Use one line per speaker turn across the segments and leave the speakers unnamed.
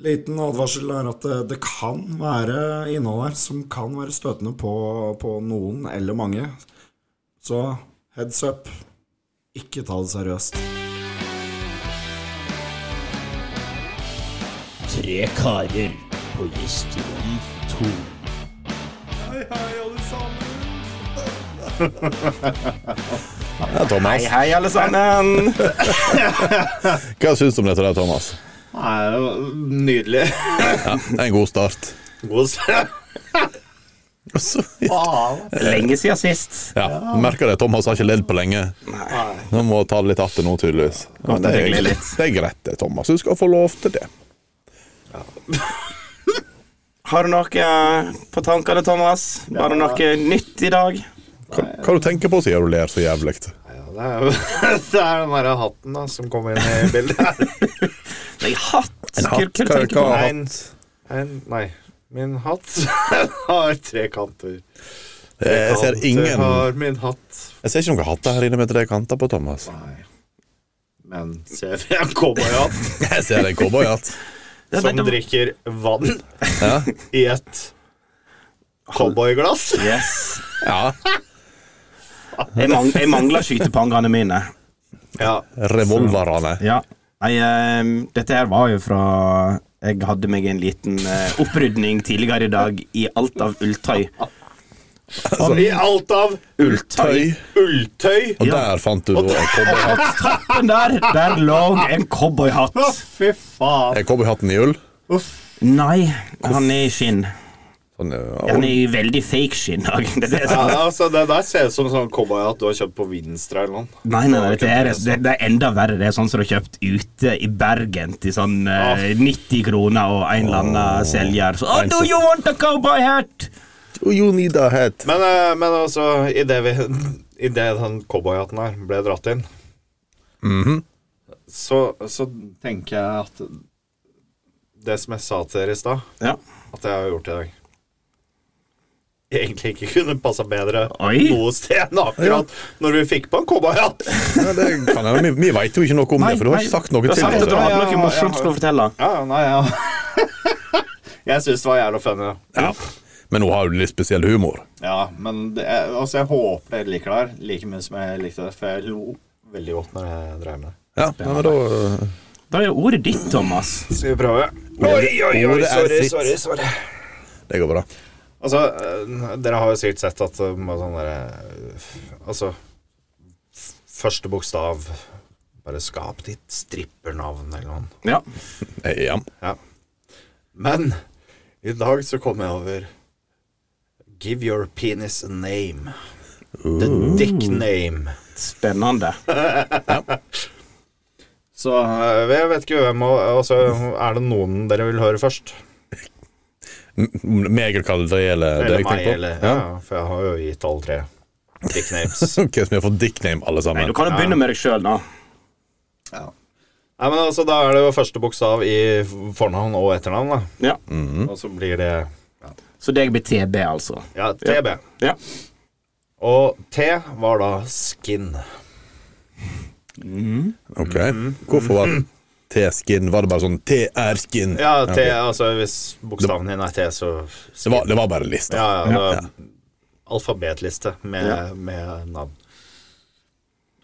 Liten advarsel er at eh, det, det kan være innhold her som kan være støtende på, på noen eller mange. Så heads up. Ikke ta det seriøst.
Tre karer på gjesterom to.
Ja, Thomas.
Hei, alle sammen!
Hva syns du om dette, der, Thomas?
Nydelig.
Ja, det er en god start.
God
Så,
Lenge siden sist.
ja, Merker det. Thomas har ikke ledd på lenge. Nå må ta det litt att nå, tydeligvis. Ja, det,
tenke
er,
litt.
det er greit, det, Thomas. Du skal få lov til det.
Har du noe på tankene, Thomas? Var det noe nytt i dag?
Hva, hva du tenker på siden du ler så jævlig?
Ja, det er jo det er den derre hatten da, som kom inn i bildet. her.
Nei, hatt! Hva
hatt?
hva du tenker
Hva-
på?
hva-
En, en, nei, min hatt har tre kanter. Tre
Eh, Jeg ser
kanter
ingen
har min hatt.
Jeg ser ikke noen hatter her inne med tre kanter på, Thomas.
Nei. Men ser vi en cowboyhatt
Jeg ser en cowboyhatt.
Det- det-
som
det-
drikker vann
Ja.
i et cowboyglass?
Yes.
ja.
Jeg, mang, jeg mangler skytepangene mine.
Ja.
Revolverene.
Ja. Nei, eh, dette her var jo fra Jeg hadde meg en liten eh, opprydning tidligere i dag i alt av ulltøy.
Altså, I alt av
Ulltøy.
ulltøy.
Og
Ja.
der fant du da en cowboyhatt.
Men der, der lå en cowboyhatt.
Å, fy faen.
Er cowboyhatten i ull?
Nei, han er i skinn.
Sånn, ja.
Han er i veldig fake skinn. Det er det
Ja,
som-
altså, det der ser ut som en sånn cowboyhatt du har kjøpt på Vinstra eller noe.
Nei, nei, nei det, er, det, det er enda verre. Det er sånn som du har kjøpt ute i Bergen til sånn eh, 90 kroner og en eller annen selger. Så, oh, do you want a cowboy hat?
Oh, you need a hat.
Men, eh, men altså, idet vi Idet den cowboyhatten her ble dratt inn, så, så tenker jeg at Det som jeg sa til dere i stad,
Ja.
at jeg har gjort i dag Egentlig ikke kunne passa bedre
Oi.
noe sted enn akkurat når vi fikk på en cowboyhatt.
Ja, det kan jeg. Vi, vi veit jo ikke noe om det, for du har ikke sagt noe
Du har
til
sagt
oss.
at du hadde
Ja, ja,
noe morsomt
ja.
skulle fortelle.
Ja, ja, nei, ja. Jeg syns det var jævla funny.
Ja. Men hun har jo litt spesiell humor.
Ja, men det, er- altså, jeg håper dere liker det her like mye som jeg likte det, for jeg lo veldig godt når jeg drev med det.
Ja, nei, men da
Da er ordet ditt, Thomas.
Skal vi prøve?
Oi, oi, oi, sorry, sorry, Det går bra.
Altså, eh, dere har jo sikkert sett at eh, med sånn derre eh, f- Altså f- Første bokstav Bare skap ditt strippernavn eller noe.
Ja.
Eh, Ja.
Ja. Men i dag så kom jeg over Give your penis a name. The dick name.
Spennende.
Så eh, jeg vet ikke hvem og- Altså, er det noen dere vil høre først?
M- Meg eller det gjelder det
Eller
jeg
meg,
tenker
eller
på?
ja.
Ja.
for jeg har jo gitt alle tre dick names.
Hva som gjør for dickname, alle
Nei,
sammen?
du kan jo begynne med deg sjøl nå.
Nei, men altså, Da er det jo første bokstav i fornavn og etternavn. da
Ja.
Mm.
Og så blir det
Så deg blir TB, altså.
ja, TB.
Ja.
Og T var da skin.
Ok. Hvorfor var T-skin? Var det bare sånn TR-skin?
Ja, T,
ok.
altså Hvis bokstaven din er T, så
Det,
skin.
var, det var bare en liste.
Ja, ja, det var Alfabetliste med, med navn.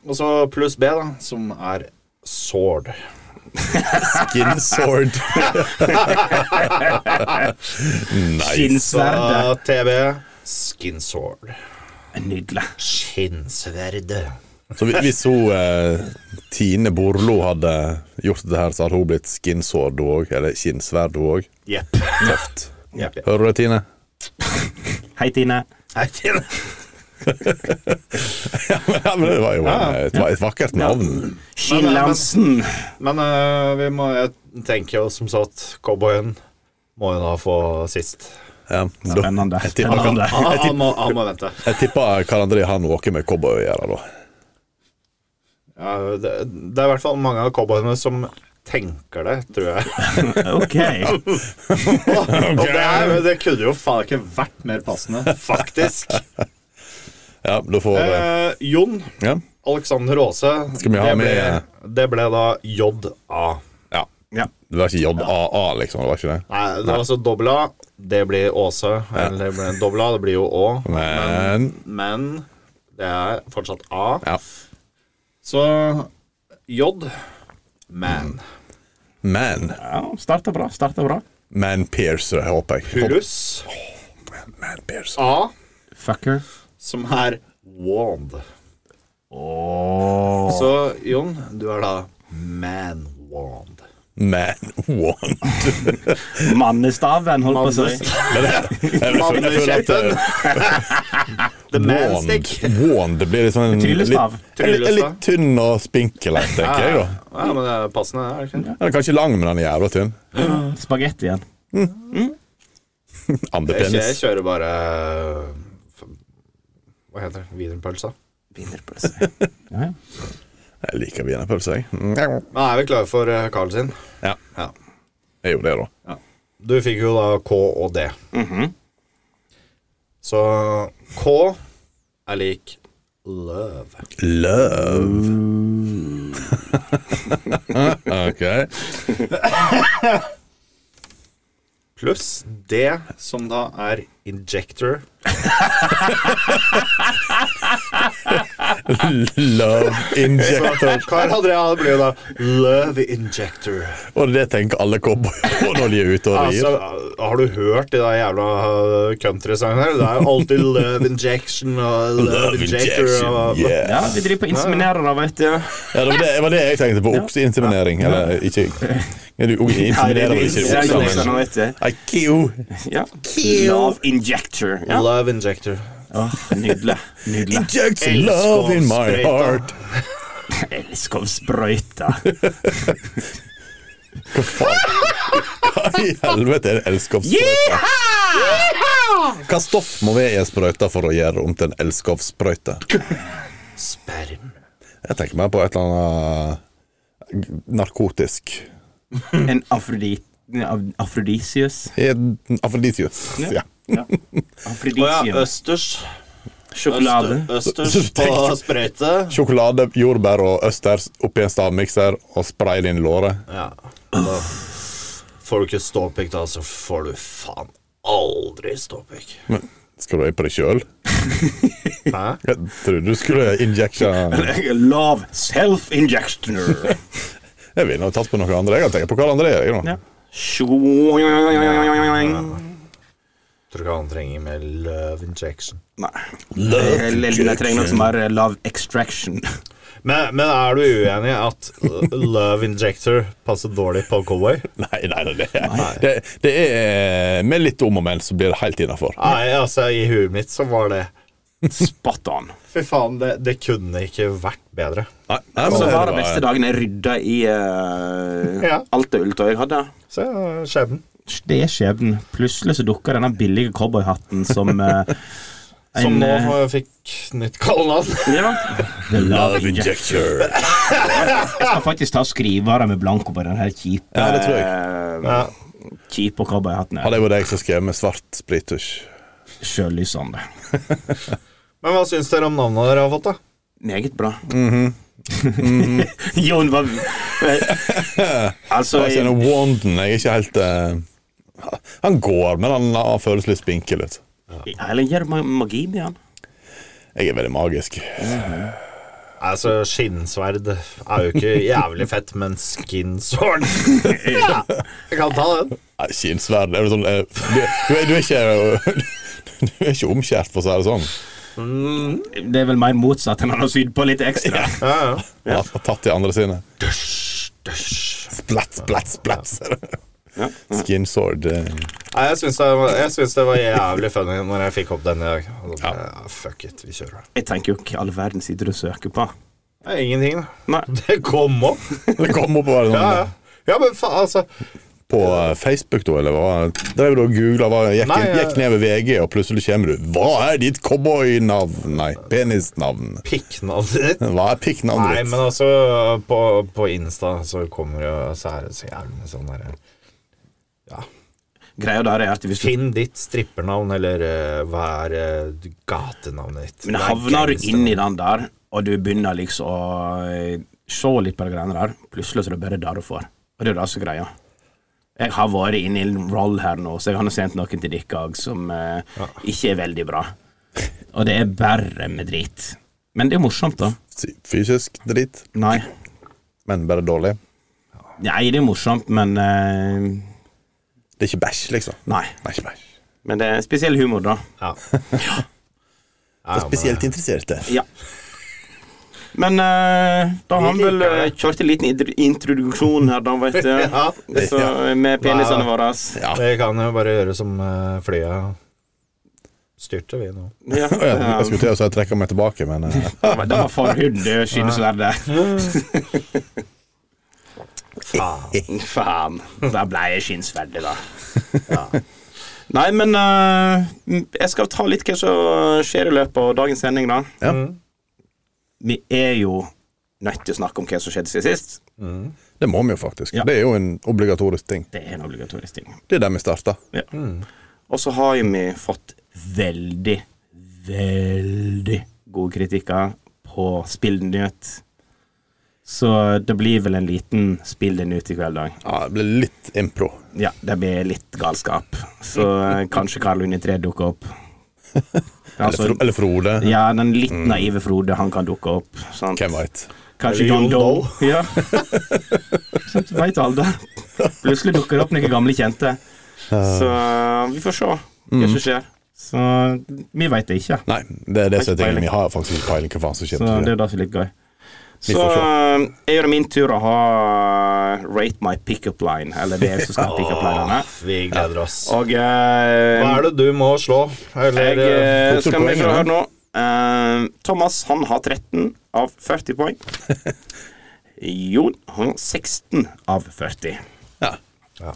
Og så pluss B, da, som er sword.
Skin sword.
Så
Skinnsverdet.
TB skin sword.
Nydelig.
Skinnsverde.
Så hvis- hvis hun eh, Tine Borlo hadde gjort dette her, så hadde hun blitt skin sword, hun òg. Eller skinnsverd, hun òg.
Jepp.
Tøft.
Jepp.
Hører du det, Tine?
Hei, Tine.
Hei, Tine.
ja, men det var jo en, eh, et, et vakkert navn.
Skinnlansen.
Men eh, vi må jeg tenker jo som sagt Cowboyen må jo da få sist.
Ja, da-
Spennende.
Jeg tipper kan-
Spennende.
Han, han, må, han må vente.
Jeg tipper Karl André har noe med cowboy å gjøre, da.
Ja, det, det er i hvert fall mange av cowboyene som tenker det, tror jeg.
Ok.
Og det, er, det kunne jo faen ikke vært mer passende, faktisk.
Ja, da får
Eh, Jon
ja.
Alexander Aase,
Skal vi ha
det, ble,
med-
det ble da JA.
ja.
Ja.
Det var ikke JAA, liksom? Det var ikke det?
Nei, det var altså dobbel A. Det blir Åse. Eller det blir- dobbel A, det blir jo Å.
Men
Men det er fortsatt A.
Ja.
Så J. Man.
Man.
ja starta bra. Starta bra.
Man Piercer, håper jeg.
Pluss
Man Piercer.
A,
Fucker.
som er wand. Så Jon, du er da man wand.
Man One.
Mannestaven, holdt på å si.
Jeg føler- jeg føler at, eh,
The man
Wand,
stick.
wand det blir litt sånn en
Tryllestav.
Litt, en, en litt tynn og spinkel en, tenker jeg. da
Ja, men det er passende, er det ikke? det?
Den er kanskje lang, men den er jævla tynn.
Spagetti igjen.
Jeg, kjø- jeg
Andepenis.
kjører bare eh, f- Hva heter det? Wienerpølsa.
Wienerpølse. Ja, ja.
Jeg liker wienerpølse, jeg. Mm.
Nå er vi klare for eh, Carl sin.
Ja,
Ja.
jeg gjorde det, da.
Du fikk jo da K og D.
Mm-hmm.
Så K er lik love.
Love. ok.
Pluss D, som da er injector.
Love inject.
Carl Andrea det blir jo da love injector.
Og det tenker alle cowboyer når de er ute og rir.
Altså, har du hørt de der jævla uh, countrysangene her? Det er jo alltid love injection og love,
Love
injector.
injection,
og,
ja,
yeah.
vi driver på inseminerer, da, vet du.
Ja, det, var det, det var det jeg tenkte på. Okseinseminering. Eller ikke Ja, Du inseminerer vel ikke
Ja, det er
okser,
liksom,
men
vet du.
I kill.
Ja. Love injector. Ja.
Love injector.
Åh, nydelig. Nydelig.
Inject
Elsker
love in my
sprøyta.
heart.
Elsker å sprøyte.
Hva i helvete er det elskovssprøyte? Hva stoff må være i en sprøyte for å gjøre det om til en elskovssprøyte?
Sperm.
Jeg tenker mer på et eller annet narkotisk.
En afrodit... av- Afrodisius.
Afrodisius. Ja.
Å ja,
Afrodisius.
østers.
Sjokolade.
Østers på sprøyte.
Sjokolade, jordbær og østers oppi en stavmikser og spray det inn i låret.
Ja. Da får du ikke ståpikk, da, så får du faen aldri ståpikk.
Men skal du øye på deg sjøl?
Hæ?
Jeg trodde du skulle injection.
Love self-injectioner.
Jeg ville nå tatt på noen andre. Jeg har tenkt på Karl André. Jeg, nå.
Ja. Sjoing.
Tror ikke han trenger mer love injection.
Nei. Eller jeg Eh, trenger noe som er eh, love extraction.
Men, men er du uenig i at love injector passer dårlig på cowboy?
Nei, nei, nei, det, det, det er eh, Med litt om og men så blir det helt innafor.
Nei, altså, i huet mitt så var det
Spot on.
Fy faen, det, det kunne ikke vært bedre.
Så var det beste dagen jeg rydda i eh,
Ja.
alt det ulltøyet jeg hadde.
Se skjebnen.
Det er skjebnen. Plutselig så dukker denne billige cowboyhatten som eh,
Som
en,
nå
eh,
fikk nytt kallenavn.
ja. The love
Love
injector.
injector.
Jeg skal faktisk ta og skrive det med blanko på den her kjipe
Ja, det tror
Ja.
eh, Kjipe cowboyhatten.
Ja, det var det jeg som skrev med svart sprittusj.
Sjøllysende.
Men hva syns dere om navnet dere har fått, da?
Meget bra. Jon var Altså
Jeg kjenner Wanden. Jeg er ikke helt eh, Han går, men han, han føles litt spinkel ut.
Erlend gjør ma- magi med han.
Jeg er veldig magisk.
Altså, skinnsverd er jo ikke jævlig fett, men skinsword ja, Jeg kan ta den.
Nei, Skinnsverd er jo sånn eh, du, du, er, du er ikke Du er ikke omskjært, for å si det sånn.
Det er vel mer motsatt enn han har sydd på litt ekstra.
Ja, ja.
Han har tatt de andre sine.
Døsj.
Splatt, splatt, splatt. ser du. Skin sword. eh.
Nei, jeg syns det, var- jeg syns det var jævlig funny når jeg fikk opp den i dag. Og da bare, ja, fuck it, vi kjører.
Jeg tenker jo hva i all verden sitter du og søker på?
Det er ingenting, da.
Nei.
Det kom opp.
Det kom opp og var sånn
Ja, ja. Ja, men faen, altså.
På eh, Facebook, da, eller hva? Drev du og googla, hva- gikk,
Nei, eh. jeg-
gikk ned ved VG, og plutselig kommer du Hva er ditt cowboynavn? Nei, penisnavn.
Pikknavnet ditt.
Hva er pikknavnet
Nei,
ditt?
men altså, på, på Insta så kommer det jo så er det så jævlig mye sånn derre
Greia der er at hvis du
Finn ditt strippernavn, eller eh, hva er eh, gatenavnet ditt?
Men
Hva er
havner du
gangsternavnet?
inni den der, og du begynner liksom å eh, se litt på de greiene der, plutselig så er det bare det du får. Og det er jo det som er greia. Jeg har vært inne i en roll her nå, så jeg har nå sendt noen til dere òg som eh, ikke er veldig bra. Og det er bare med drit. Men det er morsomt, da.
Fysisk drit,
Nei.
men bare dårlig.
Nei, det er morsomt, men eh,
Det er ikke bæsj, liksom.
Nei.
Det er ikke bæsj.
Men det er spesiell humor, da.
Ja.
For spesielt interesserte.
eh, Ja. Men eh, da har han vel eh, kjørt en liten idr- introduksjon her, da, vet du.
Ja.
Så, eh, med penisene våre.
Vi kan jo bare gjøre som eh, flya styrte, vi nå.
Ja.
Å ja, Jeg skulle til å si trekke meg tilbake, men eh,
Det var- det var forhuden, du skinnsverdet.
Faen.
Faen. Da ble jeg skinnsverdet, da. Ja. Nei, men eh, jeg skal ta litt hva som skjer i løpet av dagens sending, da.
Ja.
Vi er jo nødt til å snakke om hva som skjedde siden sist.
det må vi jo faktisk.
Ja.
Det er jo en obligatorisk ting.
Det er en obligatorisk ting.
Det er der vi starta.
Ja.
Mm.
Og så har jo vi fått veldig, veldig gode kritikker på Spillnytt. Så det blir vel en liten Spillnytt i kveld, da.
Ja, det blir litt impro.
Ja, det blir litt galskap. Så eh, kanskje Karl Unni 3 dukker opp.
Eller,
Altså,
Fro- eller Frode.
ja, den litt naive Frode, han kan dukke opp. Sant?
Hvem veit.
Kanskje John Doe. Ja. Så du veit aldri. Plutselig dukker det opp noen gamle kjente. Så eh, vi får se hva som skjer. Så vi veit det ikke.
Nei, det er det som
Har ikke
er tingen.
peiling.
Vi har faktisk ikke peiling hva faen som
Så det
skjer.
er det som er litt gøy.
Vi
Så
får
jeg gjør det min tur å ha eh, Rate my pickup line, eller det som skal pick up linene.
Vi gleder oss.
Og eh,
Hva er det du må slå? Eller
jeg eh,
Hvor tok
skal vi
poenget,
få
da?
høre nå. Eh, Thomas han har 13 av 40 poeng. Jon han har 16 av 40.
Ja.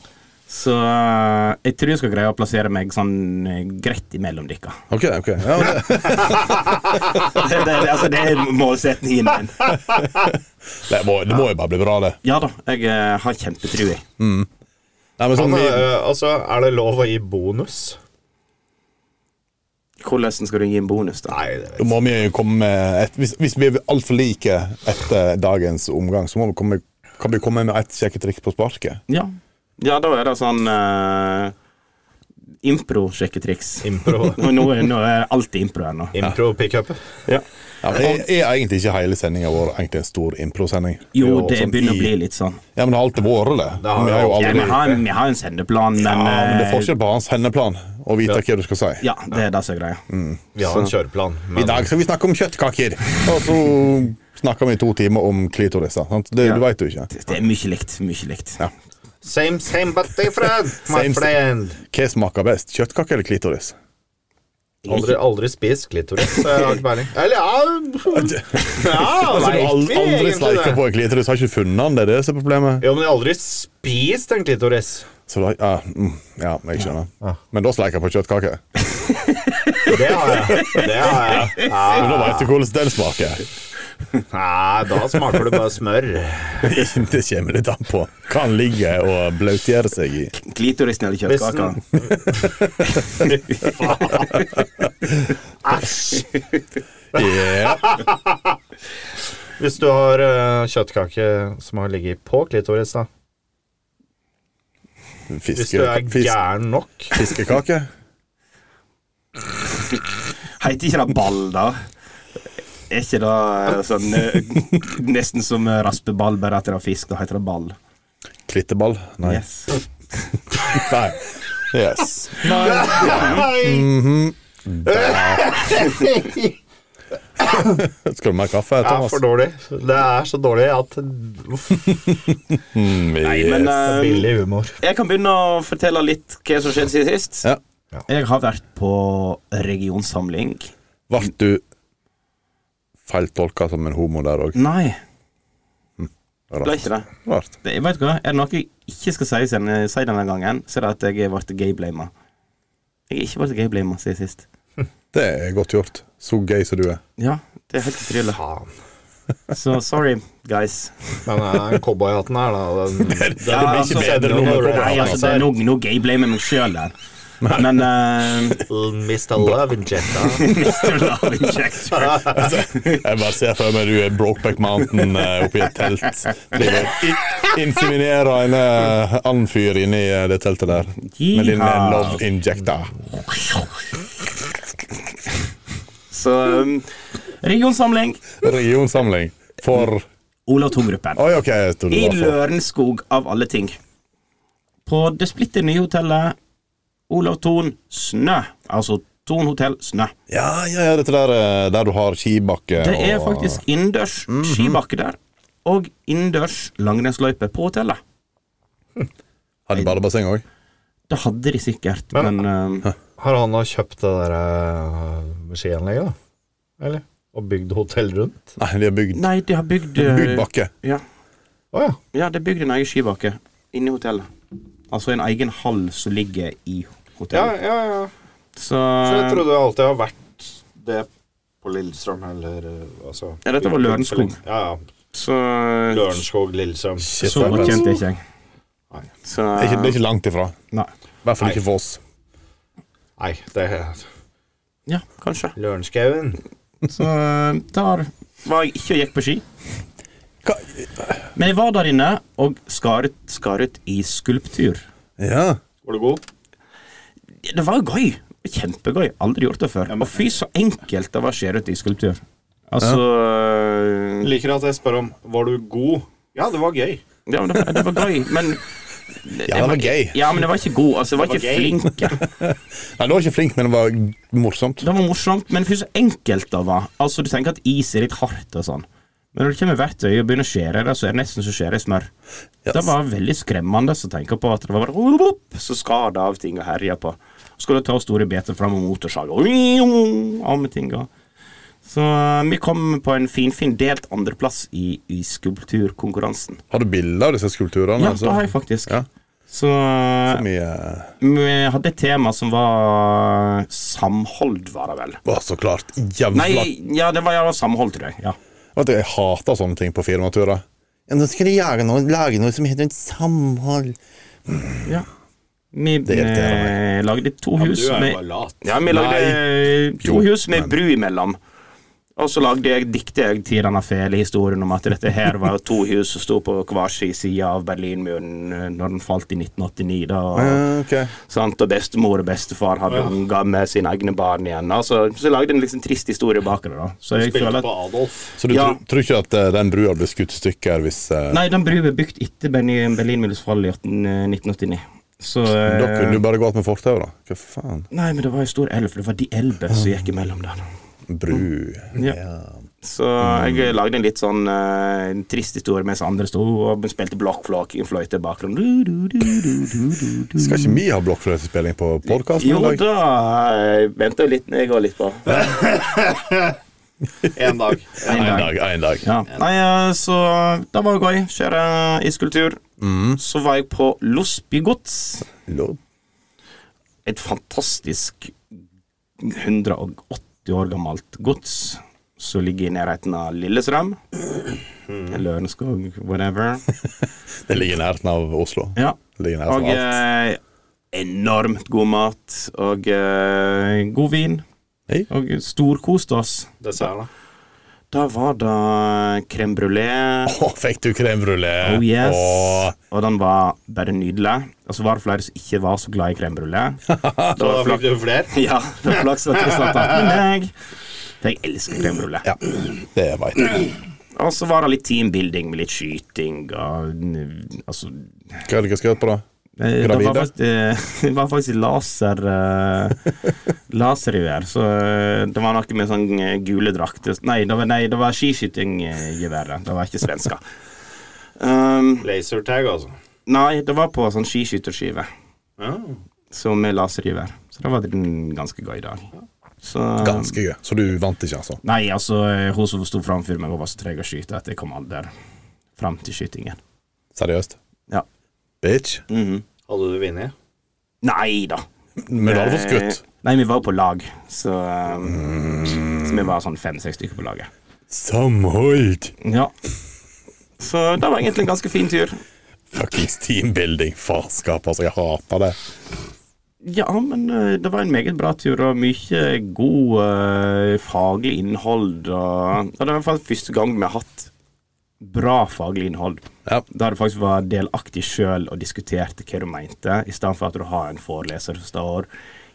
Så eh, jeg tror jeg skal greie å plassere meg sånn eh, greit imellom dere.
Ok, ok. Ja, men det,
Det, det, altså, det er målsetningen min.
det, må, det må jo bare bli bra, det.
Ja da, jeg eh, har kjempetrua.
Nei, men
Sånn,
sånn, vi,
eh, altså, er det lov å gi bonus?
Hvordan skal du gi en bonus, da?
Nei, det
da må vi jo komme med et, hvis, hvis vi er altfor like etter dagens omgang, så må vi komme, kan vi komme med et kjekke triks på sparket.
Ja, ja da er det sånn eh, impro-sjekketriks.
Impro.
Nå, nå er- nå er alt impro her nå.
Impro-pickup.
Ja.
Ja, men er, er egentlig ikke hele sendinga vår egentlig en stor impro-sending?
Jo,
Jo,
det
sånn
begynner å
i-
bli litt sånn.
Ja, men det har alltid vært det.
Det har
vi har
jo
Ja,
jo aldri
vi, har en, vi har en sendeplan, men,
Ja, men det er
eh,
forskjell på hans hendeplan og vite hva du skal si.
ja, det er det som er greia.
Vi har en kjøreplan.
I dag skal vi snakke om kjøttkaker, og så snakker vi i to timer om klitoriser. Sant? Det,
Ja.
Du veit jo ikke.
Det er mye likt. Mye likt.
Ja.
Same, same but different, my
Same, same.
friend.
Hva smaker best, kjøttkake eller klitoris?
Aldri, aldri spis klitoris. så Jeg har ikke peiling. Eller ja, ja
Altså, du Altså, har
vet
aldri,
vi
aldri sleika
egentlig det?
på en klitoris, har ikke funnet den, det er det som er problemet.
Jo, men jeg har aldri spist en klitoris.
Så da, ja, mm, ja, jeg skjønner. Men da sleika jeg på kjøttkake.
Det har jeg. Det har jeg. Ja,
Men da veit du hvordan den smaker.
nei, da smaker det bare smør.
Det kommer litt an på hva den ligger og blautgjør seg i.
Klitorisen eller
Hvis
kjøttkaka?
den- Fy faen. Æsj.
Ja.
Hvis du har eh, kjøttkake som har ligget på klitoris, da. Hvis du
Fiske,
er
fisk,
gæren nok.
fiskekake?
Heter ikke det ball, da? Er ikke det eh, sånn eh, Nesten som eh, raspeball, bare at det er fisk. Da heter det ball.
Klitteball? Nei.
Yes.
Nei. Yes. Mhm. Skal du ha mer kaffe,
Det er
Thomas?
for dårlig. Det er så dårlig at Uff,
Mm,
Nei, men eh,
Um,
Billig humor.
jeg kan begynne å fortelle litt hva som skjedde siden sist.
Ja.
Jeg har vært på regionsamling.
Ble du feiltolka som en homo der òg?
Nei, ble ikke det.
Rart.
det jeg vet hva, Er det noe jeg ikke skal si, sen- si denne gangen, så er det at jeg ble gayblama. Jeg er ikke ble gayblama siden sist.
Det er godt gjort. Så gøy som du er.
Ja, det er helt utrolig.
Faen.
Så sorry, guys.
Men eh, cowboyhatten her, da den, den,
Ja, altså,
bedre
nå
når
når
du
du
kommer
Nei, altså, det er nå, nå gayblamer jeg meg sjøl der. Men eh,
Mr. Love Injector.
Mr. Love Injector
Altså, Jeg bare ser for meg du er Brokeback Mountain eh, oppi et telt. Driver og in- Inseminerer en eh, annen fyr inni eh, det teltet der. Med din eh,
Yeehaw.
love injector.
Så um, regionsamling
Regionsamling for
Olav Thon-gruppen.
Oi, OK. Jeg trodde
I
det var for
Lørenskog, av alle ting. På det splitter nye hotellet Olav Thon Snø. Altså Thon hotell Snø.
Ja, ja, ja, dette der eh, der du har skibakke
Det er
og-
faktisk innendørs
Mhm.
skibakke der, og innendørs langrennsløype på hotellet.
Har de badebasseng òg?
Det hadde de sikkert, men,
Men-
eh,
Har han nå kjøpt det der eh, skianlegget, da? Eller? Og bygd hotell rundt?
Nei, de har bygd,
Nei, de har bygd eh,
bygd bakke.
Ja,
Å ja.
ja de bygde en egen skibakke inni hotellet. Altså en egen hall som ligger i
Ja,
hotellet.
ja, ja.
Eh, Så
For jeg trodde det alltid har vært det på Lillestrøm, eller eh, altså
Ja, dette var Lørenskog.
Ja, ja.
Så
Lørenskog, Lillestrøm.
Shit,
Så
det er
godt
bra.
kjente ikke jeg.
Nei.
Så
Det er ikke, det er ikke langt ifra.
Nei.
I hvert fall ikke for oss.
Nei, det er
Ja, kanskje.
Lørenskauen.
Så der var jeg ikke og gikk på ski.
Hva?
Men jeg var der inne og skar ut, skar ut i skulptur.
Ja.
Var du god?
Det var jo gøy. Kjempegøy. Aldri gjort det før. Og fy, så enkelt det var å skjære ut i skulptur. Altså
Liker at jeg spør om Var du god? Ja, det var gøy.
Ja, men det, var- det var gøy, men
ja, det var gøy.
Ja, men jeg var ikke god. Altså, jeg var ikke flink.
Nei, du var ikke flink, men det var morsomt.
Det var morsomt, men fy, så enkelt det var. Altså, Du tenker at is er litt hardt og sånn. Men når det kommer verktøy og begynner å skjære det, så er det nesten som å skjære i smør.
Ja,
Det var veldig skremmende å tenke på at det var bare opp, så skar det av ting og herja på. Så skulle du ta store beter fram med motorsag og av med ting. Og. Så eh, vi kom på en finfin delt andreplass i, i skulpturkonkurransen.
Har du bilder av disse skulpturene?
Ja,
altså?
det har jeg faktisk.
Ja.
Så eh,
For mye
vi hadde et tema som var samhold, var det vel.
Å, så klart. Jævla
Nei, ja, det var ja, samhold, tror jeg. Ja.
Vet du, Jeg hater sånne ting på firmaturer. Ja, nå skal de jage noe, lage noe som heter et samhold.
ja. Vi
irriterer
eh, lagde to hus med
lat.
Ja, vi lagde eh, to
Jo,
hus med
men-
bru imellom. Og så lagde jeg dikte jeg til denne fæle historien om at dette her var to hus som sto på hver sin side av Berlinmuren eh, når den falt i 1989. da og,
Ja, ok.
sant? og bestemor og bestefar hadde unger med sine egne barn igjen. Altså, så jeg lagde en liksom trist historie bak det. da Så jeg føler
Spilte
at
på Adolf.
Så du
Ja.
tror, tror ikke at eh, den brua blir skutt i stykker hvis eh,
Nei, den brua ble bygd etter Berlin- Berlinmurens fall i 18, eh, 1989. Så eh,
Da kunne du bare gått med fortau, da. Hva faen?
Nei, men det var en stor elv, for det var de elver som gikk imellom der.
Bru
Ja. Så jeg lagde en litt sånn eh, en trist historie mens andre sto og spilte blokkflåk i en fløyte i bakgrunnen. Du, du, du, du, du, du.
Skal ikke vi ha blokkfløytespilling på podkasten
Jo
i dag?
da, jeg venter jo litt, jeg går litt på.
En dag.
En dag, en dag.
Ja. Nei, eh, så da var jeg gøy. Kjøre i skulptur.
Mm.
Så var jeg på Losbygods.
Lov.
Et fantastisk 180 år gammelt gods som ligger i nærheten av Lillestrøm. Lørenskog, whatever.
Det ligger i nærheten av Oslo.
Ja.
Det ligger i
Og
nærheten av altså alt.
eh, enormt god mat og eh, god vin.
Hei.
Og storkoste oss.
Dessert, da.
Da var det crème brulé.
Å, fikk du crème brulé?
Oh yes.
Å,
Og den var bare nydelig. Og så var det flere som ikke var så glad i crème brulé.
Da fikk du flere.
ja, det var flaks at jeg slapp av med meg. For jeg elsker crème brulé.
ja, det veit jeg.
Og så var det litt teambuilding med litt skyting og eh, altså
Hva er det jeg skal gjøre på, da?
Eh, Det
Gravide?
var faktisk, eh, det var faktisk laser eh, Lasergevær. Så eh, det var noe med sånn eh, gule drakter Nei, det var, nei, det var skiskytinggevær. Det var ikke svenska. Um,
Lasertag, altså.
nei, det var på sånn skiskytterskive.
Ja.
Så med lasergevær. Så det var en ganske gøy dag. Så
Ganske gøy. Så du vant ikke, altså?
Nei, altså, eh, hun som sto framfor meg, hun var så treg å skyte at jeg kom aldri fram til skytingen.
Seriøst?
Ja.
Bitch.
Mm.
Hadde du vunnet?
Nei da.
Men du hadde fått skutt.
Nei, vi var jo på lag, så, um, så vi var sånn fem-seks stykker på laget.
Samhold!
Ja. Så det var egentlig en ganske fin tur.
Fuckings teambuilding, farskap. Altså, jeg hater det.
Ja, men eh, det var en meget bra tur, og mye god eh, faglig innhold. Og, og det er i hvert fall første gang vi har hatt bra faglig innhold.
Ja.
Der du faktisk var delaktig sjøl og diskuterte hva du mente, i stedet for at du har en foreleser som står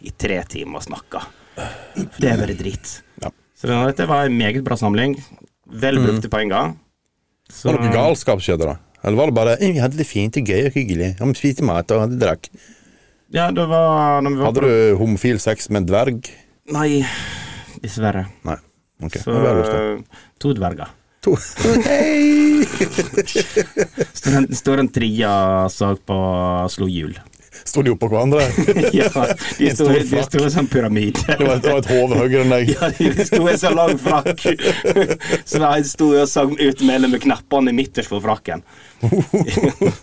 i tre timer og snakker. For det er bare dritt.
Ja. Mm.
Så denne- dette var en meget bra samling. Vel brukte poenger. Så-
Var det noe galskap skjedde, da? Eller var det bare «Eh, 'vi hadde det fint og gøy og hyggelig', om vi spiste mat og hadde drakk?
Ja, det var når vi var
Hadde
på
du homofil sex med en dverg?
Nei, dessverre.
Nei. Ok,
Så
det var lov til.
to dverger.
To. Hei!
Står en, står en tria sag på slo hjul.
Sto de oppå hverandre?
ja, de
En
sto
stor
de
flakk.
sto i sånn pyramide.
Det var et, det var et hode høyere enn deg.
Ja, de sto i så lang frakk. Så da jeg sto og sang ut mellom med knappene midterst på frakken.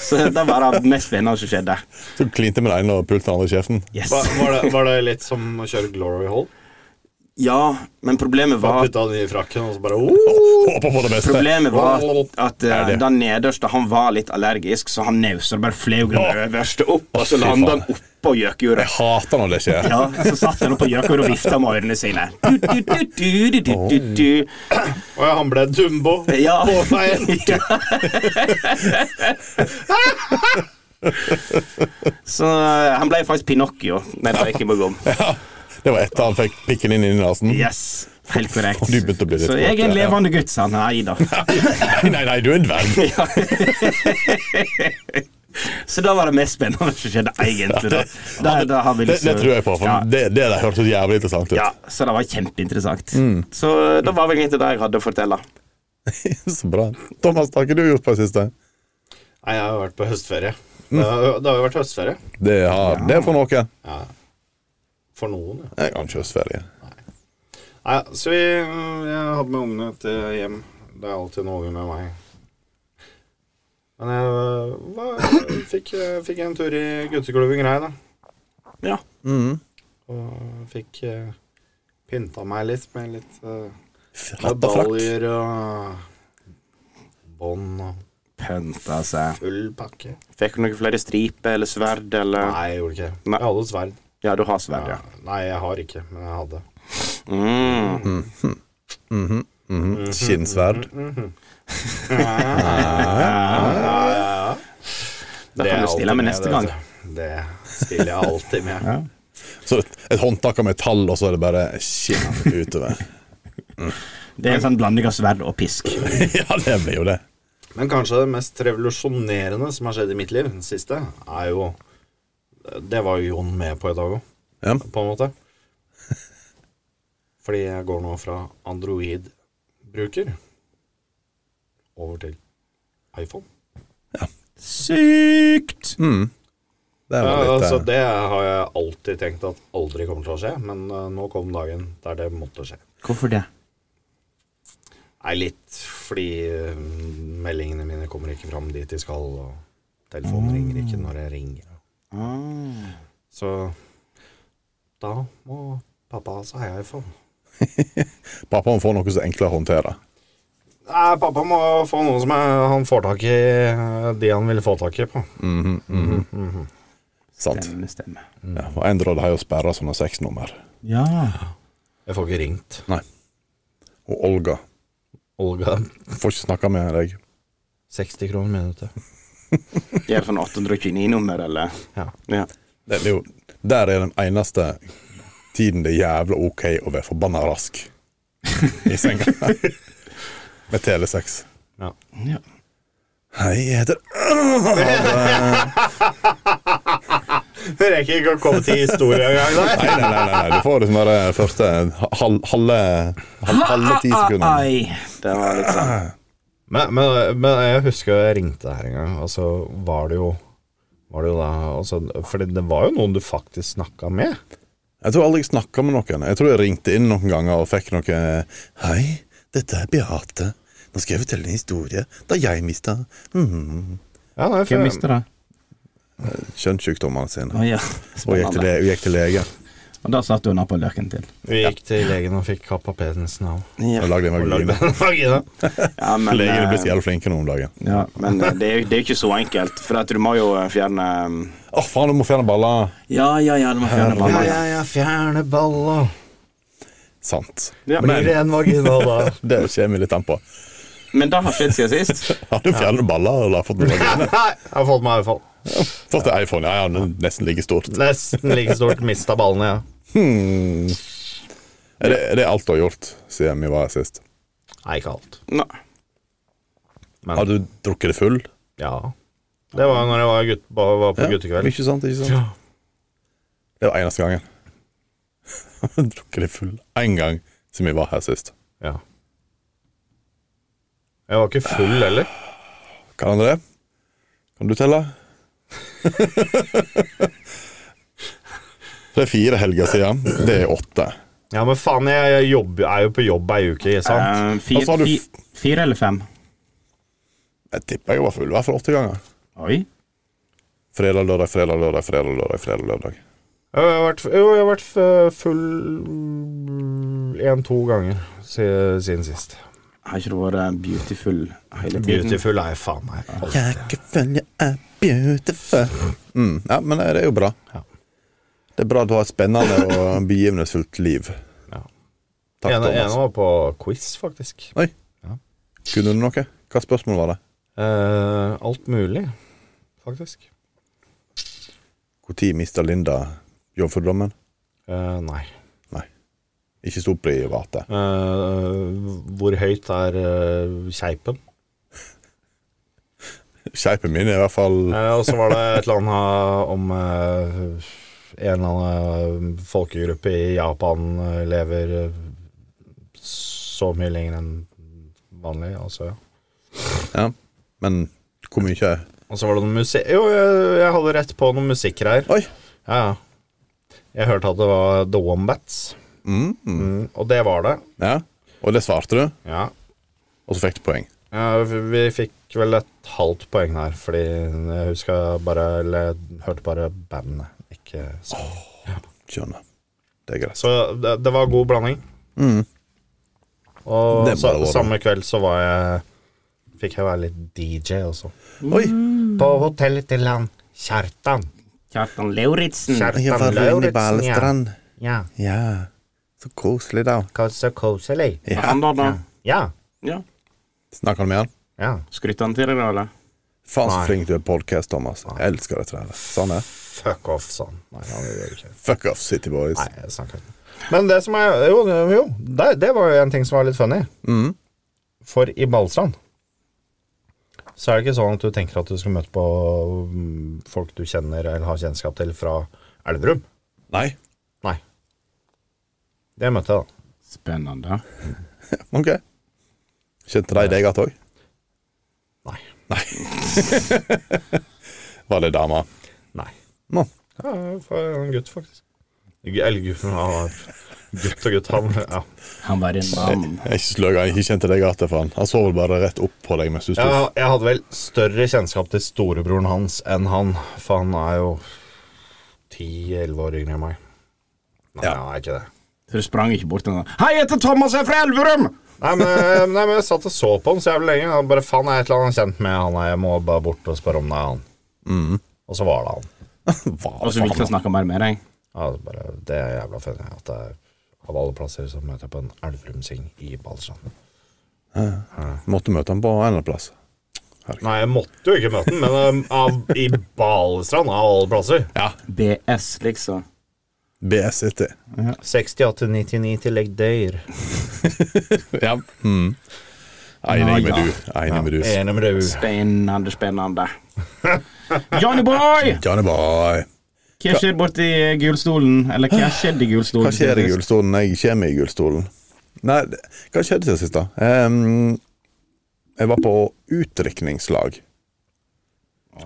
Så det var det mest spennende som skjedde.
Så klinte med den ene og pulte den andre i kjeften.
Yes.
Var, var, det, var det litt som å kjøre Glory Hall?
Ja, men problemet
Bare
var
putta den i frakken, og så bare oh!
Håper på det beste.
Problemet var at
Er
uh,
det?
den nederste han var litt allergisk, så han nausa og bare fløy den øverste opp, og så
fy
landa
faen.
han oppå gjøkeuret.
Jeg hater når det skjer.
Ja, så satt han oppe på gjøkur og vifta med ørene sine. Du, du, du, du, du, du, du.
Og ja, han ble Dumbo.
Ja.
På veien.
Så eh, han ble faktisk Pinocchio. Nei, det var ikke Bogom.
Det var etter han fikk pikken inn i nesen.
Yes, helt korrekt.
Du begynte å bli litt
Så jeg er
kåt,
en
ja.
levende gutt, sa han. Nei da.
Nei, nei, nei, du er en dverg.
Ja. Så da var det mest spennende som skjedde, egentlig. Da, da, da har vi
Det, det
liksom-
tror jeg på, for
Ja.
det, det der hørtes jævlig interessant ut.
Ja, så det var kjempeinteressant.
Mm.
Så det var vel egentlig det jeg hadde å fortelle.
Så bra. Thomas, hva har ikke du gjort på det siste?
Nei, jeg har jo vært på høstferie. Det har, det har jo vært høstferie.
Det, har, det er for noen. Jeg
Ja. For noen, ja.
har ikke høstferie.
Nei, så vi, mm, jeg hadde med ungene til hjem. Det er alltid noe med meg. Men jeg var, fikk, fikk en tur i gutteklubben grei, da.
Ja.
Og fikk eh, pynta meg litt med litt eh,
Hatt og frakk.
medaljer og bånd og
Pønta seg.
full pakke.
Fikk du noen flere striper eller sverd eller
Nei, jeg gjorde ikke det.
Nei.
Jeg hadde sverd.
Ja, du har sverd, ja.
Ja. Nei, jeg har ikke, men jeg hadde.
Mm.
Mhm. Skinnsverd.
Da kan
er
du stille
alltid
med neste gang.
vet du. Det stiller jeg alltid med.
Så et, et håndtak av metall, og så er det bare skinn utover.
Det er en sånn blanding av sverd og pisk.
Ja, det blir jo det.
Men kanskje det mest revolusjonerende som har skjedd i mitt liv, den siste, er jo Det var jo Jon med på i dag òg,
Ja.
på en måte. Fordi jeg går nå fra Android-bruker over til iPhone.
Sykt!
Mm. Det
Ja,
var litt,
altså,
eh,
det har jeg alltid tenkt at aldri kommer til å skje, men eh, nå kom dagen der det måtte skje.
Hvorfor det?
Nei, litt fordi eh, meldingene mine kommer ikke fram dit de skal, og telefonen ringer ikke når jeg ringer.
Ah.
Så da må pappa altså ha iPhone.
Pappa må få noe så enklere å håndtere.
Nei, pappa må få noe som er, han får tak i eh, de han vil få tak i på.
Sant.
Stemme, stemme.
Ja, og Android har jo sperra sånne sexnummer.
Ja.
Jeg får ikke ringt.
Og Olga
Olga,
får ikke snakka med deg.
60 kroner minuttet.
Gjør sånn 829-nummer, eller?
Ja.
Ja.
Det er jo, der er den eneste tiden det er jævla ok å være forbanna rask i senga. med telesex.
Ja.
ja.
Hei, jeg heter
Jeg rekker ikke å komme til historien engang. nei.
Nei, nei, nei, nei, nei. du får liksom bare første hal, halve, hal, halve ti sekunder.
Ai! Det var litt sånn
Men, men, men jeg husker jeg ringte her en gang, og så var det jo var det jo da, altså, Fordi det var jo noen du faktisk snakka med.
Jeg tror aldri jeg snakka med noen. Jeg tror jeg ringte inn noen ganger og fikk noe Hei, dette er Beate. Nå skal jeg fortelle en historie da jeg mista
Ja, nei, for,
det?
kjønnssykdommene sine.
Å ja.
Og gikk til,
Spennende.
le og gikk til lege.
Og da satt hun på løken til.
Vi gikk til legen og fikk kappa penisen av.
Ja,
Og lagde en
Og lagde
vagina.
en vagina.
men,
Legene blir så
eh,
jævlig flinke nå om dagen.
ja, men eh, det er jo det er jo ikke så enkelt, for at du må jo eh, fjerne eh,
Å, faen, du må fjerne baller.
Ja, ja, ja, du må fjerne
Ja,
mamma.
ja, ja, fjerne balla.
Sant.
Ja,
Blir det en vagina da?
Det kommer litt an på.
eh, Men det har skjedd siden sist.
Har du fjernet baller eller fått en vagina?
Nei, jeg har fått meg i hvert fall.
Fått en iPhone? Ja, ja, den er nesten like stort.
Nesten like stort. Mista ballene, ja.
Er det, er det alt du har gjort siden vi var her sist?
Nei, ikke alt.
Nå.
Har du drukket det full?
Ja. Det var når jeg var, gutt, ba- var på guttekveld.
Ikke sant, ikke sant?
Ja.
Det var eneste gangen. drukket det full én gang siden vi var her sist.
Ja. Jeg var ikke full heller.
Kan André? Kan du telle? det er fire helger siden. Det er åtte.
Ja, men faen, jeg, jeg, jobber, jeg er jo på jobb ei uke, ikke sant?
Eh,
Og så
fire,
har du
fi, fire eller fem?
Jeg tipper jeg var full i hvert fall åtte ganger.
Oi.
Fredag, lørdag, fredag, lørdag, fredag, lørdag. fredag, lørdag
Jo, jeg har vært, jo, jeg har vært eh, f- full én-to ganger siden, siden sist.
Har ikke du vært beautiful hele tiden?
Beautiful er jeg faen meg. alltid.
Rekkefølge er beautiful. Mm, ja, men det er jo bra.
Ja.
Det er bra at du har et spennende og begivenhetsfullt liv.
Ja.
Takk,
En, en
Thomas.
var på quiz, faktisk.
Oi.
Ja.
Kunne du noe? Hva spørsmål var det?
Eh, alt mulig, faktisk.
Når mista Linda jomfrudommen?
Eh, nei.
Nei. Ikke stor private.
Eh, hvor høyt er eh, keipen?
Skeipen min er i hvert fall
Eh, og så var det et eller annet om eh, en eller annen folkegruppe i Japan eh, lever eh, så mye lenger enn vanlig. Altså, ja.
ja. Men hvor mye er
Og så var det noe musikk Jo, jeg, jeg hadde rett på noen musikkgreier.
Oi!
Ja, ja. Jeg hørte at det var The Wombats,
Mm.
mm, og det var det.
Ja. Og det svarte du,
Ja.
og så fikk du poeng.
Ja, vi vi fikk vel et halvt poeng her, fordi jeg husker bare Eller jeg hørte bare bandet, ikke sangen.
Skjønner. Det er greit.
Så det, det var god blanding. Og
Det er
sa,
bare å være.
samme kveld så var jeg Fikk jeg være litt DJ også.
Oi!
På hotellet til han Kjartan.
Kjartan
Mm,
Lauritzen.
Kjartan Lauritzen, ja. ja.
Ja. Så koselig, da.
Hva Så koselig.
Ja. Han da, da?
Ja.
Ja.
Snakker han med han?
Ja.
Skryter han til deg, da, eller?
Faen så
Nei.
flink du er podcast, Thomas. Jeg elsker dette her. Sånn er
Fuck off, sånn. sa han. Nei, han gjør ikke det.
Fuck off, City Boys.
Nei, jeg snakker ikke. Men det som er Jo, jo det, det var jo en ting som var litt funny.
Mm.
For i Ballstrand så er det ikke sånn at du tenker at du skal møte på mm, folk du kjenner eller har kjennskap til fra Elverum.
Nei.
Nei. Det møtte jeg, da.
Spennende.
Ok. Kjente de deg igjen òg?
Nei.
Nei. Var det dama?
Nei.
Nå.
Ja, for en gutt, faktisk. Gu- Eller gutt, men han var gutt og gutt. Han, ja.
Han var en mann.
Jeg er ikke sløg, jeg ikke kjente deg igjen, for han. Han så vel bare rett opp på deg mens du sto.
jeg, jeg hadde vel større kjennskap til storebroren hans enn han, for han er jo ti-elleve år yngre enn meg. Nei,
Ja.
han er ikke det.
Så du sprang ikke bort til han og sa, Hei, jeg heter Thomas, jeg er fra Elverum!
Nei men, eh, nei, men jeg satt og så på han så jævlig lenge. Og bare faen, jeg er et eller annet kjent med han. Jeg må bare bort og spørre om det er han.
Mm.
Og så var det han.
Hva
Og så vil jeg ikke
faen?
snakke mer med deg.
Ja, det er bare, det er jævla funny at jeg, av alle plasser så møter jeg på en Elverumsing i Balestrand.
Måtte møte han på en eller annen plass.
Nei, jeg måtte jo ikke møte han, men um, av, i Balestrand, av alle plasser.
Ja.
BS, liksom.
BS City.
68-99 tillegg døyr.
Ja. Mm. Enig med
Ja, ja.
du. Enig med du.
Enig med du.
Spennende, spennende. Johnny boy!
Johnny boy.
Hva skjedde borti gulstolen? Eller hva skjedde i gulstolen?
Hva skjer i gullstolen? Jeg kommer i gullstolen. Nei, det- hva skjedde siden sist, da? Ehm, jeg var på utdrikningslag,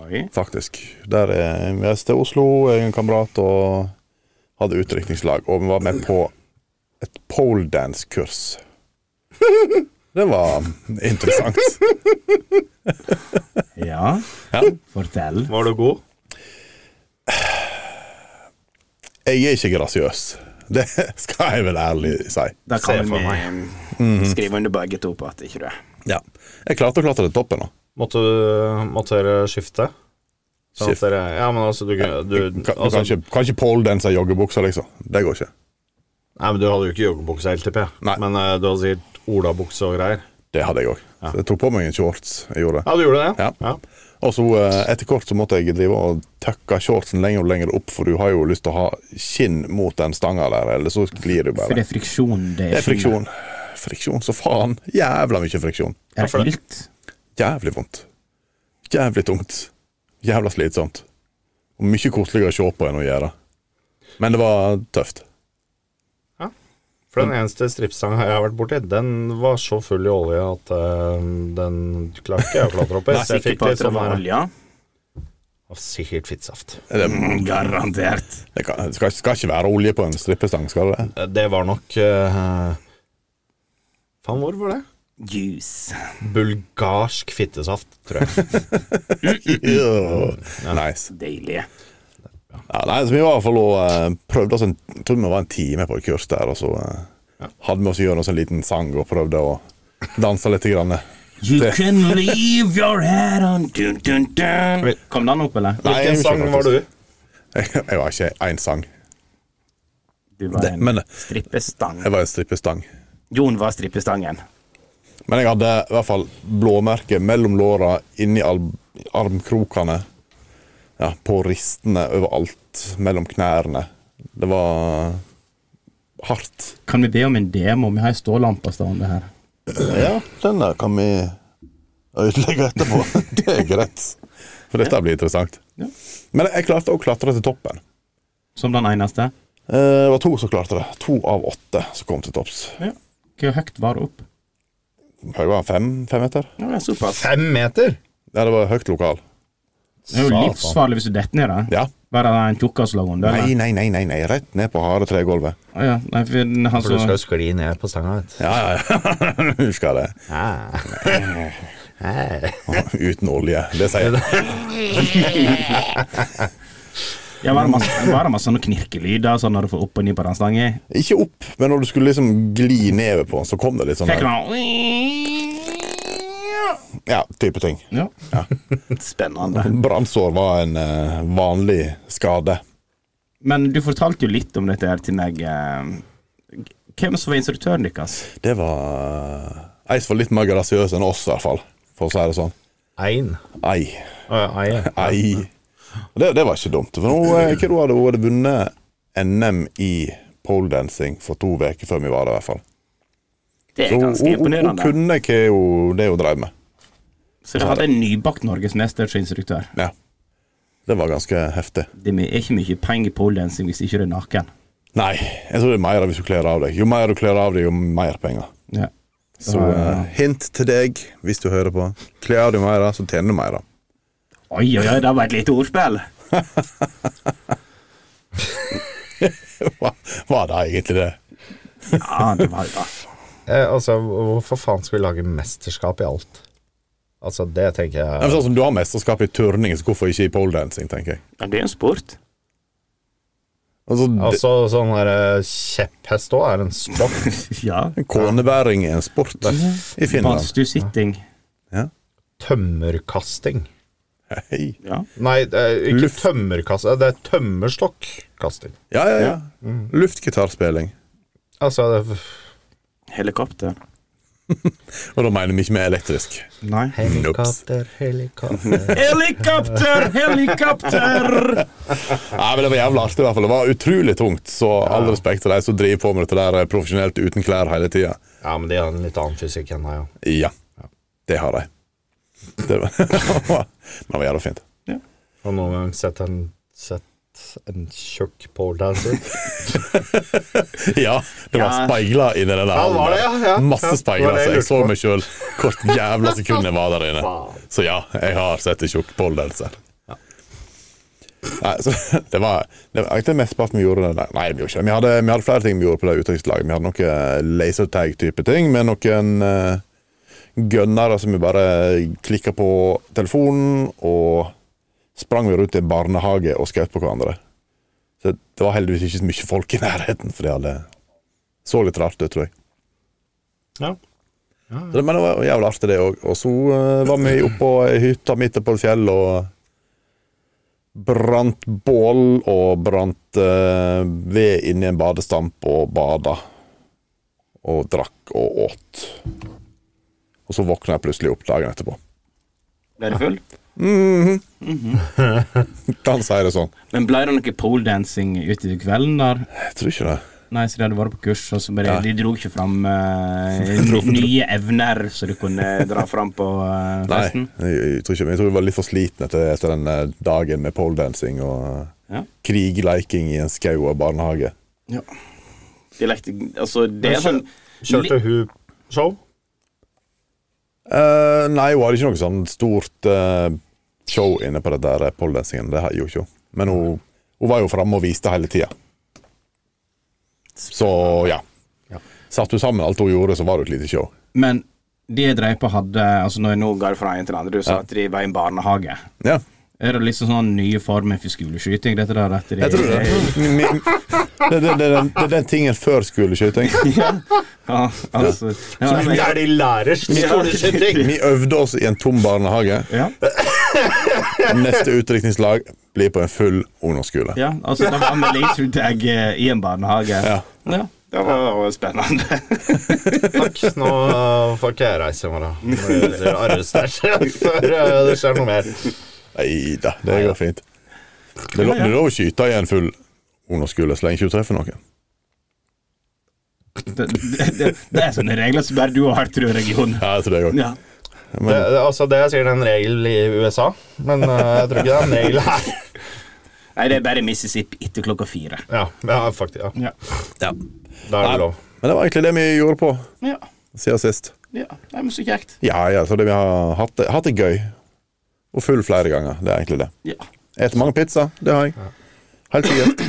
Oi.
faktisk. Der eh, jeg reiste til Oslo, jeg og en kamerat, og hadde utdrikningslag. Og vi var med på et poledance-kurs. Det var interessant.
Ja,
Ja.
fortell.
Var du god?
Jeg er ikke grasiøs. Det skal jeg vel ærlig si.
Da kan
Se for
vi Mm-hmm. skrive under begge to på at ikke du er
Ja. Jeg klarte å klatre til toppen. da
Måtte, du- måtte dere skifte? Sånn at
Skift.
dere Ja, men altså, du, du,
Du kan, du
altså
kan ikke, kan ikke poledanse i joggebuksa, liksom. Det går ikke.
Nei, men du hadde jo ikke joggebukse, helt, tipper jeg.
Nei.
Men eh, du hadde sikkert olabukse og greier.
Det hadde jeg òg. Så Jeg tok på meg en shorts. Jeg gjorde det.
Ja, du gjorde det?
Ja. Og så eh, etter hvert så måtte jeg drive og tøkke shortsen lenger og lenger opp, for du har jo lyst til å ha skinn mot den stanga der, eller så glir du
For det
bare.
er friksjon. Det
Det
er,
er friksjon. Friksjon så faen. Jævla mye friksjon.
Er det ilt?
Jævlig vondt. Jævlig tungt. Jævla slitsomt. Og mye koseligere å se på enn å gjøre. Men det var tøft.
For den eneste stripstanga jeg har vært borti, den var så full i olje at eh, den klarte ikke jeg å klatre opp i. Så jeg
Sikker
fikk
på
litt
at det
sånn
var
her
olje?
Av Sikkert fittsaft.
Det,
Mm, Garantert.
det, kan, det skal, skal ikke være olje på en strippestang, skal det det?
Eh, Det var nok eh, Faen, hvor var det?
Juice.
Bulgarsk fittesaft, tror jeg.
Ja. Nice.
Deilig.
Ja, nei, så vi var i hvert fall og eh, prøvde oss en, jeg tror vi var en time på et kurs der, og så eh, hadde vi oss gjennom oss en liten sang og prøvde å danse litt. Grann.
You can leave your head on dun, dun, dun. Kom den opp, eller?
Nei, jeg
Hvilken sang
husker
var du?
faktisk. Jeg var ikke én sang.
Du var
Det-
en
men-
strippestang.
Jeg var en strippestang.
Jon var strippestangen.
Men jeg hadde i hvert fall blåmerke mellom låra, inni al armkrokene, ja, på ristene, overalt, mellom knærne. Det var hardt.
Kan vi be om en demo? Vi har ei stålampe stående her.
Ja, den der kan vi ødelegge etterpå. Det er greit. For dette blir interessant.
Ja.
Men jeg klarte å klatre til toppen.
Som den eneste.
Eh, Det var to som klarte det. To av åtte som kom til topps.
Ja. Hvor høyt var det opp?
Høy var han fem, fem meter?
Ja, det er såpass.
Fem meter?
Ja, det var høyt lokal.
Det er jo livsfarlig hvis du detter ned der.
Ja.
Var det en tjukkas lag under?
Nei,
eller?
nei, nei, nei, nei. rett ned på harde tregulvet.
Å ja. Nei, for den- han
For du skal
så
jo skli ned på stanga, vet du.
Ja, ja, ja. Husker det. Uten olje. Det sier jeg.
ja, var det masse, var det masse sånne knirkelyder sånn når du får opp og ned på den stangen?
Ikke opp, men når du skulle liksom gli nedover på den, så kom det litt sånn
Fikk
der-
man
Ja, type ting.
Ja.
Ja.
Spennende.
Brannsår var en eh, vanlig skade.
Men du fortalte jo litt om dette her til meg. eh, Hvem som var instruktøren deres?
Det var ei som var litt mer grasiøs enn oss, i hvert fall. For å si det sånn.
Ein.
Ei.
Å, ja, ei, ja.
Ei. Det, det var ikke dumt. For nå, eh, hva da hadde hun hadde vunnet NM i poledancing for to uker før vi var der, i hvert fall.
Det
Så
er
hun,
ganske
hun, hun
imponerende.
kunne hva hun, det hun drev med.
Så de hadde en nybakt norgesmester som instruktør.
Ja. Det var ganske heftig.
Det er ikke mye penger i poledancing hvis ikke du er naken.
Nei, jeg tror det er mer hvis du kler av deg. Jo mer du kler av deg, jo mer penger.
Ja.
Så eh, hint til deg, hvis du hører på. Kler av deg mer, så tjener du mer.
Oi, oi, oi, det var et lite ordspill!
Hva- Var det egentlig det?
Ja, det var jo da.
Eh, altså, hvorfor faen skal vi lage mesterskap i alt? Altså, det tenker
Ja, men
jeg
Sånn som du har mesterskap i turning, så hvorfor ikke i poledancing, tenker jeg.
Men det er jo en sport.
Altså, det-
Altså, sånn her eh, kjepphest òg er en sport.
Ja.
Konebæring er en sport i Finland.
Badstuesitting.
Tømmerkasting.
Hei.
Ja.
Nei, det er ikke
Luft.
tømmerkasting, det er tømmerstokkasting.
Ja, ja, ja. Mm. Luftgitarspilling.
Altså, det er
Helikopter.
Og da mener vi ikke med elektrisk.
Nei.
Helikopter,
helikopter
Helikopter, helikopter!
Nei, men Det var jævla artig, i hvert fall. Det var utrolig tungt. Så all respekt til de som driver på med dette der eh, profesjonelt uten klær hele tida.
Ja, men de har en litt annen fysikk enn meg, ja.
Ja, det har de. Det var, men det var jævla fint.
Har du noen gang sett en, sett en tjukk poledancer?
Ja, det var
Ja.
speiler inni den der
Ja, var det, ja, ja. Ja,
Masse
det var
speiler,
det
så
jeg
jeg så
lurte på.
meg sjøl hvert jævla sekund jeg var der inne. Så ja, jeg har sett en tjukk poledanser. Nei, så det var, det var ikke det mesteparten vi gjorde. Nei, nei, det gjorde ikke. det. Vi, hadde, vi hadde flere ting vi gjorde på det utenrikslaget. Vi hadde noen lasertag-type ting med noen eh, gønnere som vi bare klikka på telefonen, og sprang vi rundt i en barnehage og skjøt på hverandre. Så det var heldigvis ikke så mye folk i nærheten, for de hadde så litt rart ut, tror jeg.
Ja.
Så det- Men det var jævlig artig, det òg. Og så eh, var vi oppå ei hytte midt oppå et fjell og brant bål og brant eh, ved inni en badestamp og bada. Og drakk og åt. Og så våkna jeg plutselig opp dagen etterpå.
Ble du full?
Kan si det sånn.
Men ble det noe poledancing utover kvelden der?
Jeg tror ikke det.
Nei, så de hadde vært på kurs, og så bare,
Ja.
de dro ikke fram eh, nye evner som du kunne dra fram på eh,
Nei,
festen?
jeg, jeg, tror ikke, jeg tror jeg var litt for sliten etter, etter den eh, dagen med poledancing og eh,
Ja.
krigleiking i en skau og barnehage.
Ja. De lekte Altså, det er sånn
Kjørte hun show?
Eh, nei, hun hadde ikke noe sånn stort eh, show inne på det der eh, poledancingen. Det gjorde ikke hun. Men hun, hun var jo framme og viste hele tida. Så ja. Satt hun sammen alt hun gjorde, så var det jo et lite show.
Men de jeg drev på, hadde Altså, når jeg nå går fra en til den andre, du sa at de var i en barnehage.
Ja,
Er det liksom sånn nye former for skoleskyting, dette der? At de,
jeg tror det. Mi- mi- Det, det, det, det, det er den tingen før skoleskyting.
Ja, altså ja, men-
Der de lærer skoleskyting!
Vi øvde oss i en tom barnehage.
ja,
Neste utdrikningslag blir på en full ungdomsskole.
ja, altså, da var vi liksom deg eh, i en barnehage.
Ja.
Ja, det var var spennende.
Takk, nå eh, får ikke jeg reise i morgen. Nå blir det Arrestert før eh, det skjer noe mer.
Nei da, det går fint. Det er lov- det er lov å skyte i en full ungdomsskole så lenge ikke du treffer noen.
Det, det, det, det er sånne regler som bare du har, tror jeg, Jon.
Ja, jeg tror det òg.
Ja.
Det, det, altså, det er sikkert en regel i USA, men eh, jeg tror ikke det er en regel her.
Nei, det er bare Mississippi etter klokka fire.
Ja, ja faktisk. Ja.
Ja.
Da er det lov.
Men det var egentlig det vi gjorde på
Ja.
siden sist.
ja. Nei, men så kjekt.
Ja, ja, så det vi har hatt det, hatt det gøy. Og full flere ganger. Det er egentlig det.
Ja.
Eter mange pizza. Det har jeg. Helt sikkert.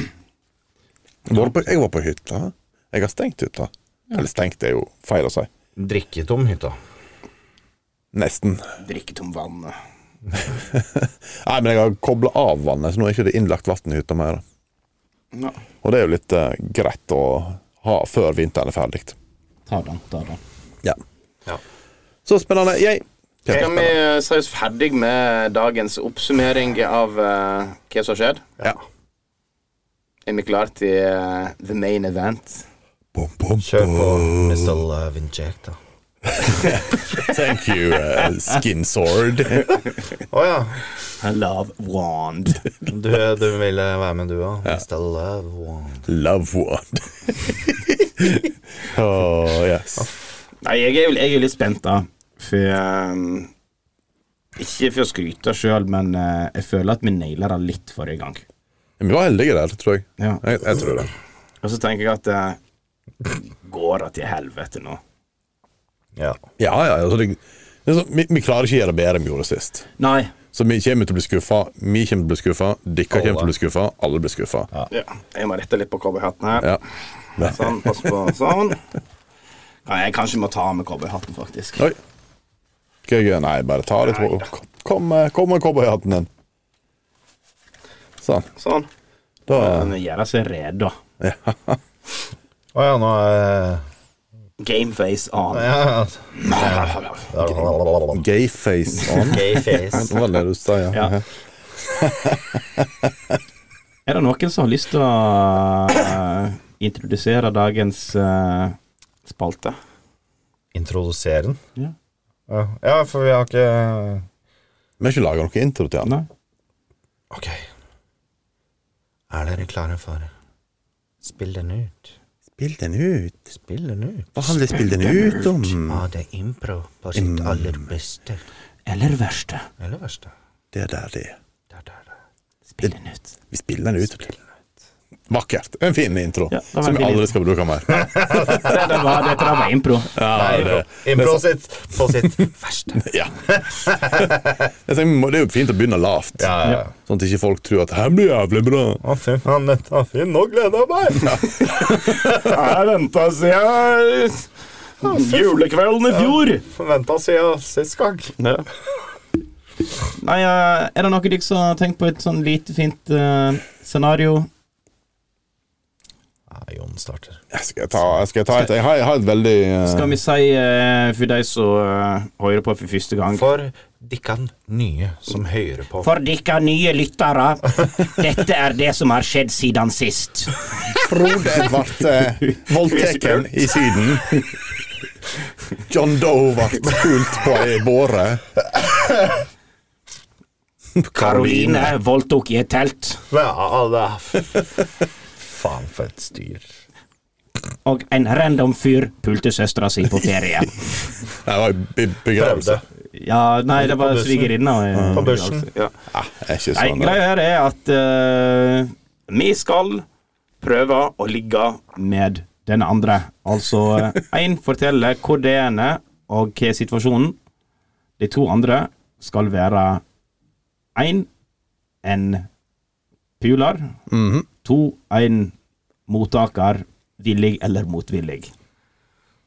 Jeg var på, jeg var på hytta. Jeg har stengt hytta. Eller stengt er jo feil å si.
Drikketom hytta.
Nesten.
Drikke tom vann.
Nei, men jeg har kobla av vannet, så nå er ikke det innlagt vann i hytta mer.
Ja.
Og det er jo litt eh, greit å ha før vinteren er ferdig.
Ta den, ta den.
Ja.
Ja.
Så spennende. Yay.
Skal vi
Kjempespennende.
eh, si oss ferdig med dagens oppsummering av eh, hva som har skjedd?
Ja.
Er vi klare til eh, the main event?
Bom, bom,
Kjør på,
bom.
Mr. Mm. Love Injector.
Thank you, eh, skin sword.
Å ja.
I love wand.
Du, du ville være med, du òg? Mr. Love Wand.
Love wand. oh, yes.
Nei, jeg er jo jeg er jo litt spent, da. For eh, Ikke for å skryte sjøl, men eh, jeg føler at vi naila det litt forrige gang.
Vi var heldige der, tror jeg.
Ja.
Jeg, jeg tror det.
Og så tenker jeg at eh, Går det til helvete nå?
Ja.
Ja, ja. Altså, det, det er sånn, vi, vi klarer ikke å gjøre det bedre enn vi gjorde sist.
Nei.
Så vi kommer til å bli skuffa. Vi kommer til å bli skuffa. Dere kommer til å bli skuffa. Alle blir skuffa. Ja.
Ja, jeg må rette litt på cowboyhatten her.
Ja.
Sånn, pass på sånn. Ja, jeg kanskje må ta av meg cowboyhatten, faktisk.
Oi. Skal jeg Nei, bare ta litt hår. Kom med kom med cowboyhatten din. Sånn.
Sånn.
Da
Men gjøre seg rede.
Å ja, nå er
Gameface on.
ja.
Gayface on.
Gay face.
Det var det du sa, ja.
Ja. Er det noen som har lyst til å eh, introdusere dagens eh, spalte?
Introdusere den?
Ja.
Ja. ja, for vi har ikke
Vi har ikke laga noe intro til han.
Nei?
Ok. Er dere klare for Spill den ut.
Spill den ut.
Spill den ut.
Hva handler spill den ut om?
Ha det impro på sitt
Mm.
aller beste.
Eller verste.
Eller verste.
Det der, det.
Der, der, der.
Spill den ut.
Vi spiller den ut. Vakkert. En fin intro
Ja, det var en
som vi
fin
aldri skal bruke mer.
Det, det var, dette der var impro.
Ja,
Impro,
det,
impro sitt på sitt verste.
ja. Jeg tenker, vi må- det er jo fint å begynne lavt,
Ja, ja, ja.
sånn at ikke folk tror at 'her blir jævlig bra'.
Å, fy faen, dette er fint. Nå gleder jeg meg!
Jeg venta siden julekvelden i fjor.
Venta siden sist gang.
Nei, eh, er det noe dere som har tenkt på et sånn lite fint eh, scenario?
Nei, Jon starter.
Jeg skal ta, jeg skal ta et Jeg har, jeg har et veldig eh,
Skal vi si eh, for de som eh, hører på for første gang
For dikkan nye som hører på.
For dere nye lyttere, dette er det som har skjedd siden sist.
Frode ble eh, voldteken i Syden. John Doe ble pult på ei båre.
Karoline voldtok i et telt,
Ja, det er- Faen, for et styr.
og en random fyr pulte søstera si på ferie.
Det var ei be- begravelse.
Prøvde.
Ja, nei, det var
bussen.
svigerinna. eh,
På bussen.
altså.
Ja.
Er ikke
Nei,
sånn.
greia her er at eh, vi skal prøve å ligge med den andre. Altså, én forteller hvor det ene og hva er situasjonen. De to andre skal være én en puler,
Mhm.
to en mottaker, villig eller motvillig.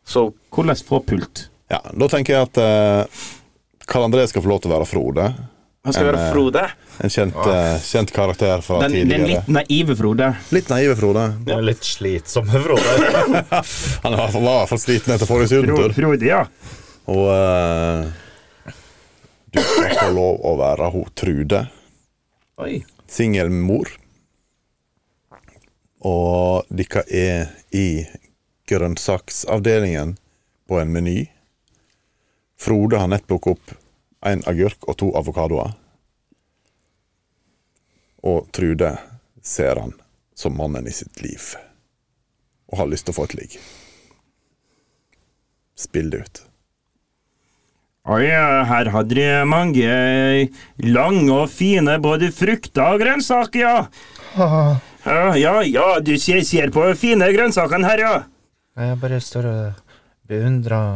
Så hvordan få pult?
Ja, da tenker jeg at eh, Karl André skal få lov til å være Frode.
Han skal være Frode.
En kjent, eh, kjent karakter fra
Den, den
tidligere.
litt naive Frode.
Litt naive Frode.
Ja. Litt slitsomme, Frode.
Han var i hvert fall- var i hvert fall sliten etter forrige sydentur.
Frode, ja.
Og eh, du skal få lov å være ho Trude.
Oi.
Singelmor. Og dere er i grønnsaksavdelingen på en meny. Frode har nett plukket opp en agurk og to avokadoer. Og Trude ser han som mannen i sitt liv. Og har lyst til å få et ligg. Spill det ut.
Oi, her hadde de mange lange og fine både frukter og grønnsaker, ja. Ja, ja, ja, du ser, ser på fine grønnsakene her, ja.
Jeg bare står og beundrer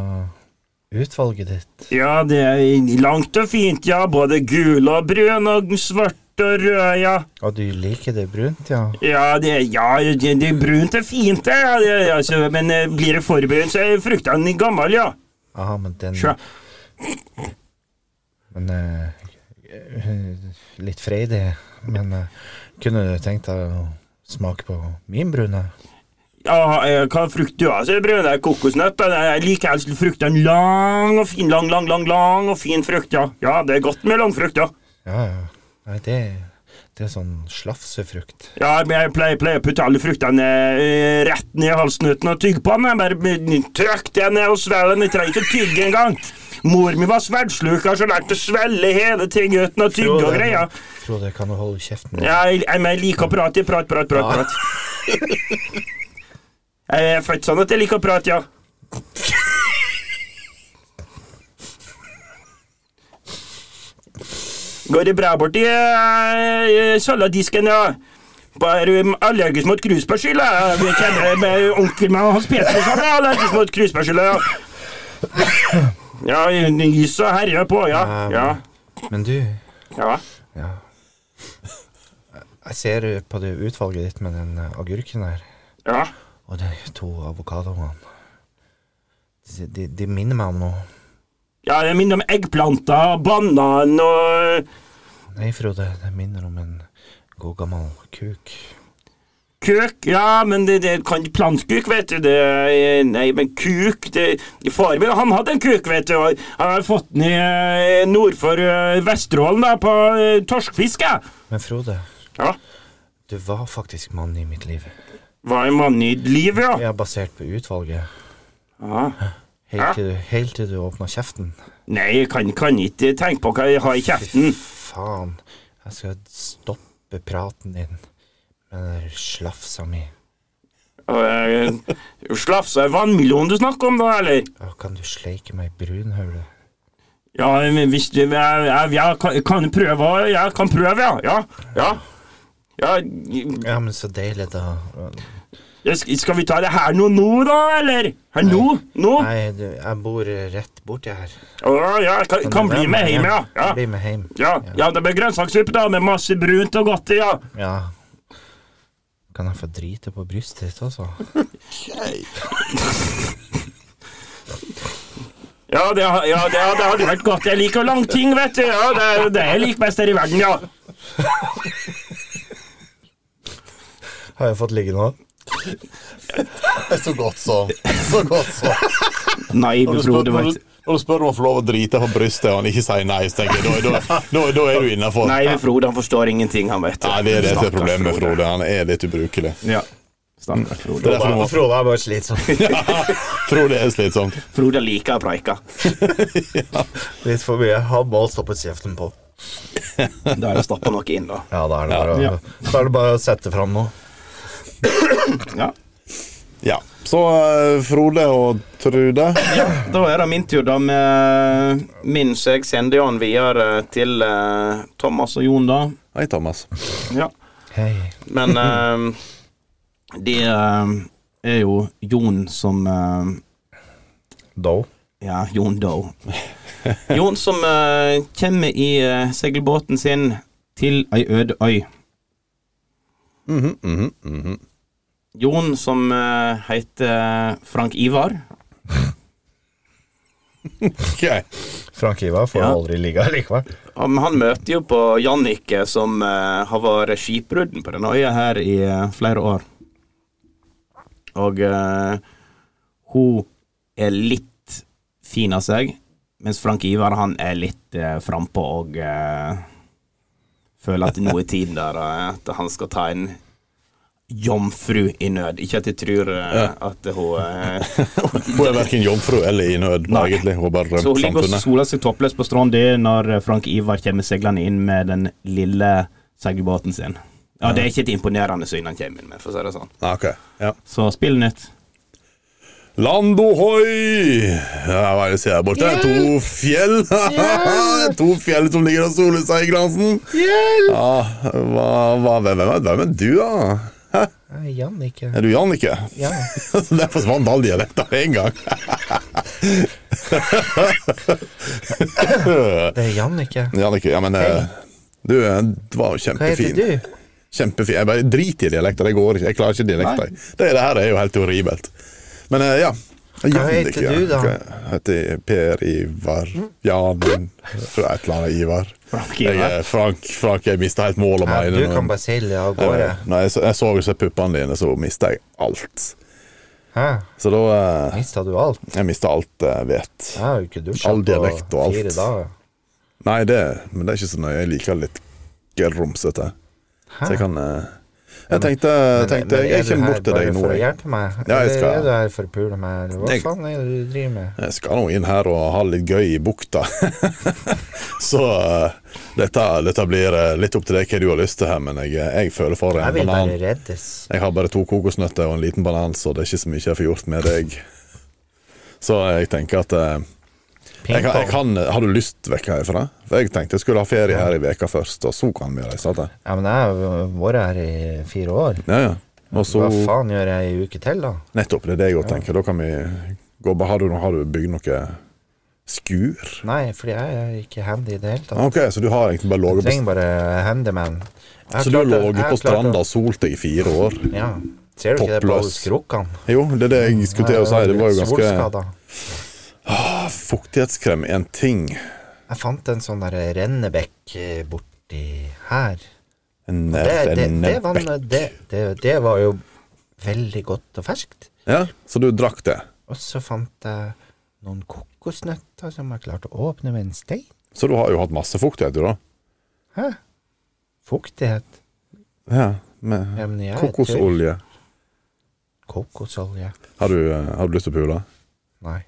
utvalget ditt.
Ja, det er langt og fint, ja. Både gul og brun og svart og rød, ja.
Og du liker det brunt, ja?
Ja, det, ja, det, det brunt er fint, det, ja. Det, altså, men eh, blir det forbrent, så er fruktene gamle, ja.
Ja, men den
Sjå.
Men eh, Litt freidig. Men eh, kunne du tenkt deg å smake på min brune?
Ja, eh, hva frukt du har, så er det brune kokosnøtter. Jeg liker helst fruktene lang og fin, lang, lang, lang, lang og fin frukt, ja. Ja, det er godt med langfrukt, ja.
Ja, ja. Nei, det, det er sånn slafsefrukt.
Ja, men jeg pleier, pleier å putte alle fruktene eh, rett ned i halsen uten å tygge på den. Jeg bare mm, trykker det ned og svelger den. Jeg trenger ikke å tygge engang. Mor mi var sverdsluker, så lærte å svelge hele ting uten å tygge og greier.
Frode, kan du holde kjeften? din?
Ja, jeg, jeg, men jeg liker å prate. Prat, prat, prat. prat. Jeg er født sånn at jeg liker å prate, ja. Går det bra borti eh, saladisken, ja? Bare um, allergisk mot kruspersille. ja. Vi kjenner med onkelen min og Hans Peter som er allergisk mot kruspersille, ja. Ja, nys og herjer på, ja. Ja.
Men du
ja.
Ja. Jeg ser på det utvalget ditt med den agurken her,
ja.
og de to avokadoene. De, de, de minner meg om noe.
Ja, det minner om eggplanter, banan og
Nei, Frode, det minner om en god gammel kuk.
kuk. Ja, men det, det kan plantkuk, vet du. Det, er- nei, men kuk det, Far min han hadde en kuk, vet du. Og han har fått den i eh, nord for eh, Vesterålen, da, på eh, torskfiske.
Men Frode,
Ja.
du var faktisk mann i mitt liv.
Var en mann i livet, ja.
Jeg er basert på utvalget.
ja.
Helt til, du- helt til du åpna kjeften.
Nei, jeg kan, kan ikke tenke på hva jeg har i kjeften.
Faen. Jeg skal stoppe praten din med den der slafsa mi.
Og, eh, Slafsa er vannmelon du snakker om, da, eller?
Å, kan du sleike meg i brunhølet?
Ja, men hvis du Jeg, jeg, jeg kan, kan prøve, å- jeg kan prøve, ja. Ja. ja. ja
Ja, men så deilig, da.
Ja, sk- Skal vi ta det her nå, nå da, eller? Her nå? Nå?
Nei, du, jeg bor rett borti her.
Å ja, kan, kan bli med hjem, ja. Ja,
Bli med hjem.
ja, ja det blir grønnsakssuppe da, med masse brunt og godt i, ja.
Ja. Kan jeg få drite på brystet ditt altså? også?
Ja, det, ha- ja, det, ja, det hadde vært godt. Jeg liker lange ting, vet du. Ja, det, er- det er jeg liker best her i verden, ja.
Har jeg fått ligge nå?
Så godt som. Så godt som.
Naive
Når du, spør,
Frode,
når,
vet
du, når du spør om å få lov å drite på brystet, og han ikke sier nei, så tenker jeg da, da, da, da er du innafor. Nei,
Naive Frode, han forstår ingenting, han, vet du.
det er det som er
Stakkars
problemet med Frode. Han er litt ubrukelig.
Ja. Stakkars Frode.
Det er derfor du
Og
må,
Frode er bare slitsom.
Frode er slitsomt.
Frode liker å preike.
Litt for mye. Har ball stoppet kjeften på.
Da er det stappa noe inn, da.
Ja, da er det bare, å- Da er det bare å sette fram noe.
Ja.
Ja. Så eh, Frode og Trude
Da er det min tur, da. Med min, så jeg sender jo han videre til eh, Thomas og Jon, da.
Hei, Thomas.
Ja.
Hei.
Men eh, det eh, er jo Jon som eh,
Doe.
Ja, Jon Doe. Jon som eh, kommer i eh, seilbåten sin til ei øde øy.
Mhm, mhm, mhm.
Jon som eh, heter Frank Ivar.
Ok.
Frank Ivar får
Ja.
aldri ligge likevel.
Ja, men han møter jo på Jannicke, som eh, har vært skipbrudden på denne øya her i eh, flere år. Og eh, hun er litt fin av seg, mens Frank Ivar han er litt eh, frampå og eh, føler at nå er tiden der eh, at han skal ta en jomfru i nød. Ikke at jeg tror eh, at hun eh,
Hun er verken jomfru eller i nød,
Nei.
egentlig. Hun har bare
Så
rømt
hun ligger og
samfunnet.
soler seg toppløs på stranda
eh,
når Frank Ivar kommer seilende inn med den lille seilbåten sin. Ja, Det er ikke et imponerende syn han kommer inn med, for å si det sånn.
Ah, ok. Ja.
Så spill nytt.
Land ohoi! Ja, hva er det jeg ser her borte? To fjell? to fjell som ligger og soler seg i glansen? Ja, hva, hva, hvem, hvem, er- hvem er du, da? Hæ?
Nei, Jannicke.
Er du Jannicke?
Ja.
Så Der forsvant all dialekt av en gang.
Det er Jannicke.
Jannicke, ja, men eh, Du eh, du var jo
Hva heter
kjempefin.
du?
Kjempefin. Jeg bare driter i dialekter. Det går ikke. Jeg klarer ikke dialekter. Det, det her er jo helt horribelt. Men eh, ja.
Hva heter
Jannicke,
du, da?
Jeg heter Per Ivar Jan
Mm.
fra et eller annet Ivar.
Frank
Jeg,
Ivar.
er Frank, Frank, jeg mista helt mål om
Ja,
meg.
du kan bare seile av gårde.
Når jeg, så- jeg så jo så puppene dine, så mista jeg alt.
Hæ?
Så da eh,
Mista du alt?
Jeg mista alt eh, jeg vet.
Jeg har jo ikke dusja
All
på
dialekt og alt.
fire dager.
Nei, det, men det er ikke så nøye. Jeg liker litt grumsete. Så jeg kan eh, Jeg tenkte, tenkte
Men er
jeg
du
kommer
her
bort til deg
bare
nå.
For å
Jeg.
hjelpe meg?
Ja, jeg skal-
Eller er du her for å pule meg, eller hva
Jeg-
faen er det du driver med?
Jeg skal nå inn her og ha litt gøy i bukta. så eh, dette, dette blir eh, litt opp til deg hva du har lyst til her, men jeg, jeg føler for
Jeg
en
vil
banan.
bare reddes.
Jeg har bare to kokosnøtter og en liten banan, så det er ikke så mye jeg får gjort med deg. Så jeg tenker at eh, jeg, kan- jeg
Pingpong.
kan, Har du lyst vekk herfra? For jeg tenkte jeg skulle ha ferie her i veka først, og så kan vi reise. til.
Ja, men jeg har vært her i fire år.
Ja, ja. Og så
Hva faen gjør jeg ei uke til, da?
Nettopp, det er det jeg òg tenker. Da kan vi gå bare- Har du, har du bygd noe skur? Ah,
Nei, fordi jeg er ikke handy i det hele tatt.
Ok, så du har egentlig bare
Jeg
ligget på
trenger bare handyman. Jeg har
Så du har
klart å- jeg
ligget
har
på
klart å-
stranda og solt deg i fire år?
Ja. Ser du ikke det på
Toppløs.
alle skrukkene?
Jo, det er det jeg skulle til å si. Det var jo ganske
Solskader.
Fuktighetskrem er en ting.
Jeg fant en sånn der rennebekk eh, borti her.
En
Det, det, det, var,
rennebekk.
en- det, det, det var jo veldig godt og ferskt.
Ja, så du drakk det.
Og så fant jeg noen kokosnøtter som jeg klarte å åpne med en stein.
Så du har jo hatt masse fuktighet, du, da.
Hæ? Fuktighet.
Ja, med
Ja, men jeg er tørr.
kokosolje.
Kokosolje.
Har du, eh, har du lyst til å pule?
Nei.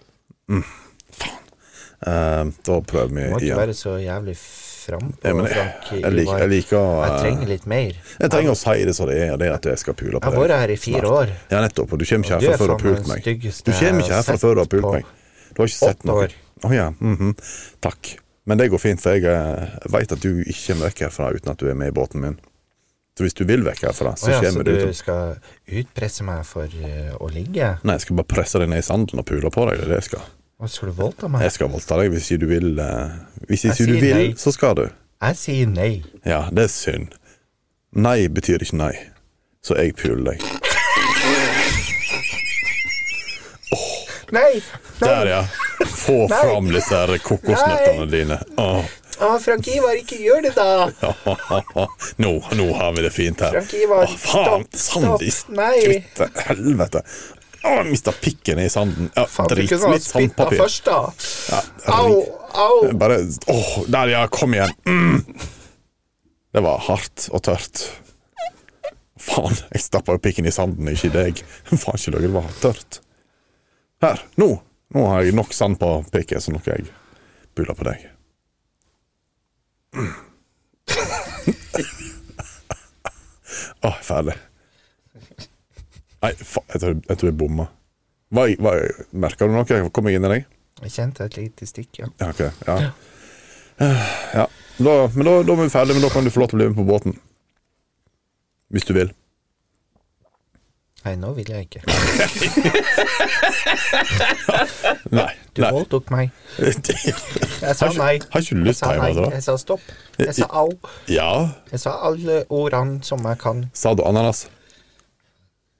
Eh, da prøver vi
Du må ikke
igjen.
være så jævlig frampå.
Ja, men jeg,
Frank
jeg, liker, jeg
Ivar.
liker å
jeg
eh,
trenger litt mer.
Jeg trenger å si det som det er, det er at jeg skal pule
Jeg
på
har vært her i fire år.
Ja, nettopp. Og du kommer ikke
Du er
herfra før du
faen
har
meg
pult
den
meg.
styggeste
Du kommer
jeg
ikke
har
herfra
sett
før du har pult
på
meg. Du har ikke sett
åtte
noe.
år.
Å ja. mhm. Takk. Men det går fint, for jeg eh, vet at du ikke kommer vekk herfra uten at du er med i båten min. Så hvis du vil vekk herfra, så
Å ja, så
kommer
du
du ut.
skal utpresse meg for eh, å ligge?
Nei, jeg skal bare presse deg ned i sanden og pule på deg. Det er det jeg skal.
Og skal du voldta meg?
Jeg skal voldta deg hvis ikke du vil. eh, Hvis
Jeg
ikke du
sier
vil,
nei.
så skal du.
Jeg sier nei.
Ja, det er synd. Nei betyr ikke nei, så jeg puler deg.
Nei!
Der, ja. Få fram disse her kokosnøttene dine. Åh.
ah, Frankie, bare ikke gjør det, da.
nå, nå har vi det fint her.
Frankie, hva-
Å, faen!
stopp,
Sand i
stopp, nei.
skrittet. Helvete. Å, jeg mista pikken i sanden. Ja,
Faen, du
drit.
kunne ha
Litt
sånn
sånn
spytta
sandpapir.
først, da.
Ja,
Au, au.
Bare Åh, der, ja. Kom igjen. Mm. Det var hardt og tørt. Faen, jeg stappa jo pikken i sanden, ikke i deg. Faen ikke løgn, det var tørt. Her, nå. Nå har jeg nok sand på pikken, så nå kan jeg bule på deg. Mm. Åh, jeg er ferdig. Nei, faen, jeg tror jeg, tror jeg bomma. Hva- hva- Merka du noe? Kom jeg inn i deg?
Jeg kjente et lite stikk, ja.
Ja, ok, ja. ja. Da, men da, da er vi ferdige, men da kan du få lov til å bli med på båten. Hvis du vil.
Nei, nå vil jeg ikke.
Nei.
Du
nei.
holdt opp meg. Jeg sa
Har ikke-
nei.
har ikke du lyst
Jeg
til
sa
å hjem,
nei.
altså?
Jeg sa stopp. Jeg sa au.
Ja,
Jeg sa alle ordene som jeg kan.
sa du ananas?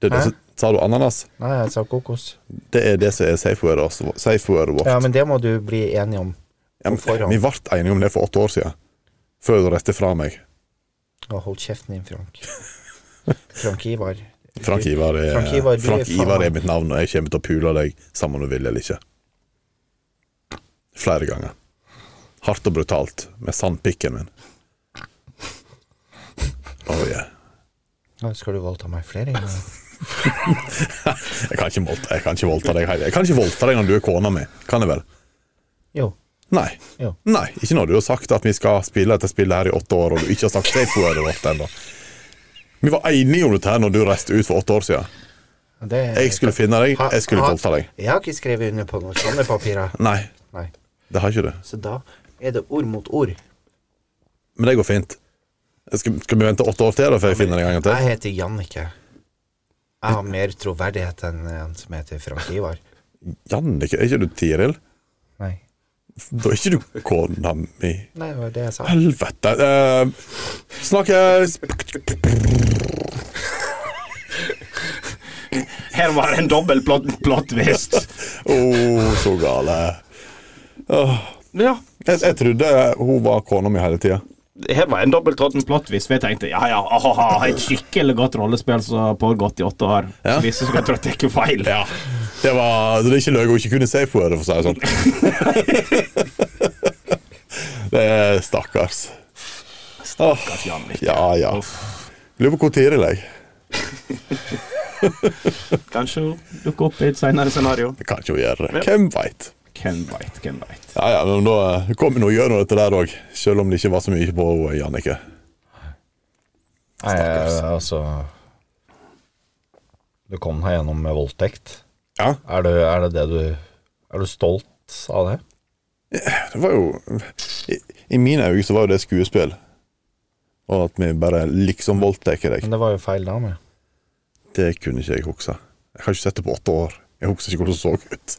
Det er det
Hæ?
som, sa du ananas?
Nei, jeg sa kokos.
Det er det som er safe word oss- safe word vårt.
Ja, men det må du bli enig om.
Ja, men
forhånd.
vi ble enige om det for åtte år siden. Før du rettet fra meg.
Og hold kjeften din, Frank. Frank Ivar.
Frank Ivar er,
Frank Ivar, du er
Frank
faen
Ivar er
meg-
mitt navn, og jeg kommer til å pule deg sammen om du vil eller ikke. Flere ganger. Hardt og brutalt, med sandpikken min. Oh yeah.
Nå skal du voldta meg flere ganger.
Jeg kan ikke voldta, jeg kan ikke voldta deg heller. Jeg kan ikke voldta deg når du er kona mi. Kan jeg vel?
Jo.
Nei.
Jo.
Nei, ikke når du har sagt at vi skal spille dette spillet her i åtte år, og du ikke har sagt safe ordet vårt ennå. Vi var enige om dette her når du reiste ut for åtte år siden.
Det,
Jeg skulle finne deg, jeg skulle
Ha- ha-
voldta deg.
Jeg har ikke skrevet under på noen sånne papirer.
Nei,
Nei.
det har ikke du.
Så da er det ord mot ord.
Men det går fint. Skal, skal vi vente åtte år til da før jeg finner det en gang til?
Jeg heter Jannicke. Jeg har mer troverdighet enn en som heter Frank Ivar.
Jannicke, er ikke du Tiril?
Nei.
Da er ikke du kona mi.
Nei, det var det jeg sa.
Helvete. eh, snakkes!
Her var det en dobbel plott, plottvist.
Å, så gale.
Ja,
Jeg, jeg trodde hun var kona mi hele tida.
her var en dobbeltråtten plottvist. For jeg tenkte ja, ja, aha, et skikkelig godt rollespill som har pågått i åtte år.
Ja.
Hvis jeg skulle trøtt ikke feil.
Ja. Det var så det er ikke løgn å ikke kunne safe ordet, for å si det sånn. det er stakkars.
Stakkars Jannik.
Ja, ja.
Uff.
Lurer på hvor Tiril er.
Kanskje hun dukker opp i et senere scenario.
Det kan ikke hun gjøre.
Ja.
det. Hvem veit?
Hvem veit, hvem veit.
Ja, ja, men da eh, kom hun og gjør noe dette der òg, selv om det ikke var så mye på eh, henne, Jannicke.
Nei,
eh,
altså Du kom her gjennom med voldtekt.
Ja,
Er, du, er det det du Er du stolt av det?
det var jo I, i mine øyne så var jo det skuespill. Og at vi bare liksom voldtar deg.
Men det var jo feil dame.
Det kunne ikke jeg huske. Jeg har ikke sett det på åtte år. Jeg husker ikke hvordan det så ut.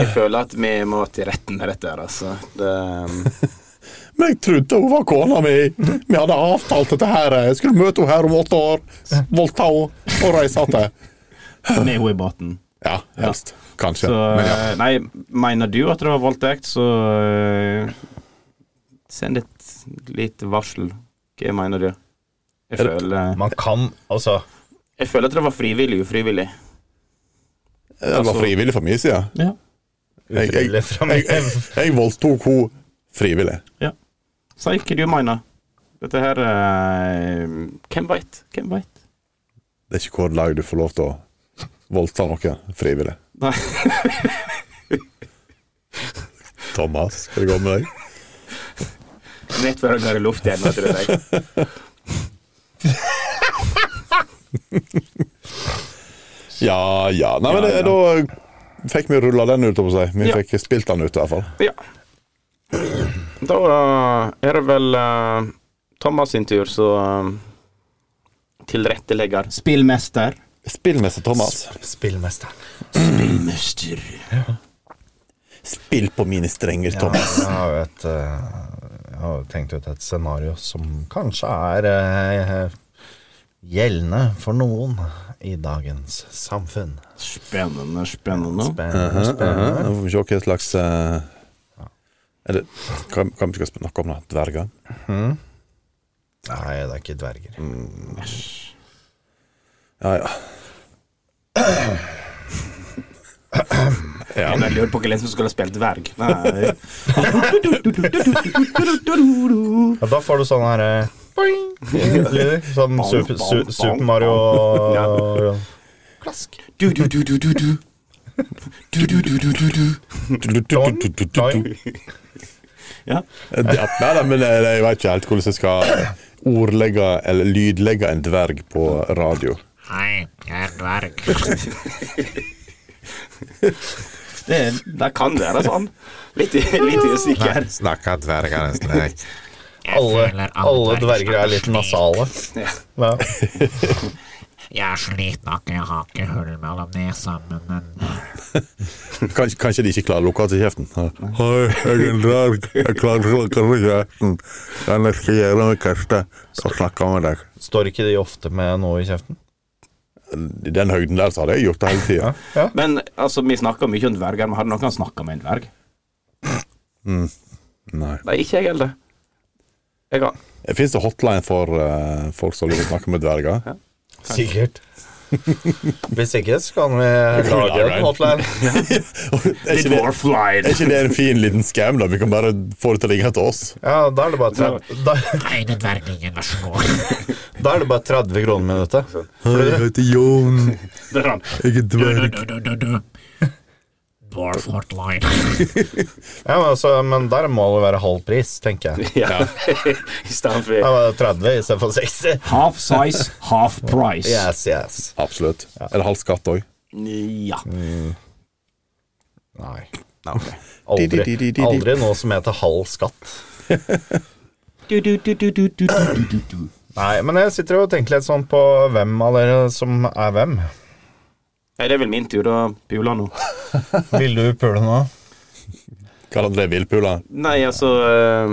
Jeg føler at vi må til retten med dette her, altså. Det,
Men jeg trodde hun var kona mi! Vi hadde avtalt dette her. Jeg skulle møte henne her om åtte år, voldta henne og reise til.
Med henne i båten.
Ja, helst. Kanskje.
Så eh,
Men ja.
Nei, mener du at det var voldtekt, så eh, send et lite varsel. Hva mener du? Jeg
Er det-
føler,
Man kan Altså,
jeg føler at det var frivillig ufrivillig.
Det var frivillig fra min side.
ja.
Jeg, jeg,
utrolig fra
jeg,
meg
jeg, jeg voldtok henne frivillig.
Si hva du mener. Dette her eh, Hvem veit? Hvem veit?
Det er ikke hvor lag du får lov til å voldta noen frivillig.
Nei.
Thomas, skal det gå med deg?
Rett før det går i luft igjen, tror jeg.
Ja, ja. Nei, men det, da fikk vi rulla den ut, om å si. Vi
Ja.
fikk spilt den ut, i hvert fall.
Ja. Da eh, er det vel eh, Thomas sin tur, så eh, tilrettelegger.
Spillmester.
Spillmester Thomas.
Spillmester.
Spillmester.
Spill på mine strenger, Thomas.
Jeg har jo et eh, Jeg har jo tenkt ut et scenario som kanskje er eh, gjeldende for noen i dagens samfunn.
Spennende, spennende.
Spennende, spennende.
Nå får vi se hva slags eh, Er det, hva, hva vi skal snakke om, da? Dverger?
Nei, det er ikke dverger.
Ja, ja.
Jeg bare lurer på hvem som skulle ha spilt dverg. Nei,
Ja, da får du sånn her eh, boing, lyder. Sånn Super, su, Super Mario ja.
du, du, du, du, du, du. Du, du, du, du, du, du.
Nei,
Ja.
Eh, nei, men jeg, jeg vet ikke helt hvordan jeg skal ordlegge eller lydlegge en dverg på radio.
Det, det kan være sånn. Litt, i- litt usikker.
Snakka dverger en snek. Alle, alle dverger er litt nasale.
Ja.
Ja.
Jeg er sliten av ikke å ha ikke hull mellom nesene, men
Kanskje, kanskje de ikke klarer å lukke til kjeften. Hei, jeg er en dverg. Jeg klarer ikke å lukke til kjeften. Kan jeg skal gjøre meg kaste og snakke med deg?
Står ikke de ofte med noe i kjeften?
I den høyden der så hadde jeg gjort det hele tida.
Ja.
Men altså, vi snakker mye om dverger, men har noen snakket med en dverg?
Nei.
Nei, ikke jeg heller. Jeg har
Fins det hotline for eh, folk som liker å snakke med dverger?
Sikkert. Hvis ikke, så kan vi lage en hotline.
Er ikke, det, er ikke det en fin liten scam, da? Vi kan bare få det til å ringe til oss.
Ja, da er det bare 30, da,
Reine dverglingen, vær så god.
da er det bare 30 kroner minuttet.
Hei, jeg heter Jon.
Det er sånn.
Jeg er
Du,
dverg.
du, du, du, du. Dwarf hotline.
Ja, men, altså, men der må det være halv pris, tenker jeg.
Ja. I
Da
stedet for
var det 30 istedenfor 60.
Half size, half price.
Yes, yes.
Absolutt. Er det halv skatt òg?
Ja.
Nei. Aldri, aldri noe som heter halv skatt.
Du, du, du, du, du, du, du, du, du.
Nei, men jeg sitter og tenker litt sånn på hvem av dere som er hvem.
Nei, det er vel min tur å pule nå.
Vil du pule nå?
Kall André Villpula.
Nei, altså eh,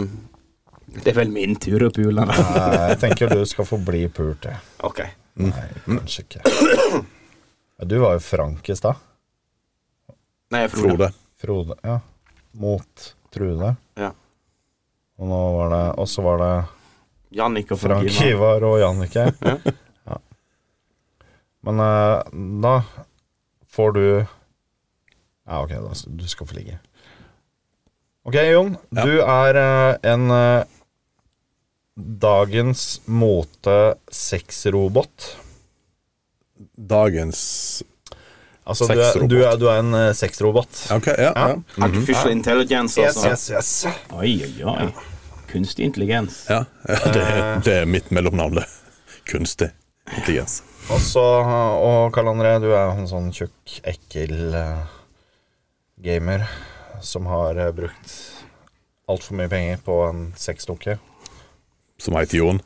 Det er vel min tur å pule nå.
Nei, jeg tenker du skal få bli pult, jeg.
Ok.
Nei, kanskje ikke. Ja, du var jo frank i stad.
Nei, jeg Frode.
Frode.
Frode. Ja. Mot Trude.
Ja.
Og nå var det Og så var det
Jannik og Frank
Frank
Ivar.
Ivar og Jannicke. Ja. Men eh, da får du Ja, ok, da, s- du skal få ligge. Ok, Jon. Du er eh, en eh, dagens mote sexrobot.
Dagens
Altså, du er,
Sexrobot.
du, er, du er en eh, sexrobot.
OK, ja. sånn. ja.
Artificial intelligence, altså.
yes.
Oi, oi, oi. Kunstig intelligens.
ja. ja det, er- det er mitt mellomnavn, det. Kunstig intelligens.
Og så, og Karl André, du er en sånn tjukk, ekkel eh, gamer som har eh, brukt altfor mye penger på en sexdukke.
Som heter Jon.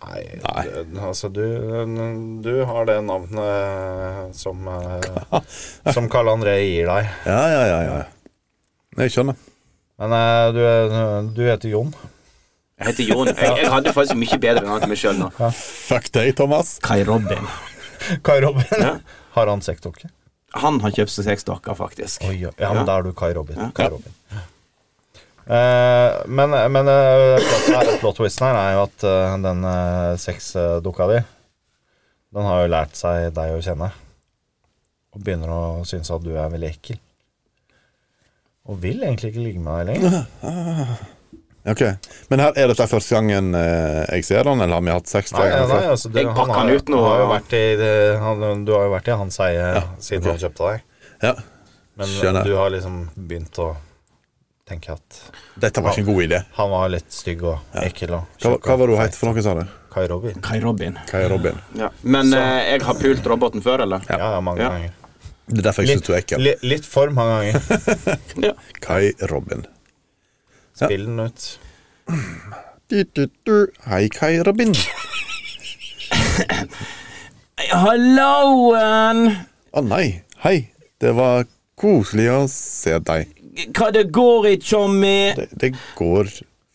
Nei,
Nei.
Du, altså du, du har det navnet som, eh, som Karl André gir deg.
Ja, ja, ja. ja. Jeg skjønner.
Men eh, du, er- du heter Jon.
Jeg heter Jon. Jeg, jeg hadde faktisk mye bedre navn til meg sjøl nå.
Fuck deg, Thomas.
Kai Robin.
Kai Robin. Har han sexdukke?
Han har kjøpt seg seks dokker, faktisk.
Oi, ja, ja, men
Ja.
da er du Kai Robin. Kai
Ja.
Robin. Eh, men men eh, plot, her- plot twisten her er jo at eh, den uh, sexdukka di, den har jo lært seg deg å kjenne. Og begynner å synes at du er veldig ekkel. Og vil egentlig ikke ligge med deg lenger.
Ok, Men her er dette første gangen eh, jeg ser han, eller har vi hatt sex?
Nei,
tre ganger
nei,
før?
altså, du,
Jeg pakker
har-
han ut nå,
Har jo
og-
vært i, det- han, du har jo vært i hans eie siden han kjøpte deg.
Ja.
Men
Skjønner.
du har liksom begynt å tenke at
Dette var ikke en god idé.
han var litt stygg og ekkel. Og
Hva, hva var det hun het for noe, sa du?
Kai Robin.
Kai Robin.
Kai Robin.
Ja. Men eh, jeg har pult roboten før, eller?
Ja, ja mange
Ja.
ganger.
Det er derfor jeg syns du er ekkel.
li- litt for mange ganger.
Ja.
Kai Robin.
Spill den ut.
Du, du, du. Hei, Kai Robin.
Halloen!
Å nei. Hei. Det var koselig å se deg.
Hva det går ikke om med
Det, det går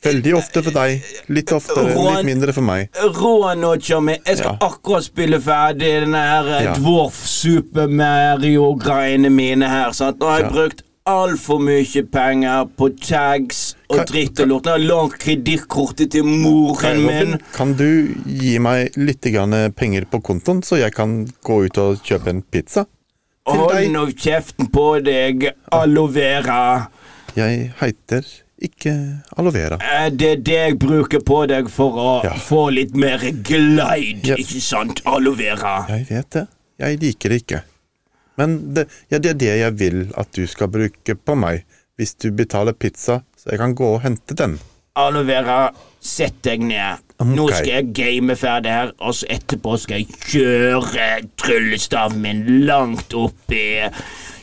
veldig ofte for deg. Litt oftere, litt mindre for meg.
råd nå, Tjommi? Jeg skal
Ja.
akkurat spille ferdig den her eh,
Ja.
Dwarf Super Mario-greiene mine her. Sant? Nå har jeg
Ja.
brukt
altfor mye penger på tags og
Kan-
dritt og lort. Jeg har lånt kredittkortet til moren min.
Kan du gi meg litt grann penger på kontoen, så jeg kan gå ut og kjøpe en pizza? til
Hold
deg.
nå kjeften på deg, aloe vera.
Jeg heter ikke aloe vera.
Eh, Det er det jeg bruker på deg for å
Ja.
få litt mer glide,
Ja.
ikke sant, aloe vera?
Jeg vet det. Jeg liker det ikke. Men det, ja, det er det jeg vil at du skal bruke på meg, hvis du betaler pizza, så jeg kan gå og hente den.
Aloe vera, sett deg ned. Nå
Ok.
skal jeg game ferdig her, og så etterpå skal jeg kjøre tryllestaven min langt opp i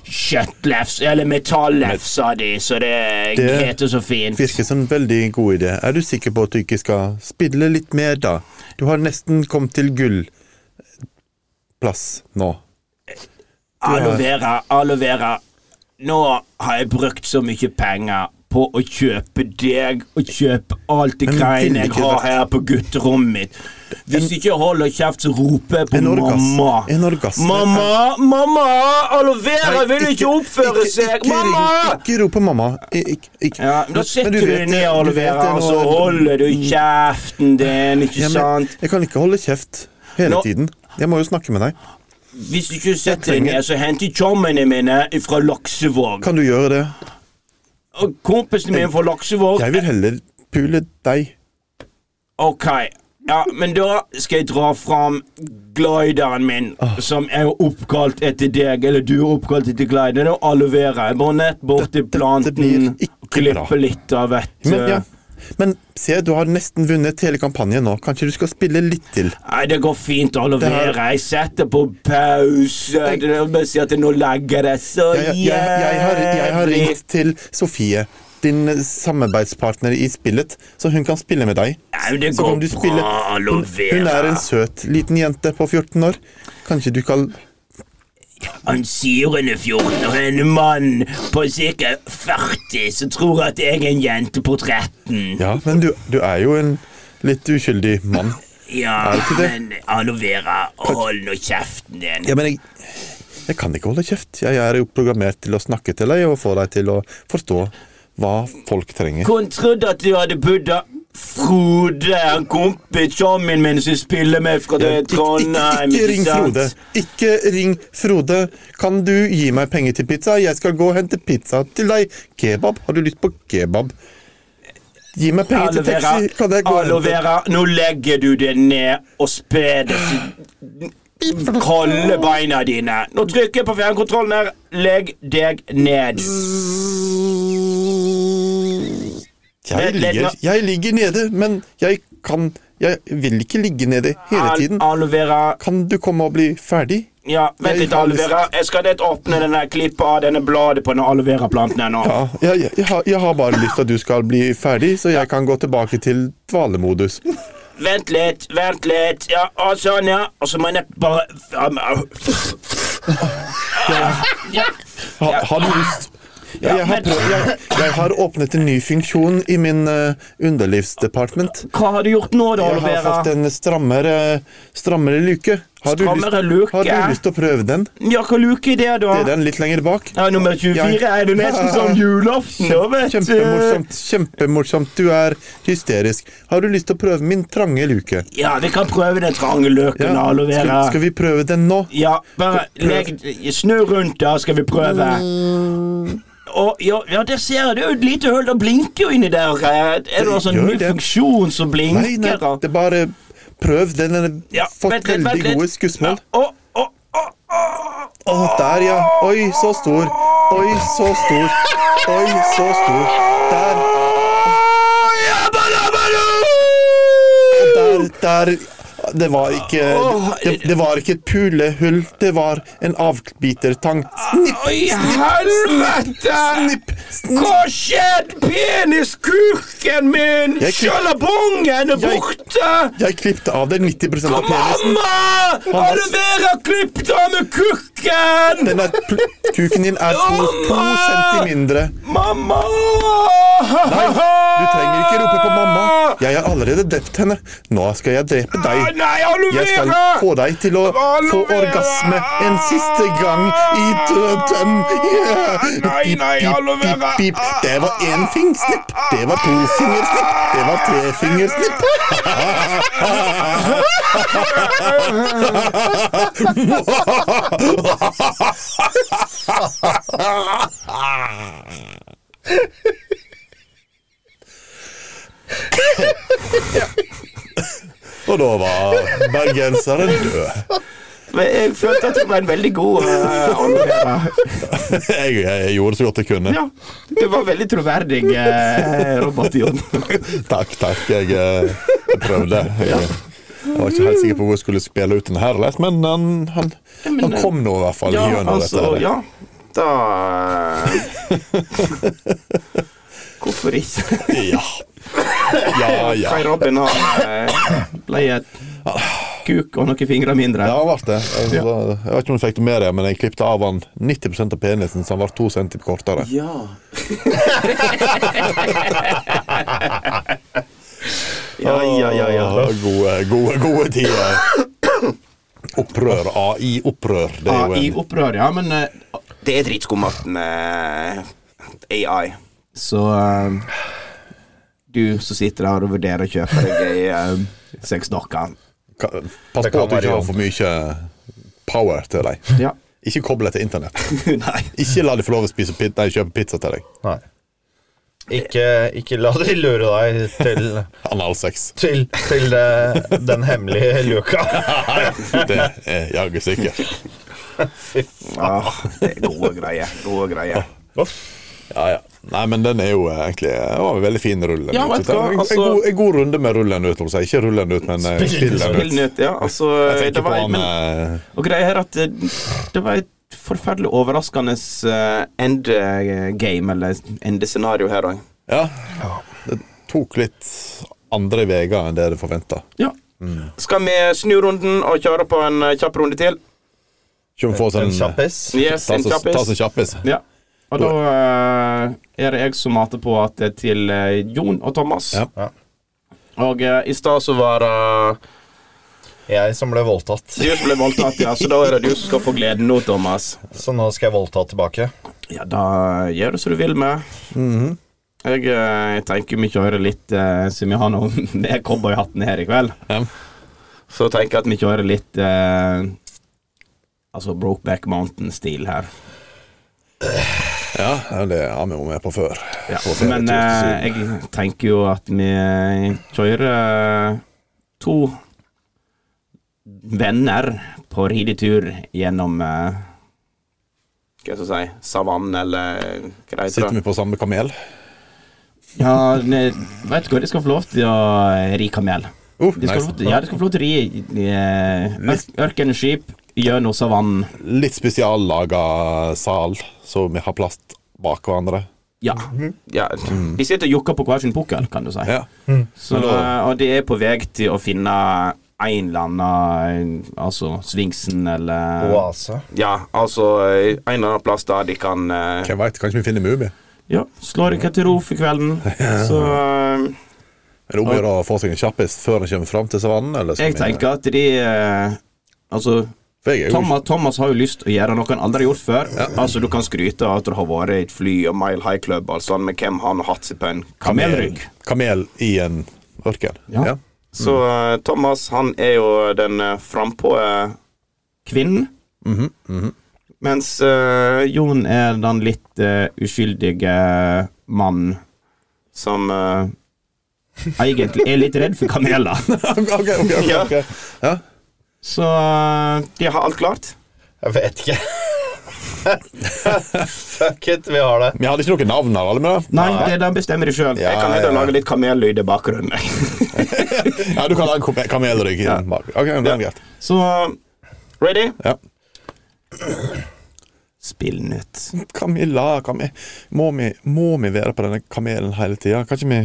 kjøttlefs, eller metallefsa di, så det,
Det
heter så fint.
Virker som en veldig god idé. Er du sikker på at du ikke skal spille litt mer, da? Du har nesten kommet til gullplass nå.
Aloe vera, aloe vera. Nå har jeg brukt så mye penger på å kjøpe deg og kjøpe alt det
Men
greiene
vil
jeg
ikke
har
det-
her på gutterommet mitt. Hvis ikke jeg holder kjeft, så roper jeg på
En orgasme-
mamma.
en orgasme-
Mamma, mamma! Aloe vera
Nei,
vil ikke oppføre
ikke-
seg!
ikke
Mamma!
ring- Ikke rop på mamma. Ik- ikke- ikke-
Ja, men Da
Men
sitter du,
vet det,
ned,
du
aloe
vet
vera,
det
og
nå. Mm.
så holder du kjeften din, ikke
Ja, men
sant?
Jeg kan ikke holde kjeft hele
Nå-
tiden. Jeg må jo snakke med deg.
Hvis du ikke setter deg
trenger-
ned, så henter jeg tjommene mine fra Laksevåg.
Kan du gjøre det?
Og kompisen min fra Laksevåg
Jeg vil heller pule deg.
Ok, ja, men da skal jeg dra fram glideren min,
Ah.
som er oppkalt etter deg, eller du er oppkalt etter glideren, og aloe vera. Jeg må nett bort til
Dette- dette blir
planten,
ikke bra.
klippe litt av et
Men, ja.
eh,
Men se, du har nesten vunnet hele kampanjen nå. Kanskje du skal spille litt til?
Nei, det går fint, aloe
Det her-
vera. Jeg setter på pause. Det er bare å si at nå legger det så
Jeg, jeg, jeg, jeg, har, jeg har
jævlig
ringt til Sofie, din eh, samarbeidspartner i spillet, så hun kan spille med deg.
Nei, men det
Så
går
kan du spille
bra, aloe
Hun er
vera.
en søt liten jente på 14 år. Kanskje du kan
Han sier hun er 14 og en mann på ca. 40 som tror at jeg er en jente på 13.
Ja, men du, du er jo en litt uskyldig mann.
Ja,
Er det ikke det?
men aloe vera, hold nå kjeften din.
Ja, men jeg, jeg kan ikke holde kjeft. Jeg er jo programmert til å snakke til deg og få deg til å forstå hva folk trenger.
Hun trodde at du hadde Buddha. Frode, en kompis, sammen min som spiller med fra
Jeg-
det
Ikke, ikke,
Trondheim.
ikke ring
sant?
Frode! Ikke ring Frode! Kan du gi meg penger til pizza? Jeg skal gå og hente pizza til deg. Kebab? Har du lyst på kebab? Gi meg penger
Aloe
til
vera,
taxi. Kan jeg gå og
aloe
hente
vera, nå legger du det ned og sprer det til Kolde beina dine. Nå trykker jeg på fjernkontrollen her. Legg deg ned.
jeg
Vent litt
ligger,
nå.
jeg ligger nede, men jeg kan Jeg vil ikke ligge nede hele
Al
tiden.
aloe vera.
Kan du komme og bli ferdig?
Ja, vent
Jeg
litt,
har
aloe
lyst-
vera. Jeg skal nett åpne denne klippet av denne bladet på denne aloe vera-planten her nå.
Ja, jeg, jeg, jeg, har, jeg har bare lyst til at du skal bli ferdig, så jeg kan gå tilbake til dvalemodus.
Vent litt, vent litt. Ja, og sånn, ja. Og så må jeg neppe bare ja, men, au.
Ha, har du lyst? Ja, jeg, har
men-
på, jeg, jeg har åpnet en ny funksjon i min eh, underlivsdepartement.
Hva har du gjort nå, da,
Jeg
Aloe
har fått
Vera?
en strammere, strammere luke. Har du, lyst,
Strammere luke?
har du lyst til å prøve den?
Ja, hva luke er det, da?
Det er den litt lenger bak.
Ja, Nummer 24
Jeg-
er det nesten som julaften, da, vet du.
Kjempemorsomt. Kjempemorsomt. Du er hysterisk. Har du lyst til å prøve min trange luke?
Ja, vi kan prøve den trange løken,
Ja,
Aloe
Skal,
Vera.
skal vi prøve den nå?
Ja, bare
Prøv.
legg Snu rundt, da skal vi prøve. Og, ja, ja, der ser jeg det er jo et lite hull. Det blinker jo inni der. Er det noen sånn
gjør
ny
det.
funksjon som blinker?
Nei, nei,
da?
det er bare prøv den. Den har
Ja,
fått
vent litt, vent
veldig
litt.
gode skussmål.
Å, å, å, å.
Å, der, ja. Oi, så stor. Oi, så stor. Oi, så stor. Der. Der, der. Det var ikke Det, det var ikke et pulehull, det var en avbitertang. Snipp,
Oi, helvete!
snipp, snipp.
Hva skjedde? Peniskurken min!
Jeg kli-
Sjalabongen er
Jeg-
borte!
Jeg klippte av deg 90 av penisen.
Mamma! Har du vært klippet av med kurken?
Den er, pl- kuken din er to, to centi mindre.
Mamma!
Du trenger ikke rope på mamma. Jeg har allerede drept henne. Nå skal jeg drepe deg.
Nei, aloe
Jeg skal
vera!
få deg til å få
Aloe vera!
orgasme en siste gang i døden. Ja.
Nei,
Pip,
nei,
pip,
aloe vera.
pip, pip. Det var én fingersnipp. Det var to fingersnipp. Det var tre fingersnipp. Og da var bergenseren død.
Men jeg følte at det var en veldig god eh, aloe vera.
Jeg, jeg gjorde så godt jeg kunne.
Ja, det var veldig troverdig, eh, Robert Jon.
Takk, takk. Jeg, eh, jeg prøvde. Jeg, eh, jeg var ikke helt sikker på hvor jeg skulle spille ut den her, lett, men han, han, han kom nå i hvert fall
eh, Ja,
gjennom
altså,
dette. her.
ja. Da eh, Hvorfor ikke?
Ja. ja, ja.
Kai Robin har eh, ble et kuk og noen fingre mindre.
Ja, han ble det. Altså, da- Jeg vet ikke om du fikk det med deg, men jeg klippet av han 90 av penisen, så han ble to centimeter kortere.
Ja. ja, ja, ja, ja.
Åh, Gode, gode, gode tider. Opprør. AI-opprør. Det er jo
I
en
opprør, ja, men eh, det er dritskummelt med AI. Så eh, du som sitter der og vurderer å kjøpe deg ei eh, sexdokke
Ka- Pass
Det kan
på at du
være
ikke har
jobb.
for mye power til deg.
Ja.
Ikke koble til internett.
Nei.
Ikke la dem få lov å spise pit nei, kjøpe pizza til deg.
Nei. Ikke, ikke la de lure deg til,
Analsex.
til, til det, den hemmelige luka.
Det er jaggu sikkert.
Ja, det er gode greier. Gode greier.
Ja, ja. Nei, men den er jo eh, egentlig det var en veldig fin rull.
Ja, vet du hva,
en,
altså-
en, god, en god runde med rullen ut, om jeg sier. Ikke rullen ut, men eh, spill den ut.
Spillnytt, ja. Altså,
Jeg
det
tenker på
var,
han
men,
eh,
og greia er at eh, det var et forferdelig overraskende eh, endegame, eller endescenario her òg.
Ja. Det tok litt andre veier enn det du forventa.
Ja.
Mm.
Skal vi snu runden og kjøre på en eh, kjapp runde til?
Kjør få oss en
En kjappis.
Yes,
Ta
en
oss ta oss
kjappis.
en kjappis.
Ja. Og da eh, er det jeg som mater på at det er til eh, Jon og Thomas.
Ja.
Ja.
Og eh, i stad så var det
Jeg som ble voldtatt.
du som ble voldtatt, ja, så da er det du som skal få gleden nå, Thomas.
Så nå skal jeg voldta tilbake.
Ja, da gjør du som du vil med.
Mhm.
jeg, eh, jeg tenker vi kjører litt eh, Siden vi har noe med cowboyhatten her i kveld,
Ja.
så tenker jeg at vi kjører litt eh, Altså Brokeback Mountain-stil her.
Ja, ja, det har vi jo med på før.
Ja.
På ferietur
Men
til
eh,
Syden.
jeg tenker jo at vi kjører eh, to venner på ridetur gjennom eh, Hva skal jeg si Savannen, eller hva det heter.
Sitter vi på samme kamel?
Ja, ne, vet du hva, de skal få lov til å ri kamel.
Uh,
De skal, få lov til- ja, de skal få lov til å ri eh, ørk- ørkenskip gjennom savannen.
Litt spesiallaga sal, så vi har plass bak hverandre.
Ja. ja. De sitter og jokker på hver sin pukkel, kan du si.
Ja.
Så, eh, og de er på vei til å finne en eller annen eh, Altså Svingsen, eller
Oase.
Ja, altså eh, en eller annen plass der de kan eh,
Hvem veit, kanskje vi finner Mubi?
Ja, slå dere til ro for kvelden. Så eh,
Er det om å gjøre å få seg en kjappis før han kommer fram til savannen? Eller skal
jeg
vi-
tenker at de eh, Altså
For jeg er jo
Thomas, Thomas har jo lyst å gjøre noe han aldri har gjort før. Altså Du kan skryte av at du har vært i et fly og Mile High Club, altså, men hvem han har hatt seg på en kamelrygg?
Kamel i en ørken.
Ja.
Ja.
Så eh, Thomas, han er jo den uh, frampå eh, Mhm, kvinnen. Mens eh, Jon er den litt eh, uskyldige mannen som eh, egentlig er litt redd for kameler.
ok, ok, ok, ok.
Ja.
Ja.
Så eh, de har alt klart.
Jeg vet ikke. Fuck it, vi har det.
Vi hadde ikke noe navn her, alle med det?
Nei, det der bestemmer de sjøl.
Ja,
jeg kan heller
ja.
lage litt kamellyd i bakgrunnen.
Ja, du kan ha en kame- kamelrygg i den bak. Ok, det er greit.
Så ready?
Ja.
Spill nytt.
Kamilla, Kamilla må, vi, må vi være på denne kamelen hele tida? Kan ikke vi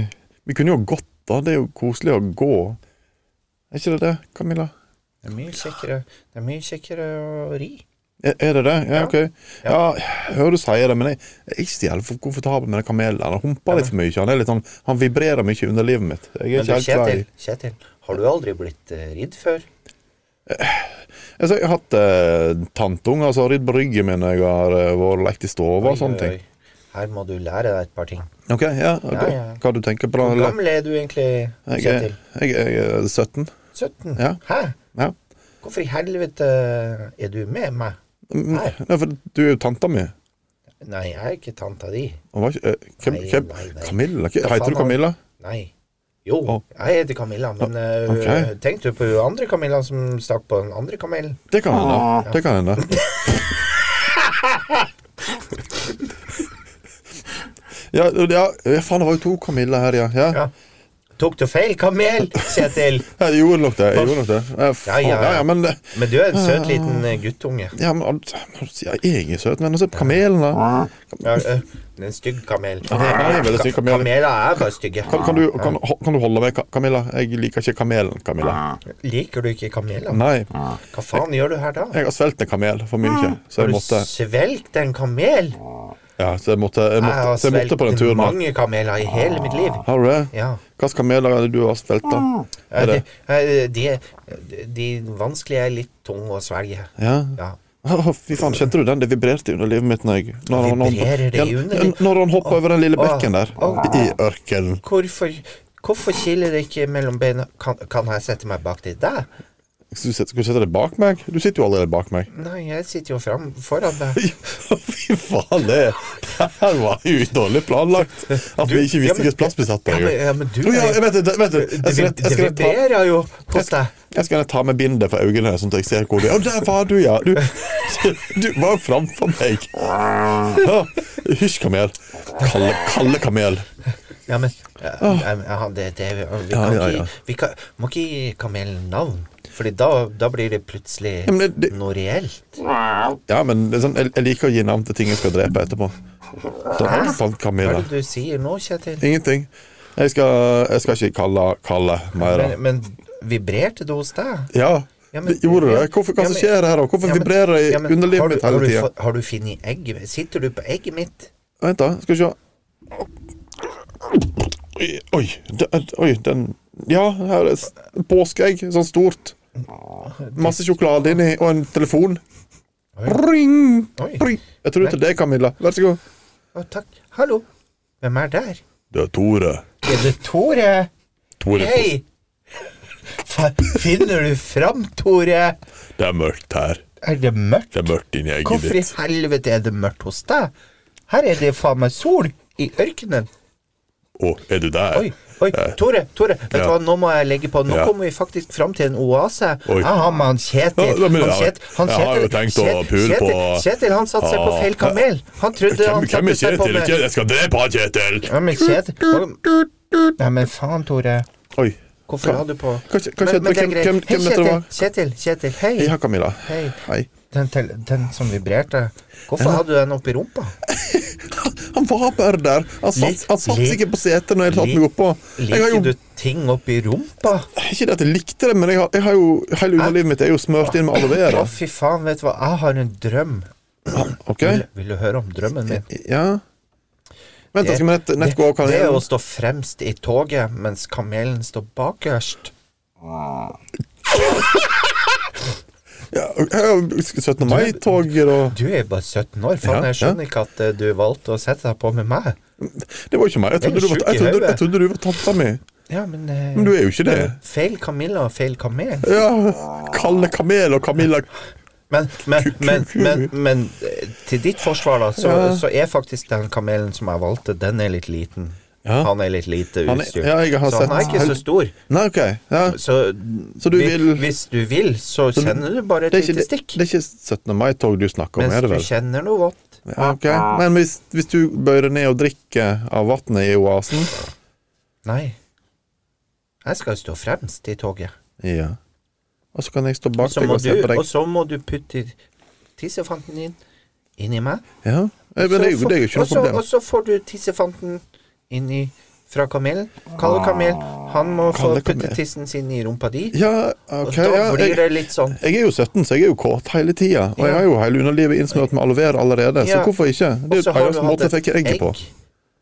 Vi kunne jo gått, da. Det er jo koselig å gå. Er ikke det det, Kamilla?
Det er mye kjekkere, det er mye kjekkere å ri.
Er er det det? Ja, ok. Ja, jeg hører du sier det, men jeg, jeg er ikke så jævlig komfortabel med den kamelen. Han humper litt for mye. Han, er litt sånn, han vibrerer mye under livet mitt. Jeg er
Men du,
ikke helt glad i
Kjetil, Kjetil, har du aldri blitt eh, ridd før?
altså, Jeg har hatt eh, tantunger som har ridd på ryggen min når jeg har eh, vært og lekt i stua og sånne ting.
Her må du lære deg et par ting.
Ok, ja,
Ja, ja.
Hva du tenker på da?
Hvor
eller?
gammel er du egentlig,
Jeg,
Kjetil?
er- jeg, jeg er 17.
17?
Ja.
Hæ?
Ja.
Hvorfor i helvete er du med meg?
Mm,
Nei.
Nei, for du er jo tanta mi.
Nei, jeg er ikke tanta di.
Han var ikke, eh, hvem,
Nei,
hvem,
nei, nei.
Camilla?
Hva faen
Heter du
har-
Camilla?
Nei. Jo,
Å.
jeg heter Camilla, men eh,
ok.
tenkte du på hun andre Camilla som stakk på den andre kamelen?
Det kan hende. Det kan hende. Ja, ja, ja, faen, det var jo to Camilla her, ja. ja.
Ja. Tok du feil kamel, Kjetil?
Jeg gjorde nok det. jeg gjorde nok det. Ja, faen,
ja,
ja,
ja.
ja, men
Men du er en søt liten eh, guttunge.
ja, men, alt- ja, Jeg er søt, men se på kamelen, da.
Ja, eh, det er en stygg kamel.
Nei, det er veldig stygg kamel.
Kameler er bare stygge.
Kan, kan, du, kan, kan du holde meg, Ka- Camilla? Jeg liker ikke kamelen, Camilla.
Liker du ikke kameler?
Nei.
Hva faen gjør du her da?
Jeg har svelget en kamel for mye, så
Har
jeg
du
måtte,
svelgt en kamel?
ja, så jeg måtte, jeg
Jeg
måtte,
har
så jeg måtte på den
svelgt
turen. her.
mange kameler i hele mitt liv.
Har du det?
Ja.
Hvilke kameler er det du har svelget, da?
Ja,
Er det?
De, eh, de, de vanskelige er litt tunge å svelge.
Ja.
Ja.
Åh, Fy faen, kjente du den? Det vibrerte under livet mitt når jeg når han- når han-
Vibrerer det i
Ja,
underlivet?
Når han hoppa over den lille bekken der.
Åh.
I ørkenen.
Hvorfor, hvorfor kiler det ikke mellom beina? Kan, kan jeg sette meg bak til deg?
Skal du sette- skal du sette deg bak meg? Du sitter jo allerede bak meg.
Nei, jeg sitter jo fram foran deg.
Fy faen, det det her var jo dårlig planlagt. At vi ikke
ja,
visste
men-
hvilken plass vi satt på.
Ja,
jo.
men, ja, men du
Å, ja, jeg vet det, det- vet det. Jeg
Det,
skal,
vib-
jeg
det
skal ta,
vibrerer jo hos deg.
jeg skal ta med bindet for øynene, sånn at jeg ser hvor du er. Å, der var du, ja! Du, du var jo framfor meg. Ja, Hysj, kamel. Kalle, kalle kamel.
Ja, men ja, ja, ja, det, det, Vi,
Ja,
kan
ja, ja.
ikke, vi kan, må ikke gi kamelen navn, Fordi da, da blir det plutselig
Ja, men det-
noe reelt.
Ja, men det er sånn, jeg, jeg liker å gi navn til ting jeg skal drepe etterpå. Så han fant
Hva
Camilla.
er det du sier nå, Kjetil?
Ingenting. Jeg skal, jeg skal ikke kalle Kalle mer.
Men, men vibrerte det hos deg?
Ja,
Ja, men-
det gjorde det.
ja,
Hvorfor, hva
ja,
som
men-
skjer her, da? Hvorfor
Ja, men-
vibrerer det i
ja, men har
underlivet
du-
mitt
har
hele
du
tida?
fa- Har du funnet egget mitt? Sitter du på egget mitt?
Vent, da. Skal vi se. Oi, Oi, den, oi, den Ja, her er s- påskeegg. Sånn stort. Masse sjokolade inni, og en telefon. Ring!
Oi.
Ring. Jeg tror det er til deg, Camilla. Vær så god.
Å, takk. Hallo. Hvem er der?
Det er Tore.
Er det Tore?
Tore,
Hei! Fa- Finner du fram, Tore?
det er mørkt her.
Er det mørkt?
Det er mørkt inni egget
Hvorfor i helvete er det mørkt hos deg? Her er det faen meg sol i ørkenen.
Å, er du der?
Oi, oi,
Eh,
Tore, Tore, vet du
ja.
hva, nå må jeg legge på. Nå
Ja.
kommer vi faktisk fram til en oase.
Oi.
Jeg har med han Kjetil.
Ja, ja, men
Han
jeg-
Kjet- han
jeg har jo
Kjetil-
tenkt å
Kjet-
pule
Kjetil-
på-
Kjetil, han satte seg på
Ah.
feil kamel. Han trodde
Hvem,
han
hvem
satte
er
seg på
Kjetil? Ikke- Jeg skal drepe han, Kjetil!
Ja, men Kjetil Nei, men faen, Tore.
Oi.
Hvorfor har du på
Hva skje- hva skjedde?
det er
Hvem-
greit.
hvem- hvem
Hei,
dette var?
Kjetil, Kjetil, Kjetil, hei.
Ja, Camilla.
Hei.
Hei.
Den, tel- den som vibrerte. Hvorfor hadde du den oppi rumpa?
Han var bare der. Han satt,
Lik-
han satt
lik-
ikke på setet når jeg satte
lik-
meg oppå. Jeg har
Liker
jo,
du ting oppi rumpa?
ikke det at jeg likte det, men jeg har, jeg har jo, hele underlivet mitt er jo smørt inn med aloe vera.
Å, fy faen, vet du hva? Jeg har en drøm.
Ok?
Vil, vil du høre om drømmen min?
Ja. Vent, jeg skal vi nett, nett gå av
det, det er å
kanelen.
stå fremst i toget mens kamelen står bakerst.
Ja, jeg- 17. mai-toget og
Du er jo bare 17 år. Faen,
Ja,
jeg skjønner ikke at eh, du valgte å sette deg på med meg.
Det var ikke meg. Jeg
Det er
trodde du var,
sjuk i
jeg trodde,
hodet.
jeg trodde du var tanta mi.
Ja, men, eh,
Men du er jo ikke det.
Feil Camilla og feil kamel.
Ja. Kalle Kamel og Camilla
Men, men, men, men, men eh, til ditt forsvar, da, så,
Ja.
så er faktisk den kamelen som jeg valgte, den er litt liten.
Ja.
Han er litt lite
Han er-
utstyrt.
ja, jeg har
så han
sett-
er ikke så stor.
Nei, OK. Ja.
Så,
Så du
vi-
vil-
Hvis du vil, så
du-
kjenner du bare et
Det er, ikke,
lite
det,
stikk.
det er ikke 17. mai-tog du snakker om,
Mens
er det
du
vel?
kjenner noe vått.
Ja, ok. Men hvis, hvis du bøyer ned og drikker av vannet i oasen
Nei. Jeg skal stå fremst i toget.
Ja. Og så kan jeg stå
Og
bak
så
deg
må
og se
du,
på deg.
og så må du putte tissefanten din inni meg.
Ja. Eh,
Så
Men det er jo det er jo ikke
får-
noe problem.
Og så, og så får du tissefanten inni fra Kamelen. Kalle Kamel, han må få
Ah. Kalle Kamel.
putte tissen sin i rumpa di.
Ja, OK.
og da
Ja,
blir
jeg,
det litt sånn
jeg er jo 17, så jeg er jo kåt hele tida. Og jeg har jo hele underlivet innsmurt med aloe vera allerede, så
Ja.
hvorfor ikke? Det
Og så
er
har
jo
du
en
hatt
måte jeg
et
fikk egget på.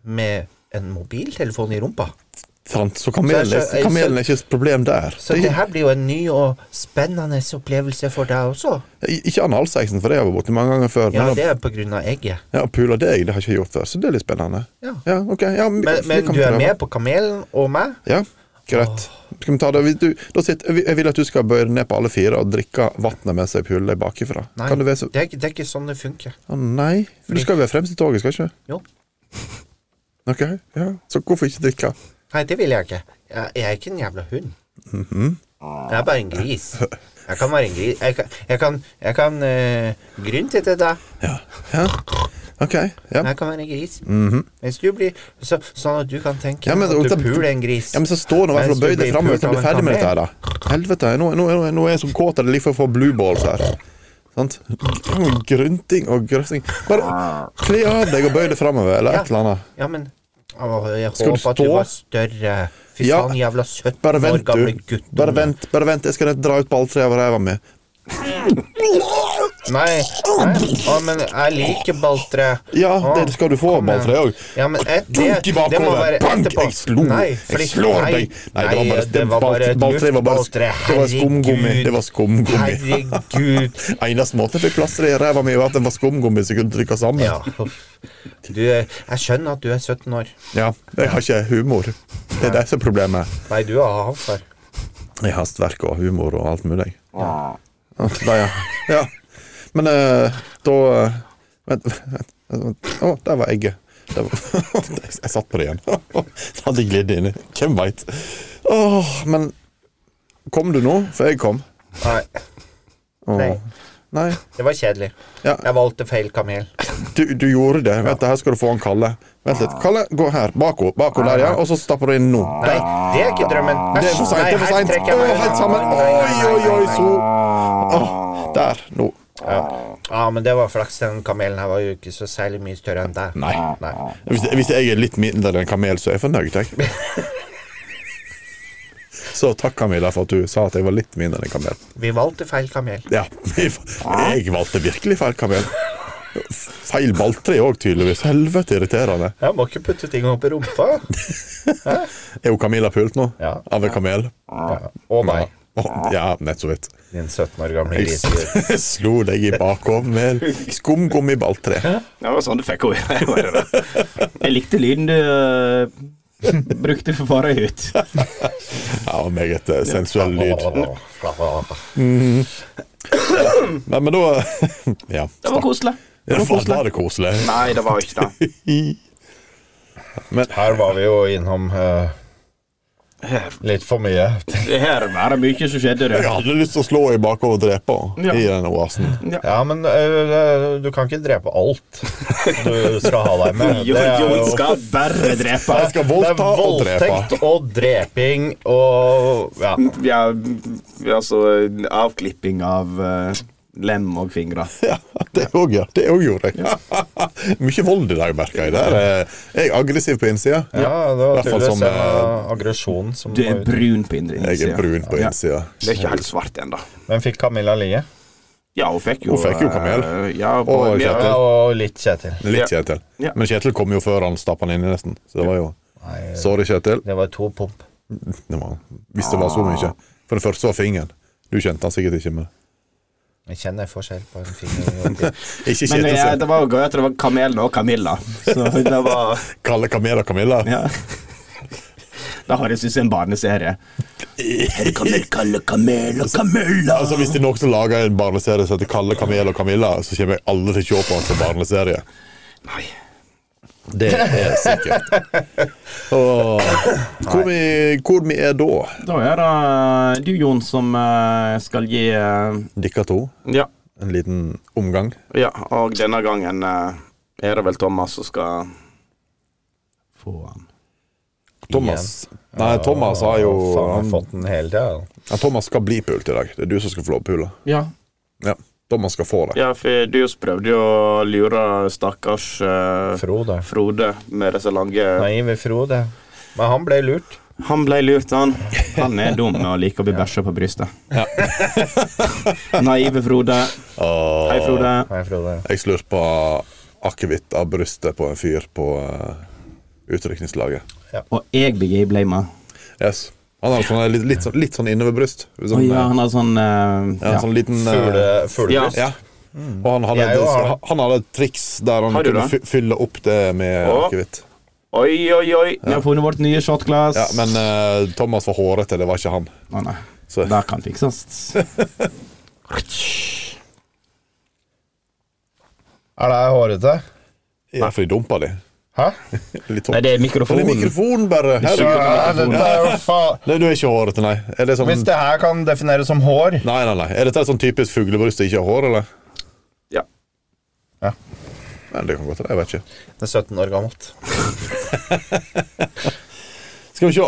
med en mobiltelefon i rumpa.
Sant, så kamelen
Så jeg skjø-
er,
jeg
kamelen er ikke et problem der.
Så det her blir jo en ny og spennende opplevelse for deg også.
Ik- Ikke analsexen, for det har jeg vært borti mange ganger før.
Ja,
Men å
det er på grunn av egget.
ja, å pule deg, det har jeg ikke gjort før, så det er litt spennende.
Ja.
ok. Ja, vi-
Men,
vi
men
kan
du er
prøve.
med på Kamelen og meg?
Ja, greit. Skal vi ta det? Hvis Du, da sitter, jeg vil- jeg vil at du skal bøye deg ned på alle fire og drikke vannet mens jeg puler deg bakifra.
Nei,
Kan du være så
det, er, ikke- det er ikke sånn det funker.
Å nei. Du skal jo være fremst i toget, skal du ikke?
Jo.
Ok, ja. Så hvorfor ikke drikke?
Nei, det vil jeg ikke. Jeg, jeg er ikke en jævla hund.
Mhm.
Jeg er bare en gris. Jeg kan være en gris. Jeg kan, jeg kan, jeg kan øh, grynte til deg.
Ja. Ok. Ja.
Jeg kan være en gris. Hvis du blir så, Sånn at du kan tenke
Mhm. Ja, men-
at du
da-
puler en gris.
Ja, men så står det i hvert fall og
Mens du
bøyer deg
blir
framover til du
pult av
blir
en
ferdig med dette
kamel.
her, da. Helvete, nå, nå, nå, nå er jeg som kåt at jeg liker å få blue balls her. Sant? Grynting og grøfting. Bare kle av deg og bøy deg framover, eller et eller annet.
Ja, men Åh, jeg
Skal du
håper at du
stå?
var større. Fy
Ja.
faen, jævla 17
Bare
år
vent,
gamle
du.
gutt.
Bare vent, bare vent. Jeg skal rett dra ut på alle tre av ræva mi.
Nei, nei. Å, men jeg liker balltre.
Ja,
Å,
det skal du få,
kom igjen.
balltre òg.
Ja, men et, det,
Dunk i
det må
bakover.
være
Bang!
etterpå.
Jeg slo.
Nei,
jeg slår
nei,
deg. Nei, det var bare,
nei, det var bare et
balltre var bare
luftballtre.
Det var skumgummi. Det var skumgummi.
Herregud.
Eneste måten jeg fikk plaster i ræva mi, var at den var skumgummi, så jeg kunne trykke sammen.
Ja. Du, jeg skjønner at du er 17 år.
Ja, jeg har ikke humor. Det er det som er problemet.
Nei, du har ansvar.
Jeg har hastverk og humor og alt mulig. Ja. Nei, ja. ja. Men eh, da eh, Vent. vent, vent. Å, der var egget. Der var, jeg satt på det igjen. Det hadde jeg glidd inn i. Hvem veit. Åh, men Kom du nå? For jeg kom.
Nei,
Åh.
Nei.
Nei.
det var kjedelig.
Ja.
Jeg valgte feil kamel.
Du, du gjorde det. Vent, her skal du få han Kalle. Vent
Ah.
litt. Kalle, gå her. Bak henne. Bak henne der, ja. Og så stapper du inn nå. Der.
Nei, det er ikke drømmen.
Det er for
Ah.
seint, det er
Nei,
for
her
seint.
trekker jeg
Å,
meg.
Helt sammen.
Nei, nei,
Oi,
nei,
oi, oi,
nei, nei.
så Åh, Der. Nå.
Ja, men det var flaks. Den kamelen her var jo ikke så særlig mye større enn deg.
Nei.
Ah.
Nei.
Hvis, hvis jeg er litt mindre enn en kamel, så er jeg fornøyd, jeg. Så takk, Camilla, for at du sa at jeg var litt mindre enn en kamel.
Vi valgte feil kamel.
Ja, jeg,
Ah.
jeg valgte virkelig feil kamel. Feil balltre òg, tydeligvis. Helvete irriterende.
Jeg må ikke putte ting opp i rumpa.
Er jo Camilla pult nå?
Ja.
Av en kamel?
Ja. Og meg,
Å, Ja, nett så vidt.
din 17 år gamle
Jeg
gris.
s- slo deg i bakover med skumgummiballtre.
Det var sånn du fikk henne.
Jeg likte lyden du eh, brukte for forrige ut.
Ja, og meget eh, sensuell lyd. Nei, men da Ja.
Det var koselig.
Det var koselig. Var det koselig?
Nei, det var ikke det.
Her var vi jo innom eh, litt for mye.
Det her var det mye som skjedde.
Jeg
Det.
hadde lyst til å slå i bakover og drepe henne i den oasen.
Ja, men eh, du kan ikke drepe alt du skal ha deg med.
Jo,
er
jo,
jo-
skal bare drepe.
Jeg skal voldta
det
og
er
drepe. Mm.
voldtekt og dreping og ja.
Ja, altså avklipping av eh, lem og fingre.
Ja, det òg, ja. Det òg gjorde jeg. Mye vold i dag, merker jeg. Der er jeg aggressiv på innsida.
ja, det
I
var
hvert fall
tydeligvis
som,
en
eh,
eh, aggresjon som
Du er
var ute.
brun på indre
Jeg er
innsida.
brun på innsida.
Det er ikke helt svart ennå.
Men fikk Camilla ligge?
Ja, hun fikk jo
Hun fikk jo kamel.
eh, Ja, på,
Og
ja,
Ja,
Kjetil.
og litt Kjetil.
Litt Kjetil.
Ja.
Men Kjetil kom jo før han stappa han inni, nesten. Så det var jo Sorry, Kjetil.
Det var to pump.
Det var, hvis det var så mye. For det første var fingeren. Du kjente han sikkert ikke, men
Jeg kjenner forskjell på en finger.
Ikke
Men
Kjetil
det,
sin.
det var jo gøy at det var kamelen og Camilla. Så det var
Kalle Kamela Kamilla.
Ja. Det har jeg synes er en barneserie. Her kommer Kalle Kamel og Camilla.
Altså, hvis det er noen som lager en barneserie som heter Kalle Kamel og Kamilla, så kommer jeg aldri til å se på den som barneserie.
Nei.
Det er sikkert. Åh, hvor, vi, hvor vi er da,
Da er det du, Jon, som eh, skal gi eh,
dere to?
ja,
En liten omgang?
ja, og denne gangen eh, er det vel Thomas som skal få han.
Thomas Nei, Thomas har jo
Å, faen, jeg har
han,
fått den hele tiden.
ja, Thomas skal bli pult i dag. Det er du som skal få lov å pule.
Ja.
Ja, Thomas skal få det.
ja, for du prøvde jo å lure stakkars eh,
Frode.
Frode med disse lange
Naive Frode.
Men han ble lurt.
Han ble lurt, han. Han er dum og liker å bli bæsja på brystet. Naive Frode.
Åh,
Hei, Frode.
Hei, Frode.
jeg slurpa akevitt av brystet på en fyr på uh, utrykningslaget.
Og jeg blir gayblamet.
Yes. Han hadde sånn, litt, litt, sånn- litt sånn innoverbryst.
Å
Sånn,
ja, han har sånn eh,
ja,
ja.
sånn liten eh,
Fugle-
Ja.
Fuglebryst.
Ja. Og han hadde,
Jeg jo har
han- han hadde et triks der han
Har du
kunne
det?
fy- fylle opp det med
Å.
akevitt.
Oi, oi, oi. Vi har funnet vårt nye shotglass.
Ja, men eh, Thomas var hårete, det var ikke han.
Å nei.
Så
Det kan fikses.
Er det hårete?
ja, for de dumpa de.
Hæ?
Litt
Nei, det
hårete.
er
Men det er
mikrofonen.
mikrofonen, bare. Her,
Ja,
nei,
dette er jo faen
du er ikke hårete, nei. Er det sånn
Hvis det her kan defineres som hår
Nei, nei, nei. Er dette et sånn typisk fuglebryst som ikke har hår, eller?
Ja.
Ja.
Nei, det kan godt være. Jeg vet ikke.
Det er 17 år gammelt.
Skal vi se.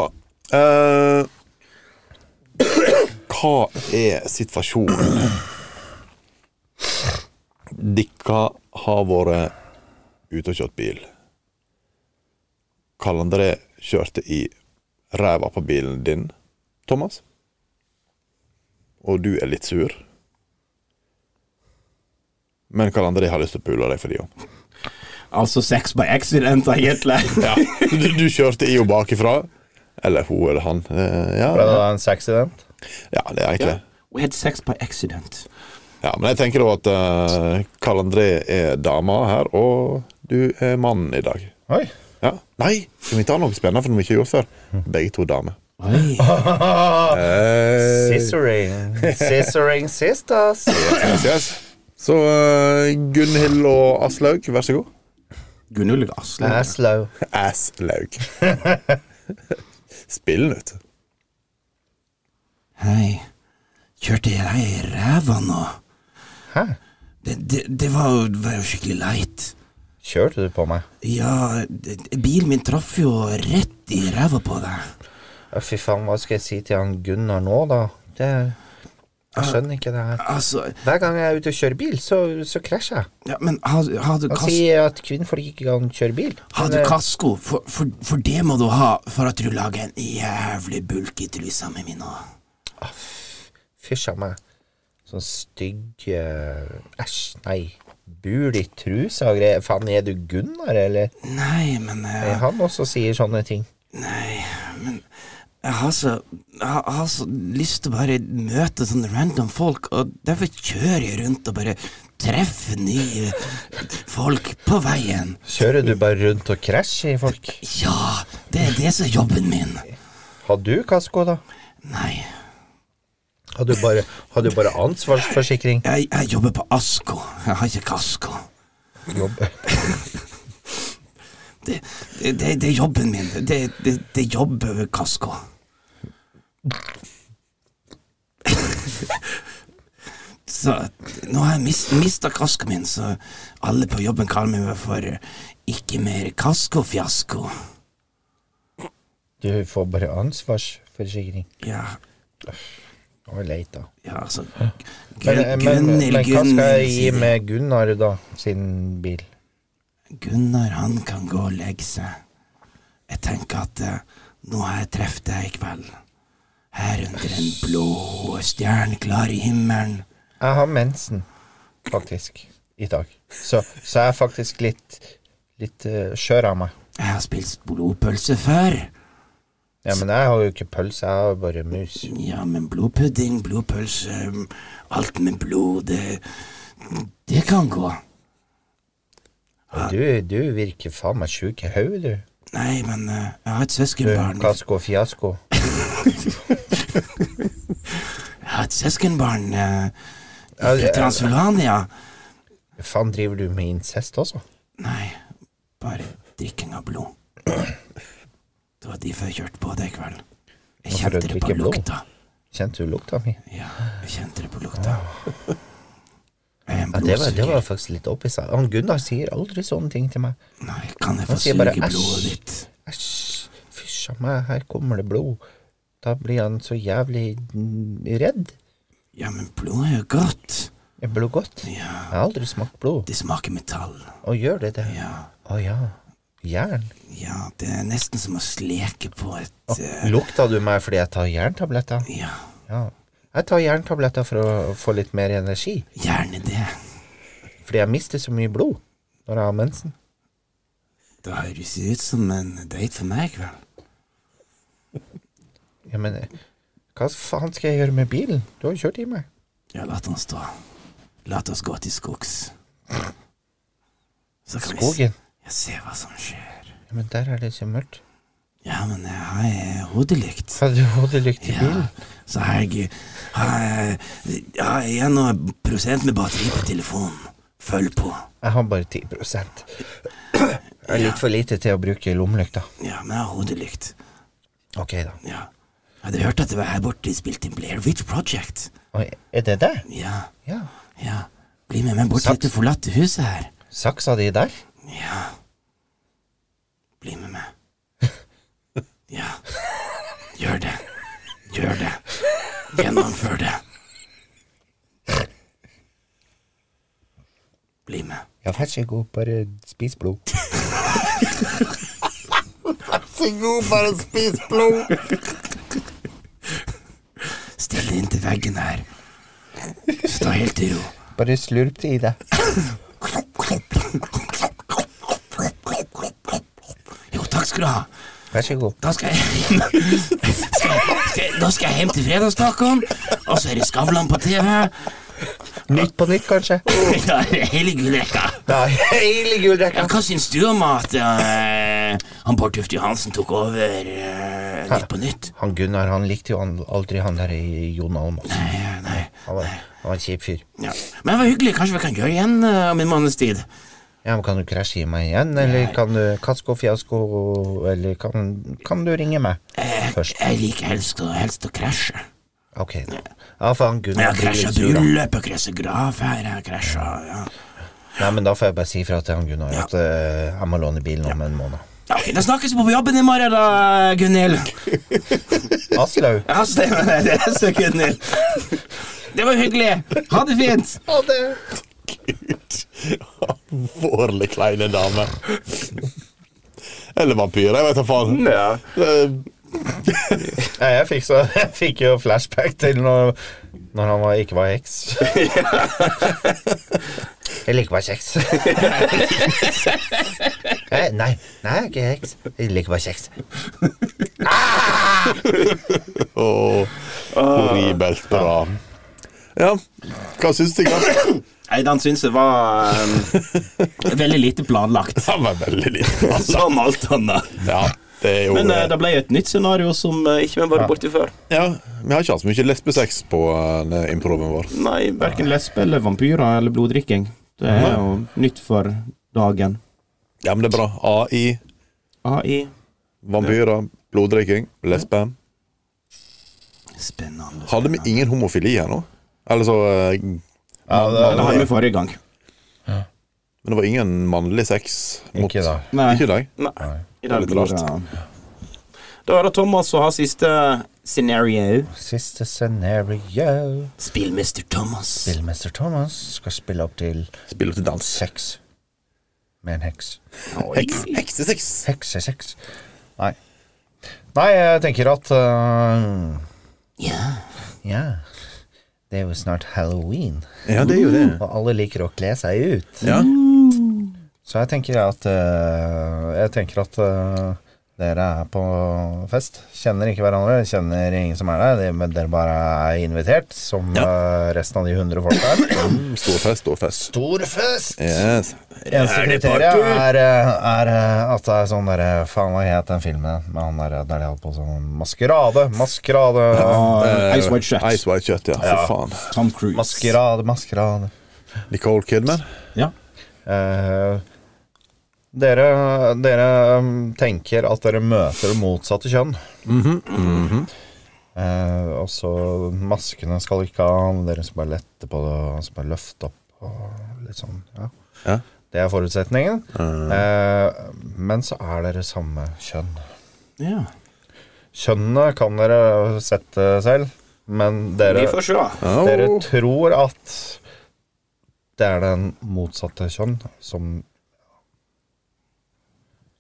Eh, hva er situasjonen? Dere har vært ute og kjørt bil. Karl André kjørte i ræva på bilen din, Thomas. Og du er litt sur. Men Karl André har lyst til å pule deg for de òg.
Altså sex by accident, egentlig.
Ja. Du, du kjørte i og bakifra. Eller hun eller han. Eh, Ja,
Ble det da en sexident?
ja det er egentlig det.
We had sex by accident.
Ja, men jeg tenker da at eh, Karl André er dama her, og du er mannen i dag.
Oi.
Ja. Nei, skal vi ta noe spennende for noe vi ikke har gjort før? Begge to damer.
Oi.
Scissoring. Scissoring sisters.
Yes, yes. Så eh, Gunhild og Aslaug, vær så god.
Gunnulv Asle.
Aslo.
Aslaug. Spill den ut.
Hei. Kjørte jeg deg i ræva nå?
Hæ?
Det, det, det var, jo- det var jo skikkelig leit.
Kjørte du på meg?
Ja, det- bilen min traff jo rett i ræva på deg.
Å, Fy faen, hva skal jeg si til han Gunnar nå, da? Det, jeg skjønner ikke det her.
Altså,
Hver gang jeg er ute og kjører bil, så, så krasjer jeg.
ja, men har, har du
Han
kast...
sier at kvinnfolk ikke kan kjøre bil.
Har du
Men, eh,
kasko? For, for, for det må du ha for at du lager en jævlig bulk i trusa mi nå.
Fysj av meg. Sånn stygg eh, Æsj, nei. Bul i trusa og greier. Faen, er du Gunnar, eller?
Nei, men
Eh,
jeg,
Han også sier sånne ting.
jeg, har, så, jeg har- har så lyst til å bare møte sånne random folk, og derfor kjører jeg rundt og bare treffer nye folk på veien.
Kjører du bare rundt og krasjer i folk?
Ja, det er det som er jobben min.
Har du kasko, da?
Nei,
Har du bare, har du bare ansvarsforsikring?
jeg, jeg jobber på Asko. Jeg har ikke kasko.
Jobb.
Det, det, det, det er jobben min. Det, det, det er jobb over kasko. så nå har jeg mis, mista kaskoen min, så alle på jobben kaller meg for eh, ikke mer kasko-fiasko.
Du får bare ansvarsforsikring.
Ja,
Det var leit, da.
ja, altså
Men,
Gun-
men, men
Gunhild
hva skal jeg gi
Gunhild
med Gunnar, da? Sin bil?
Gunnar, han kan gå og legge seg. Jeg tenker at eh, nå har jeg truffet deg i kveld. Her under den blå stjerneklare himmelen.
Jeg har mensen, faktisk, i dag. Så, så jeg er faktisk litt Litt eh, skjør av meg.
Jeg har spilt blodpølse før.
Ja, Men jeg har jo ikke pølse, jeg har jo bare mus.
Ja, men blodpudding, blodpølse, mm, alt med blod, det Det kan gå.
Og Du, du virker faen meg sjuk i hodet, du.
Nei, men eh, jeg har et
Du,
søskenbarn.
Kasko fiasko.
Jeg har et søskenbarn eh,
Ja,
fra
det-
Transylvania.
Faen, driver du med incest også?
Nei, bare drikking av blod. Det var derfor jeg kjørte på det i kveld. Jeg
Hvorfor
kjente det på
drikker blod?
lukta.
Kjente du lukta mi?
Ja, jeg kjente det på lukta. Jeg er
Ja,
en
det var, det
blodsuger.
var faktisk litt oppi seg. Han Gunnar sier aldri sånne ting til meg.
Nei, kan jeg få
Han sier
suge
bare,
blodet
«Æsj».
ditt?
Æsj, fysj a meg, her kommer det blod. Da blir han så jævlig mm, redd.
Ja, men blod er jo godt.
Er blod godt? Jeg
Ja,
har aldri smakt blod.
det smaker metall.
Å, gjør det det?
Ja.
Å ja.
Jern?
Ja, det er nesten som å sleke på et eh,
Lukta du meg fordi jeg tar jerntabletter?
Ja,
Ja. Jeg tar jerntabletter for å få litt mer energi,
gjerne det.
fordi jeg mister så mye blod når jeg har mensen.
Det høres ut som en date for meg, vel.
Ja, men eh, hva faen skal jeg gjøre med bilen? Du har jo kjørt i meg.
Ja, la den stå. La oss gå til skogs. Så kan vi
Skogen.
s- se hva som skjer.
Ja, men der er det så mørkt.
Ja, men jeg har eh, hodelykt.
Hadde du hodelykt i bilen?
Ja, eh, så har jeg, har jeg, har jeg noe prosent med batteri på telefonen. Følg på.
Jeg har bare 10 Jeg er litt for lite til å bruke lommelykta.
Ja, men jeg har hodelykt.
Ok, da.
Ja. Jeg hadde hørt at det var her borte de spilte inn Blair Witch Project.
Oi, er det det?
Ja,
Ja.
ja. Bli med meg bort
Saps.
til dette forlatte huset her.
Saksa di der?
Ja. Bli med meg. Ja. Gjør det. Gjør det. Gjennomfør det. Bli med.
Ja, vær så god, bare spis blod.
Still deg inntil veggen her. Stå helt i ro.
Bare slurp det i deg.
Jo, takk skal du ha.
Vær så god.
Da skal jeg skal, skal, Da skal jeg hjem til fredagstacoen, og så er det Skavlan på TV.
Nytt på nytt, kanskje?
Da er det hele gullrekka.
Da, hele
Ja,
gullrekka.
hva syns du om at eh, han Bård Tufte Johansen tok over eh, Nytt på nytt?
Han Gunnar han likte jo han, aldri han der i Jon Almaas.
Nei, nei.
Han var, han var en kjip fyr.
Ja. Men det var hyggelig. Kanskje vi kan gjøre igjen eh, om en måneds tid?
Ja, men Kan du krasje i meg igjen, eller kan du Kasko fiasko, eller kan, kan du ringe meg
Eh.
først?
Jeg liker helst, å- helst å krasje.
Ok, da. Ja, for han
Jeg
Gunnar
har
blir
krasja
litt sur, da.
bryllup, jeg krasja grav her, jeg har krasja ja.
Nei, men da får jeg bare si fra til han Gunnar at eh, jeg må låne bilen om en måned.
Ja, Ok, Da snakkes vi på jobben i morgen, da, Gunhild.
Aslaug!
Ja, stemmer det. Det er så Gunhild. Det var hyggelig. Ha det fint.
Alvorlig kleine dame. Eller vampyr, jeg vet da faen. Eh,
Nei, jeg fikk, så, jeg fikk jo flashback til når, når han var, ikke var heks.
Jeg liker bare kjeks. Eh, nei, nei, jeg er ikke heks. Jeg liker bare kjeks.
Åh, horribelt bra. Ja, hva syns du? Karsten?
Nei, den syns jeg var eh, veldig lite planlagt,
Han var veldig liten. altså.
som alt annet.
Ja, det er jo
Men eh, det ble et nytt scenario som eh, ikke vi har vært borti før.
Ja, Vi har ikke hatt så mye lesbesex på eh, improven vår.
Nei, verken lesbe eller vampyrer eller bloddrikking. Det er jo nytt for dagen.
Ja, men det er bra. AI,
AI.
vampyrer, bloddrikking, lesbe.
Spennende.
Hadde vi ingen homofili her nå? Eller så eh,
Det hadde vi forrige gang.
Men det var ingen mannlig sex mot
Ikke da.
Nei.
Ikke i dag.
Nei. I
er
dag
litt
blir det Da er det Thomas som har siste scenario.
Siste scenario.
Spillmester Thomas.
Spillmester Thomas skal spille opp til
Spiller til dans.
seks med en heks.
Heks, heksesex.
Heksesex. Nei. Nei, jeg tenker at øh,
Ja.
Ja. Det er jo snart halloween,
Ja, det er jo det.
og alle liker å kle seg ut.
Ja.
Så jeg tenker at øh, Jeg tenker at øh, dere er på fest. Kjenner ikke hverandre, kjenner ingen som er der. de- Men dere bare er invitert, som øh, resten av de hundre folka
Mm.
er.
Stor fest, stor fest.
Stor fest!
Mm, Yes.
Eneste kriteriet er, eh, er eh, at det er sånn derre Faen, hva het den filmen med han der der de holdt på sånn Maskerade! Maskerade!
Eh,
Ice White Shut.
Ice White Shut, ja. Fy faen.
Tom Cruise.
Maskerade, maskerade.
Nicole Kidman.
Ja.
Eh, dere, dere mm, tenker at dere møter det motsatte kjønn. Eh, og så maskene skal ikke av, dere skal bare lette på det, og så bare løfte opp og litt sånn. Ja.
Ja.
Det er forutsetningen. Eh, men så er dere samme kjønn.
Ja.
Kjønnet kan dere sette selv, men dere
Vi får se.
dere tror at det er den motsatte kjønn som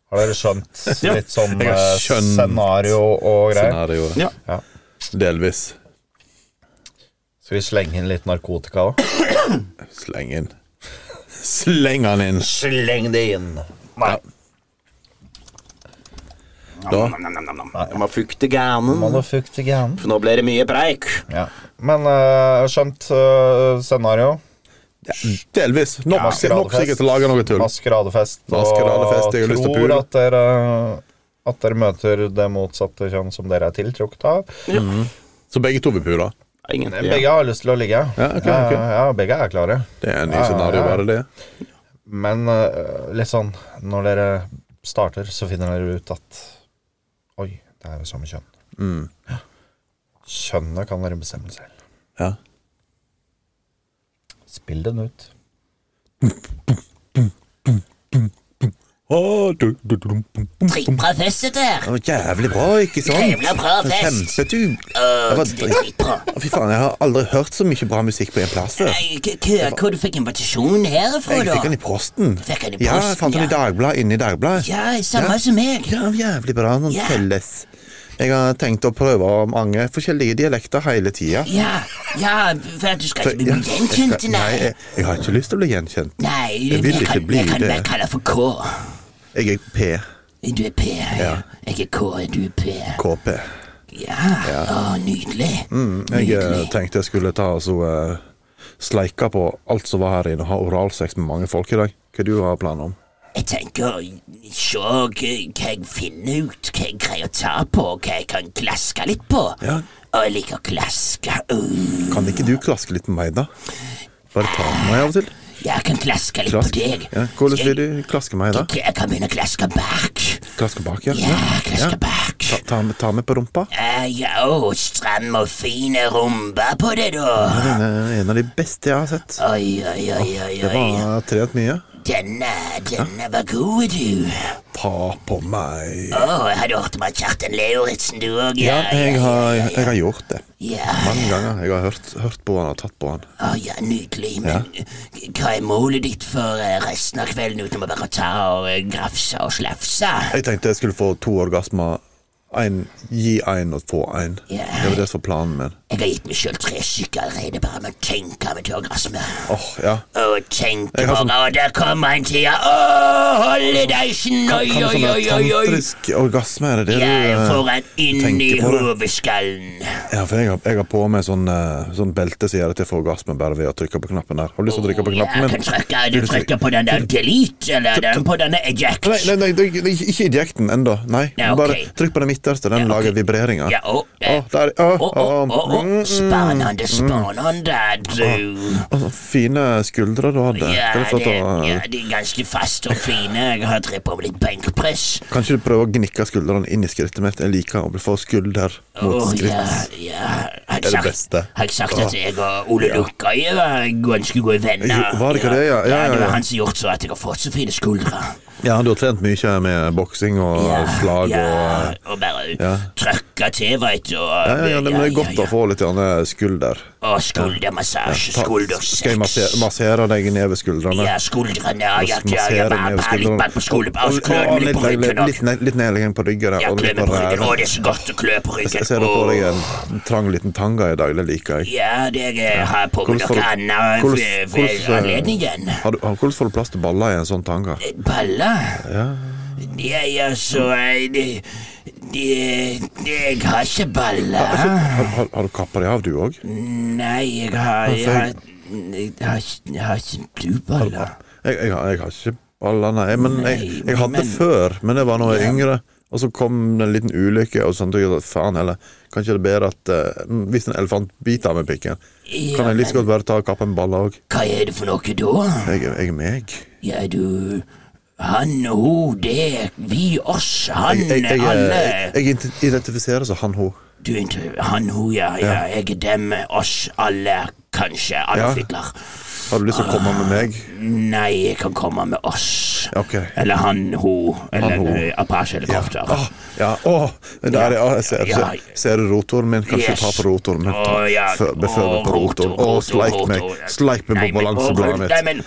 Har dere skjønt
Ja.
litt sånn
Jeg har
eh,
skjønt
scenario og greier?
scenarioet.
Ja.
Ja.
Delvis.
Skal vi slenge inn litt narkotika òg?
Sleng inn. Sleng han inn.
Sleng det inn.
Da.
Nam, nam, nam, nam, nam.
Jeg må fukte ganen.
Må du fukte gærne?
For nå blir det mye preik.
Ja. Men eh, skjønt eh, scenario.
Delvis. Nok,
Ja.
nok sikkert til å lage noe tull.
Maskeradefest. Og
Maskeradefest, jeg har lyst til å
tror
pule.
at dere, at dere møter det motsatte kjønn som dere er tiltrukket av.
Så begge to vil pule.
Ingen.
Begge har lyst til å ligge.
Ja, ok, ok.
ja, ja, begge er klare.
Det er en ny
Ja,
scenario,
ja.
bare det.
Men eh, litt sånn Når dere starter, så finner dere ut at Oi, det er jo samme kjønn.
Mm.
Ja. Kjønnet kan dere bestemme selv.
Ja.
Spill den ut.
Å, du, du, du, dum, dum, dum.
Dritbra fest, dette her.
Det var jævlig bra, ikke sant?
Jævla bra fest.
Kjempetu. Det var drit-
Dritbra.
Å, Fy faen, jeg har aldri hørt så mye bra musikk på en plass. Jeg
Nei, k- k- Hvor du fikk invitasjonen herfra,
fikk
da?
den i posten.
Fikk den i
Ja, jeg
posten,
fant den i
ja.
Dagbladet, inne i Dagbladet.
Ja, samme
Ja.
som meg.
Ja, jævlig bra. Noen
Ja.
felles. Jeg har tenkt å prøve mange forskjellige dialekter hele tida.
Ja, ja, for at du skal altså ikke bli gjenkjent,
Nei,
nei.
jeg, jeg har ikke lyst til å bli gjenkjent.
Nei,
Jeg vil ikke
kan,
bli
jeg kan
det.
bare kalle for K.
Jeg er P.
Du er P. ja. Jeg er K, du er P.
KP.
Ja, å, nydelig.
Jeg eh, tenkte jeg skulle ta og så eh, sleike på alt som var her inne, og ha oralsex med mange folk i dag. Hva du har planer om?
Jeg tenker å se hva hva jeg finner ut, hva jeg greier å ta på, hva jeg kan klaske litt på.
Ja.
Og jeg liker å klaske. Uh,
Kan ikke du klaske litt med meg, da? Bare ta med meg av og til.
jeg kan klaske litt
Klask.
på deg.
Ja, hvordan vil
Skal
du klaske meg, da?
Jeg, jeg kan begynne å klaske bak.
Klaske bak, ja?
Ja, klaske
Ja.
bak.
Ta, ta, med- ta med på rumpa.
Eh, ja, å, stram og fine rumba på det, da.
Den er en av de beste jeg har sett.
Oi, oi, oi, oi,
Det
oi.
var trent mye.
Denne, denne var god, du.
Ta på meg.
Å, jeg hadde hørt om at Kjartan Lauritzen, du òg.
Ja, jeg har, jeg har gjort det.
ja.
Mange ganger. Jeg har hørt, hørt på han og tatt på han.
Å ja, nydelig. Men eh, hva er målet ditt for eh, resten av kvelden utenom å bare ta og eh, grafse og slafse?
Jeg tenkte jeg skulle få to orgasmer. En, gi én og få én.
Ja.
Det var det som var planen min.
Jeg har gitt meg sjøl tre stykker allerede bare med å tenke meg til orgasme.
Åh, ja.
Å, tenke
Jeg har
bare,
sånn-
og der kommer en tida. Å, holidaysen, oi,
Kan
oi,
sånn
oi, oi, oi.
tantrisk orgasme, er det det
Jeg får
du eh,
en inn i
tenker på det.
hodeskallen.
Ja, for jeg har, jeg har på meg sånn, eh, sånn belte som gjør at jeg får orgasme bare ved å trykke på knappen der. Har du lyst til å trykke på
Ja,
knappen
kan
min?
trykke, du trykker på den der delete, eller den på denne eject.
Nei, nei, nei, det er ikke- ikke ejecten ennå. Nei,
Ja, ok.
bare trykk på den midterste. Den
Ja, ok.
lager vibreringer.
Ja, å, eh,
Åh, der, åh,
å, å,
åh,
å, å,
mm, mm.
Spennende, spennende, du.
Åh, så fine skuldre du hadde.
Ja,
Kan du få
det,
ta,
ja, de er ganske faste og fine. Jeg har drevet på med litt benkpress.
Kan ikke du prøve å gnikke skuldrene inn i skrittet mitt? Jeg liker å få skulder mot
Åh,
skritt.
ja, ja. Har
Det er det
jeg sagt,
beste.
har jeg sagt at jeg og Ole Lukkøye var ganske gode venner?
Jo, var det ikke det, ja? Ja, ja,
det
ja.
var han som gjort så at jeg har fått så fine skuldre.
Ja, du har trent mye med boksing og slag
ja,
og
og bare
ja.
trøkka til, veit du.
ja, ja, ja, men Det er godt å få litt gjerne skulder.
Og skuldermassasje,
Ta-
skuldersex.
skal jeg massere, massere deg ned ved skuldrene?
Ja, skuldrene, ja, ja, ja, ja,
Massere
bare
ned ved
bare litt
skuldrene.
bak på skulderen,
Og-
og så klør
og
det litt på
litt-
ryggen
Litt,
også.
ned- litt nedlegging på ryggen der,
Ja,
og
klør
litt på
meg på ryggen. Å,
ræven.
det er så godt å klø på ryggen.
Jeg ser du på
Åh.
deg en trang liten tanga i dag. Det liker jeg.
Ja, det jeg har på meg
Hvordan får
noe
du-
annet
hvordan-
ved- ved
hvordan, eh,
anledningen.
Har du, har- hvordan får du plass til baller i en sånn tanga?
Baller? Ja, ja, så eh, det, det, det, Jeg har ikke baller.
Har, har, har du kappa deg av, du òg?
Nei, jeg har Jeg har, jeg har, ikke- jeg har ikke du baller.
Jeg, jeg, har- jeg har ikke baller, nei. Men jeg, jeg hadde
men-
før, men det var da jeg var yngre. Og så kom det en liten ulykke, og sånn tenkte jeg at faen heller, kanskje det er bedre at eh, hvis en elefant biter av meg pikken,
Ja,
kan jeg like så godt bare ta og kappe en balle òg.
Hva er det for noe da?
Jeg, jeg er meg.
Ja, du Han, hun, det, vi, oss, han,
Jeg, jeg, jeg, jeg,
alle.
jeg ident- identifiserer som han, hun.
Du, intervju- han, hun, ja, ja. Jeg er dem, oss, alle, kanskje.
Ja.
Adolf Hitler.
Har du lyst til å
Ah,
komme med meg?
Nei, jeg kan komme med oss.
Ok.
Eller han, hun, eller
Han, hun.
eh, Apache
Ja.
helikopter.
Ah, ja. Åh, der, er- ja. Jeg ser,
Ja.
ser, ser du rotoren min? Kanskje
Yes.
ta på rotoren min. Ta,
Å, ja.
fø- Befø meg
Å,
på rotoren.
rotor,
Å,
rotor,
sleik meg.
rotor.
Sleik meg
Nei,
på
men-
balansebladet mitt.
Nei, men,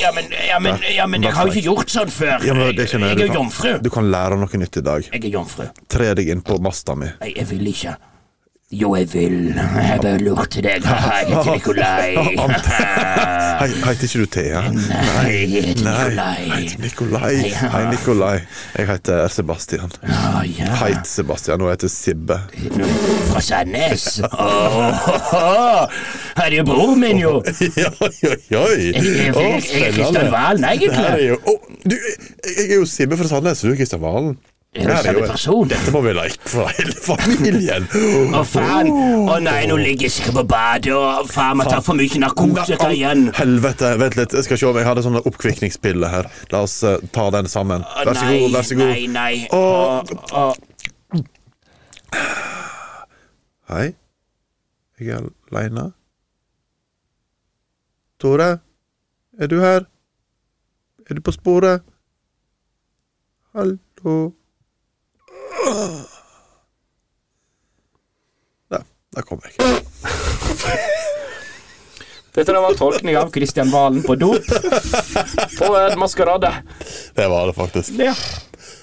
ja, men, ja, men, ja, men jeg har jo ikke gjort sånn før.
Ja, men det er ikke nøye.
jeg er
Du
jomfru.
kan- Du kan lære noe nytt i dag.
Jeg er jomfru.
Tre deg inn på masta mi.
Nei, jeg vil ikke. Jo, jeg vil. Jeg bare lurte deg. Hei, jeg heter Nikolai.
Hei, heter ikke du Thea?
Nei, jeg heter
Nei.
Nikolai.
Hei, Nikolai. Hei, Nikolai. Jeg heter Sebastian.
Å, ja.
Heit Sebastian, og jeg heter Sibbe.
Fra Sandnes. Åh, her er jo bror min,
Oi,
jo.
oi, oi!
Jeg-
Å,
jeg- jeg- jeg er Kristian
spennende.
Valen, egentlig.
Det her er jo- Å, du, jeg jeg er jo Sibbe fra Sandnes, og du er Kristian Valen.
Er
Det
du
her
samme
jo-
person?
Dette må vi like for hele familien.
Å, faen. Å nei, nå ligger jeg sikkert på badet, og faen, man tar for mye narkotika igjen.
Helvete, vent litt. Jeg skal se om jeg hadde sånne oppkvikningspiller her. La oss eh, ta den sammen.
Å,
Vær så god, vær så god.
Nei, nei, nei.
Å.
Å, å.
Hei. Jeg er aleine. Tore? Er du her? Er du på sporet? Hallo? Der. Der kom jeg.
Dette der var tolkning av Kristian Valen på dop på en maskerade.
Det var det faktisk.
Ja.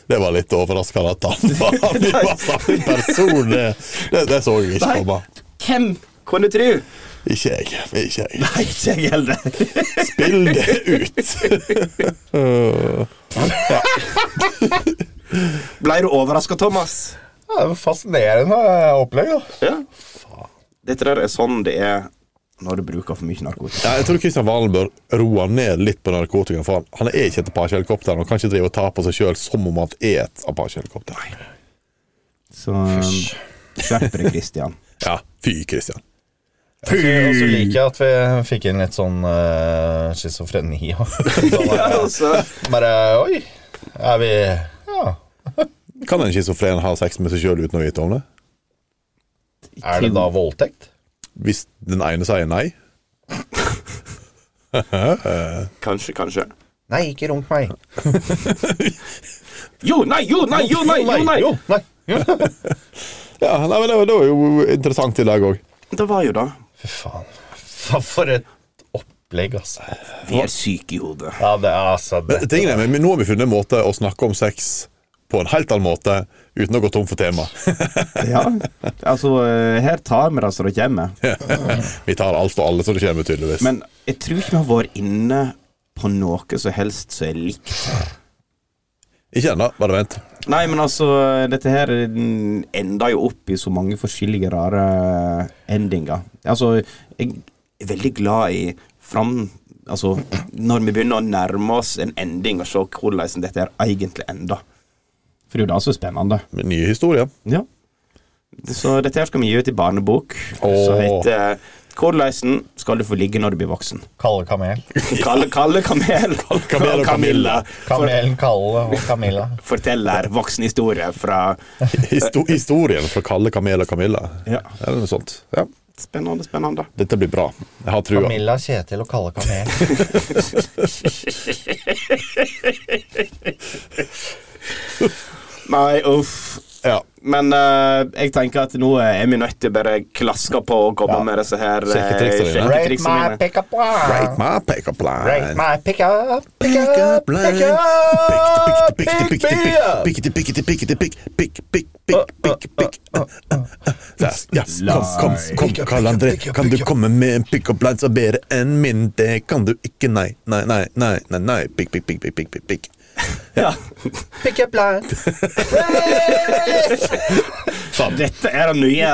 Det var litt overraskende at han var, vi var samme person. Det, det, det så jeg ikke
Nei.
komme.
Hvem kunne tro?
Ikke jeg. Ikke jeg.
Nei, ikke jeg heller.
Spill det ut.
Blei du overraska, Thomas?
Ja, det var fascinerende opplegg, da.
Ja. Dette der er sånn det er når du bruker for mye narkotika.
Ja, jeg tror Kristian Valen bør roe ned litt på narkotika. For han, han er ikke et Apache-helikopter. Han kan ikke drive og ta på seg sjøl som om han er et Apache-helikopter.
Så um, skjerp deg, Christian.
Ja, fy Kristian.
Og så liker jeg at vi fikk inn litt sånn uh, schizofreni. og sånn der.
altså,
Bare Oi, er vi Ja.
Kan en schizofren ha sex med seg sjøl uten å vite om det?
Er det da voldtekt?
Hvis den ene sier nei?
Kanskje, kanskje.
Nei, ikke runk meg.
Jo, nei, jo, nei, jo, nei! jo, nei.
Jo, nei.
Ja, nei, men det, var- det var jo interessant i dag òg.
Det var jo da.
Fy faen. Fa- For et opplegg, altså.
Vi er syke i hodet.
Ja, det er altså det.
Tingen er, men Nå har vi funnet en måte å snakke om sex på en helt annen måte uten å gå tom for tema.
Ja. Altså, eh, her tar vi det så det kommer.
vi tar alt og alle som det kommer, tydeligvis.
Men jeg tror ikke vi har vært inne på noe som helst som er likt.
Ikke ennå, bare vent.
Nei, men altså, dette her mm, ender jo opp i så mange forskjellige rare eh, endinger. Altså, jeg er veldig glad i fram... Altså, når vi begynner å nærme oss en ending og se hvordan dette her egentlig ender. For det er jo det som er spennende.
Med nye historier.
Ja. Så dette her skal vi gi ut i barnebok, som
Åh.
heter 'Hvordan skal du få ligge når du blir voksen'.
Kalle kamel.
Kalle, Kalle Kamel
Kamel og Camilla.
Kamelen Kalle og Camilla.
forteller voksenhistorie fra
Histo historien fra Kalle, Kamel og Kamilla.
Ja.
Eller noe sånt. Ja.
Spennende, spennende.
Dette blir bra. Jeg har trua.
Camilla, Kjetil og Kalle Kamel.
Nei, uff.
Ja.
Men eh, jeg tenker at nå er vi nødt til å bare klaske på og komme med disse her eh,
Sjekketriksene dine.
sjekketriksene mine.
pickup
Ah.
line.
Break my pickup line.
Break my pickup,
Pickup
pickup,
line.
pickup,
Pick, pick, pick, pick, pick, pick, pick, pick, pick, pick, pick, pick, pick, pick, pick. Der. Ja, kom, kom, kom, Karl André. Kan du komme med en pickup line som er bedre enn min? Det kan du ikke, nei, nei, nei, nei, nei, nei. Pick, pick, pick, pick, pick, pick, pick.
pickup line.
Sånn.
Dette er den nye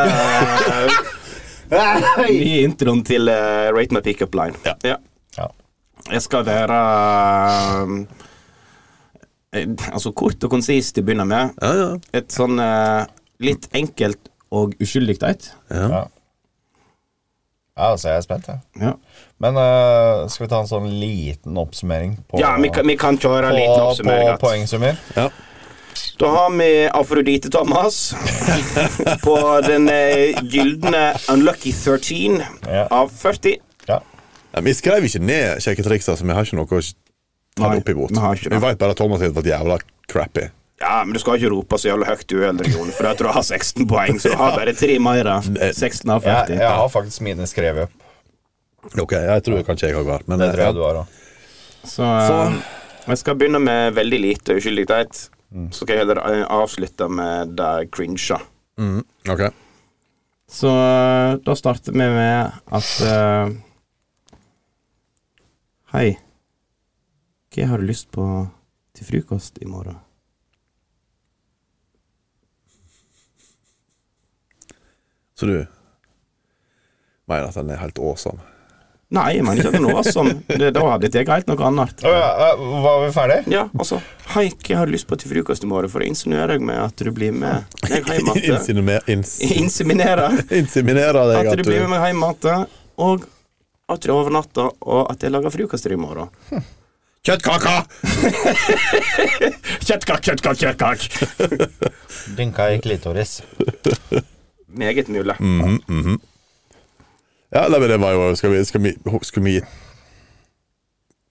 eh, Nye introen til eh, Rate my pickup line.
Ja.
Ja.
Jeg skal være eh, Altså kort og konsist til å begynne med.
Ja, ja.
Et sånn eh, litt enkelt og uskyldig et.
Ja. Ja, altså, jeg er spent, jeg.
Ja.
Men eh, skal vi ta en sånn liten oppsummering på,
Ja, vi, kan- vi kan kjøre en
på,
liten
på
oppsummering. at-
poengsummer?
Da har vi Afrodite Thomas på den eh, gylne Unlucky 13
Ja.
av 40.
Ja.
Nei, vi skrev ikke ned sjekketriksa, så vi har ikke noe å ta
Nei,
det opp imot.
vi har ikke det.
Vi vet bare at Thomas har vært jævla crappy.
Ja, men du skal ikke rope så jævlig høyt du heller, Jon, for jeg tror jeg har 16 poeng, så du har bare tre mer. da. 16 av
Jeg,
40.
jeg har faktisk mine skrevet opp.
Ok, jeg tror kanskje jeg har vært men eh,
Det tror jeg du har òg.
Så, eh, Jeg skal begynne med veldig lite uskyldig teit. Så skal jeg heller eh, avslutte med det cringe.
Mm, ok.
Så eh, da starter vi med at eh, Hei. Hva har du lyst på til frokost i morgen?
Så du mener at den er helt awesome?
Nei, jeg mener ikke at det var sånn. Det- Da hadde jeg helt noe annet.
var vi ferdige?
Ja, altså. Hei, hva har du lyst på til frokost i morgen? For da insinuerer jeg med at du blir med meg hjem igjen.
Insinumer, ins,
Inseminere.
inseminerer deg
At
at
du blir med meg hjem igjen, og at du overnatter, og at jeg lager frokost til deg i morgen.
Kjøttkaka!
kjøttkak, kjøttkak, kjøttkak.
Dynka i klitoris.
Meget mulig.
Mhm, mhm. Ja, nei, men det var jo Skal vi Skal vi, skal vi,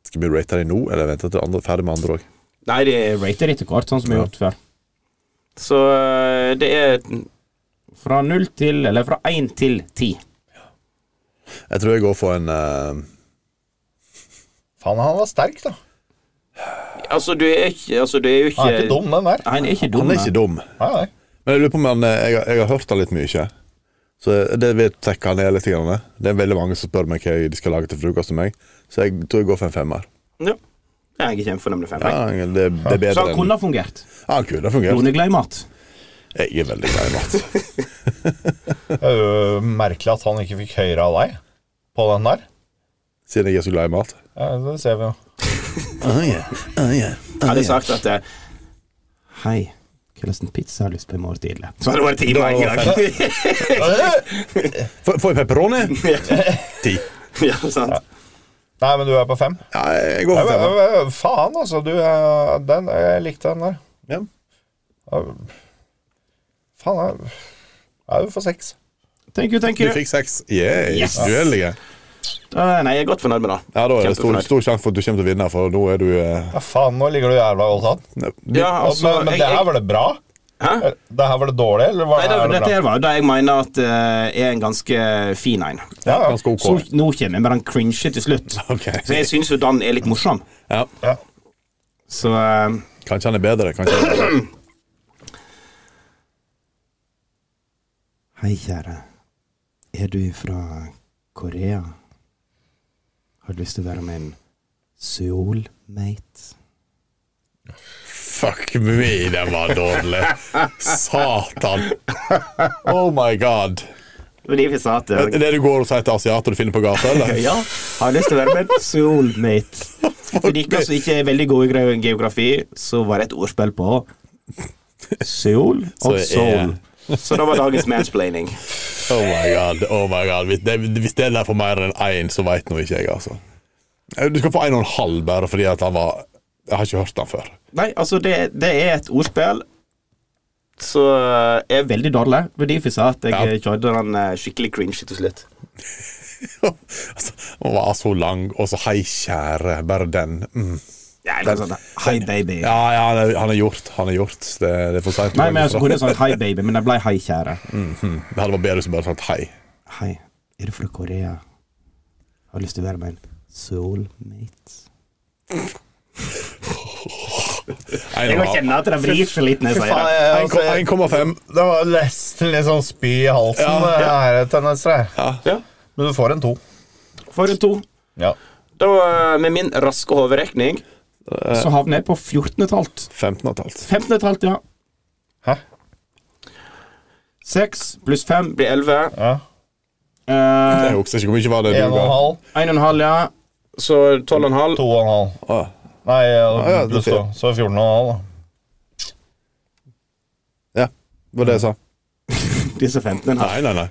skal vi rate det nå, eller vente til andre er ferdig med andre òg?
Nei, det rater etter hvert, sånn som vi har gjort før. Så eh, det er fra null til Eller fra én til ti.
Jeg tror jeg går for en eh,
Faen, han var sterk, da.
Altså, du er ikke altså, du er jo ikke
Han er ikke dum, den der.
Han er ikke dum.
Han er
nei.
ikke dum.
Nei, nei.
Men jeg lurer på om han eh, Jeg, har- jeg har hørt han litt mye. Så det vil jeg trekke han ned litt. Grann. eh. Det er veldig mange som spør meg hva de skal lage til frokost til meg, så jeg tror jeg går for en femmer.
Ja. Jeg er kjempefornøyd med fem.
Ja, det, det er bedre
Så han
enn-
kunne ha fungert.
Ja, han kunne ha fungert.
Rune er glad i mat.
Jeg er veldig glad i mat.
Det er jo merkelig at han ikke fikk høyere av deg på den der.
Siden jeg er så glad i mat.
Ja, det ser vi jo.
Oh, yeah. Oh, yeah.
Jeg hadde sagt at eh,
Hei, hva slags pizza har du lyst på i morgen tidlig?
Så hadde det vært ti med en gang.
Får får jeg pepperoni? Ti.
ja, sant.
Nei, men du er på fem.
Ja, jeg går
Ja,
for femmer.
men, øh, Faen, altså. Du, øh, den, jeg likte den der.
Ja.
Ja, Faen, jeg Ja, du får seks.
Thank you, thank
Du
you.
fikk seks. Yeah,
Yes.
du er heldig.
Da- Nei, jeg er godt fornøyd med det.
Ja, da er det stor,
Kjempefornøyd.
stor sjanse for at du kommer til å vinne, for nå er du eh,
Ja, faen, nå ligger du jævla godt an.
du-
Ja, altså,
men men
jeg,
det her
jeg,
var det bra?
Hæ?
Det her var det dårlig, eller var
Nei,
det,
det,
her det
dette
bra?
her var jo det jeg mener at eh, er en ganske fin en.
Ja, ja.
ganske
Så
ok.
nå kommer jeg med den cringe til slutt.
Ok.
Så jeg syns jo Dan er litt morsom.
Ja.
Så eh,
Kanskje han er bedre. Kanskje han er bedre.
Hei, kjære. Er du fra Korea? Har du lyst til å være med en Seoul-mate?
Fuck me, den var dårlig. Satan. Oh my god.
det var de vi sa
Er
til
det det du går og sier til asiater du finner på gata, eller?
Ja,
Har lyst til å være med en Seoul-mate. For de som ikke er veldig gode i gre- geografi, så var det et ordspill på Seoul
Så
og
er-
Seoul.
Så det var dagens mansplaining.
Oh my god. oh my god Hvis det, hvis det der får mer enn én, så veit nå ikke jeg, altså. Du skal få én og en halv bare fordi at han var Jeg har ikke hørt han før.
Nei, altså, det, det er et ordspill. Så er veldig dårlig. Det var derfor jeg sa at jeg
Ja.
kjørte den eh, skikkelig cringe til slutt.
Altså, Han var så lang, og så 'hei, kjære', bare den. Mm.
Ja, det var sånn, Hei, baby.
Ja, ja, han er, han er gjort. Han er gjort. Det, det er for seint.
Nei, men altså, jeg kunne sagt hei, sånn, baby, men jeg ble hei, kjære.
Det hadde vært bedre hvis du bare sagt 'hei'.
Hei, er du fra Korea? Har lyst til å være med en soulmate?
En
Jeg
og en
må
halv.
kjenne at det vrir seg litt når jeg
Fy faen,
sier det.
jeg,
En
altså,
kom-
jeg,
1,5.
det var nesten litt sånn spy i halsen,
Ja,
det her tendenser her.
Ja.
Men du får en to.
For en to.
Ja.
Da, eh, med min raske hoderekning
eh,
Så havner jeg på 14,5.
15 og et halvt.
15,5, ja.
Hæ?
6 pluss 5
blir 11,
Ja.
Eh,
Jeg husker ikke hvor mye var det du
En og en
ga.
halv,
1,5, ja.
så 12,5.
to og en halv.
Ah,
Nei,
ja,
du
det
så,
sier-
så 14 og en halv, da.
det var det jeg sa.
Disse 15,5.
Nei, nei, nei.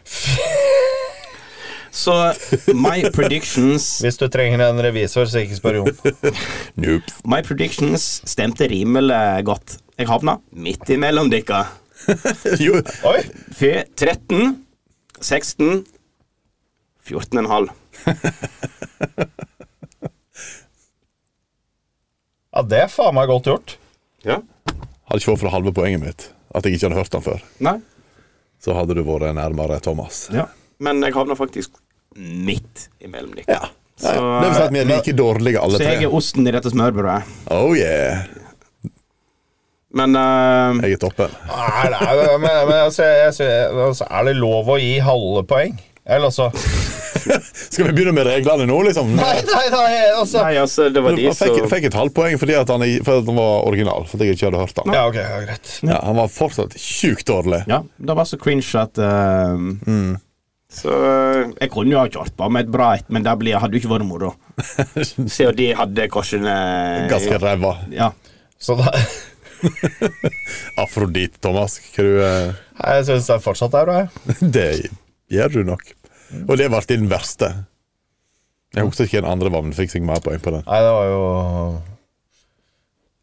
Så my predictions
Hvis du trenger en revisor, så ikke spør Jon.
Nope.
My predictions stemte rimelig godt. Jeg havna midt imellom dere.
Jo,
Oi!
Fy 13, 16, 14,5.
Ja, det er faen meg godt gjort.
Hadde ikke vært for det halve poenget mitt, at jeg ikke hadde hørt han før,
Nei.
så hadde du vært nærmere Thomas.
Men jeg havna faktisk midt imellom dere.
Ja. Ja, ja. Det vil si at vi er like dårlige alle
eh, så jeg
tre.
er osten i dette smørbrødet.
Oh yeah.
Men eh,
Jeg er toppen.
Nei, nei, men, men altså, jeg, jeg, altså, er det lov å gi halve poeng? Eller altså
Skal vi begynne med reglene nå, liksom?
Nei, nei, nei, altså
Nei, altså, det var de
Han fikk,
som
fikk et halvt poeng fordi at han, i- for at han var original. Fordi jeg ikke hadde hørt han.
Ja, ok, ja, greit.
Ja, han var fortsatt sjukt dårlig.
Ja, det var så cringe at eh,
Mm.
Så eh, jeg kunne jo ha kjørt på med et bra et, men det ble- hadde jo ikke vært moro. Se, og de hadde kanskje en, eh,
Ganske ræva.
Ja.
Så da,
Afrodit, Thomas. Hva du, eh,
Nei, jeg syns det fortsatt er bra. jeg.
det gjør du nok. Og det ble den verste. Jeg husker ikke den andre var, men fikk sikkert mer poeng på den.
Nei, det var jo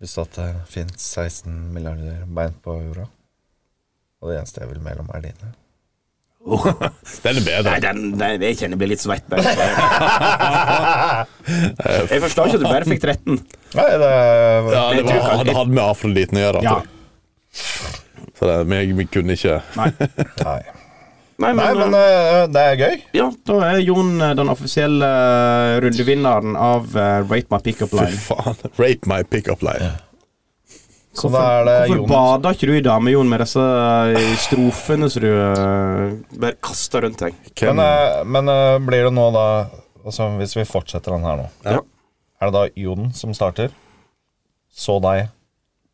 Hvis at det fins 16 milliarder bein på jorda, og det eneste jeg vil melde om, er dine.
Den er
Nei,
bedre.
den, den, jeg kjenner jeg blir litt svett. Bare. Jeg forstår ikke at du bare fikk 13.
Nei, det er
Ja, det var, hadde, hadde med Afroditen å gjøre.
Ja.
tror jeg. Så det, vi, vi kunne ikke
Nei,
Nei, men,
Nei men
eh,
eh, det er gøy.
ja, da er Jon eh, den offisielle eh, rundevinneren av eh, Rate My Pickup
Fy
Line.
faen. Rape my pickup line.
Så da er det
Hvorfor
Jon
bada ikke du i dag med Jon med disse eh, strofene som du eh, bare kasta rundt deg?
Hvem,
Men, eh, men eh, blir det nå da Altså Hvis vi fortsetter den her nå,
Ja.
er det da Jon som starter? Så deg,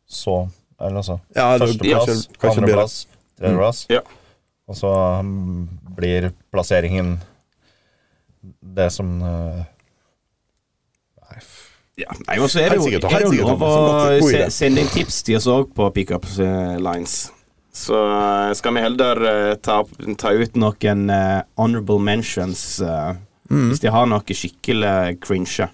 så Eller altså
ja, det,
Førsteplass,
kanskje, Mm. kanskje blir det
andreplass, tredjeplass.
Ja.
Og så mm, blir plasseringen det som eh, Nei, f-
Ja, nei, og så er det jo,
Helt sikkert,
er det
helt
jo
sikkert,
lov å
Thomas. God
se,
idé.
sende inn tips til oss òg på pickup eh, lines. Så eh, skal vi heller eh, ta, opp- ta ut noen eh, honorable mentions, eh,
Mm.
hvis de har noe skikkelig cringe.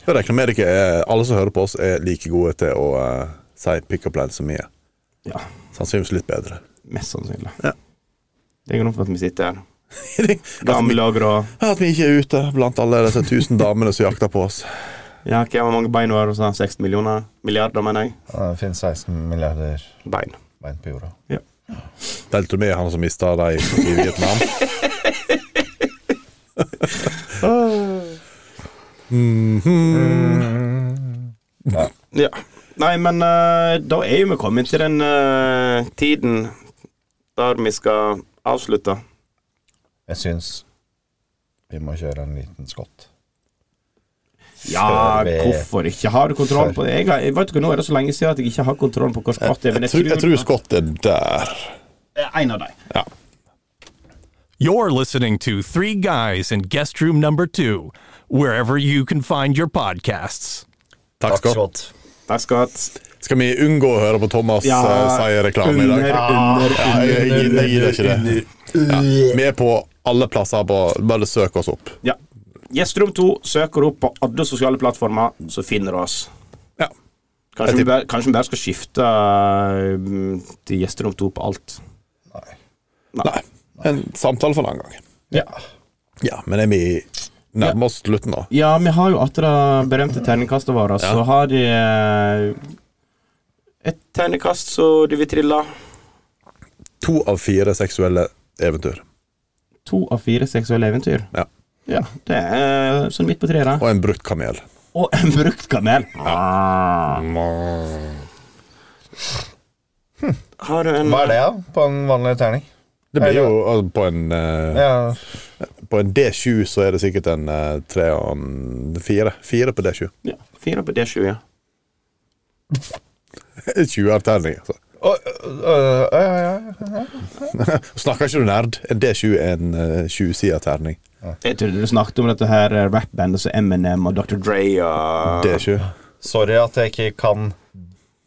Jeg regner med dere er, eh, alle som hører på oss, er like gode til å eh, si pickup line som vi er.
Ja,
Sannsynligvis litt bedre.
mest sannsynlig.
Ja.
Det er grunnen for at vi sitter her.
at, vi,
Gamle og grå.
at vi ikke er ute blant alle disse tusen damene som jakter på oss.
Ja, hva hvor mange bein var det? sa han? 60 millioner? Milliarder, mener jeg.
det finnes 16 milliarder
Bein.
bein på jorda.
Delte du med han som mista de i Vietnam?
Ja. Nei, men eh, da er jo vi kommet til den eh, tiden der vi skal avslutte.
Jeg syns vi må kjøre en liten skott.
Ja,
Før vi-
hvorfor ikke? Har du kontroll
Før.
på det? Jeg, har- jeg vet ikke, Nå er det så lenge siden at jeg ikke har kontroll på hvor sport det er. Men jeg
Jeg tror, jeg
tror
tror Scott er der.
en av dem.
You're listening to Three Guys in Guest Room Number Two, wherever you can find your podcasts.
Takk, Scott.
Takk skal du ha.
Skal vi unngå å høre på Thomas ja,
Ja,
si reklame i
Under,
dag? Ah.
under,
Ja, jeg, jeg, gidder- jeg gidder ikke det. Ja. Vi er på alle plasser. På, bare søk oss opp.
Ja. Gjesterom 2 søker opp på alle sosiale plattformer, så finner du oss.
Ja.
Kanskje vi, bare, kanskje vi bare skal skifte eh, til Gjesterom 2 på alt.
Nei. En samtale for en annen gang.
Ja.
Ja, men er vi nærmer oss slutten nå?
Ja, vi har jo etter det berømte terningkastet vårt, så har de eh, et terningkast så de vil trille.
To av fire seksuelle eventyr.
To av fire seksuelle eventyr.
Ja.
Ja, det er sånn midt på treet. da.
Og en brukt kamel.
Og en brukt kamel. Ah. Har du en
Hva er det, da? På en vanlig terning?
Det blir jo altså, på en, eh,
Ja,
på en D7 så er det sikkert en eh, tre og en fire. Fire på D7.
Ja, fire på D20, ja.
20-erterning. Altså.
Å, å, å, ja, ja, ja.
Snakker ikke du nerd? En D7 er en eh, 20-siderterning.
Jeg trodde du snakket om dette her eh, rappbandet som Eminem og Dr. Dre og
D7.
Sorry at jeg ikke kan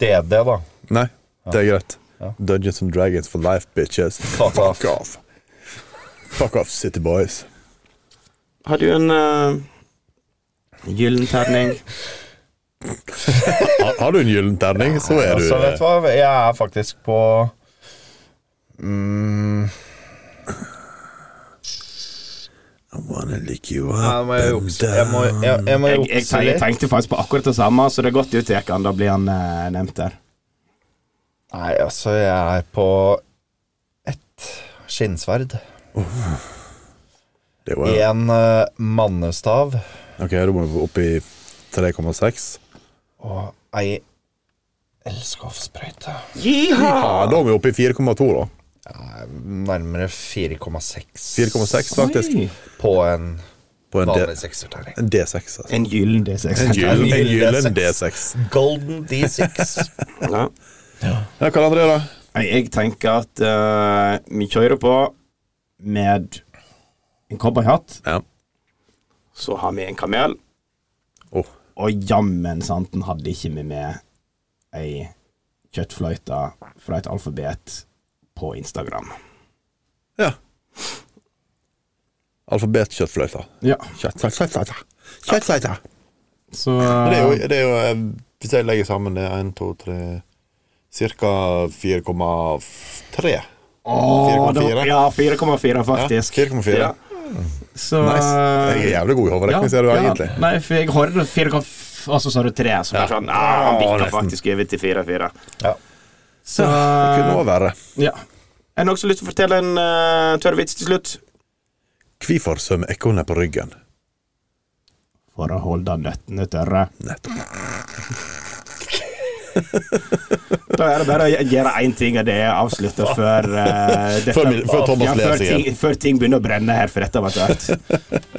DD, da.
Nei, det er greit. Dungeons and Dragons for life, bitches.
Fuck off.
off. Fuck off, city boys.
Har du en eh, gyllen terning?
Har, har du en gyllen terning, så er du
Altså, vet du
eh,
hva? Jeg er faktisk på mm,
Wanna lick you up
Ja, nå må jeg
and
jukse. Jeg må-
down.
jeg- jeg må
Jeg, jeg,
jukse litt.
tenkte faktisk på akkurat det samme, så det er godt du tar han. Da blir han eh, nevnt der.
Nei, altså, jeg er på ett skinnsverd.
Det var
En eh, mannestav
Ok, da må vi opp i 3,6.
og ei elskovsprøyte.
Ja, da er vi oppe i 4,2, da.
Nærmere 4,6.
4,6 faktisk.
Oi. På en,
På en D-
vanlig sekserterning.
En D6, altså.
En gyllen D6.
En gyllen, en gyllen D6.
D6. Golden D6.
Ja.
Ja, hva andre da?
Jeg, jeg tenker at eh, vi kjører på med en cowboyhatt. Så har vi en kamel. Og jammen santen hadde ikke vi med ei kjøttfløyte fra et alfabet på Instagram.
Alfabetkjøttfløyta.
Ja.
Kjøttfløyta. Kjøttfløyta.
Så
Det er jo, det er jo eh, Hvis jeg legger sammen det, 1, 2, 3 Cirka 4,3.
Åh, det var-
4,4.
Ja, 4,4 faktisk.
Ja, 4,4.
Ja. Så eh,
Nice. Jeg er jævlig god i hoderegning, ser du
ja,
egentlig.
Nei, for jeg hørte 4,4, og altså, så sa du 3, så var det sånn ah, Han
Ja,
bikka
nesten.
faktisk over til 4,4.
Ja.
Så eh,
Det kunne også være.
Ja. Er det noen som har lyst til å fortelle en eh, tørr vits til slutt?
Hvorfor svømmer ekornet på ryggen?
For å holde nøttene tørre. Da er det bare å gj- gjøre én ting, og det er å avslutte før eh, dette-
Før min- før Thomas
ja,
ler
før
seg
ting, før ting begynner å brenne her, for dette var tørt.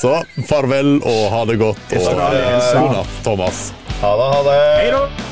Så farvel og ha det godt.
Det
Og
skal du ha,
eh,
Elsa.
god natt, Thomas.
Ha det, ha det.
Hei da.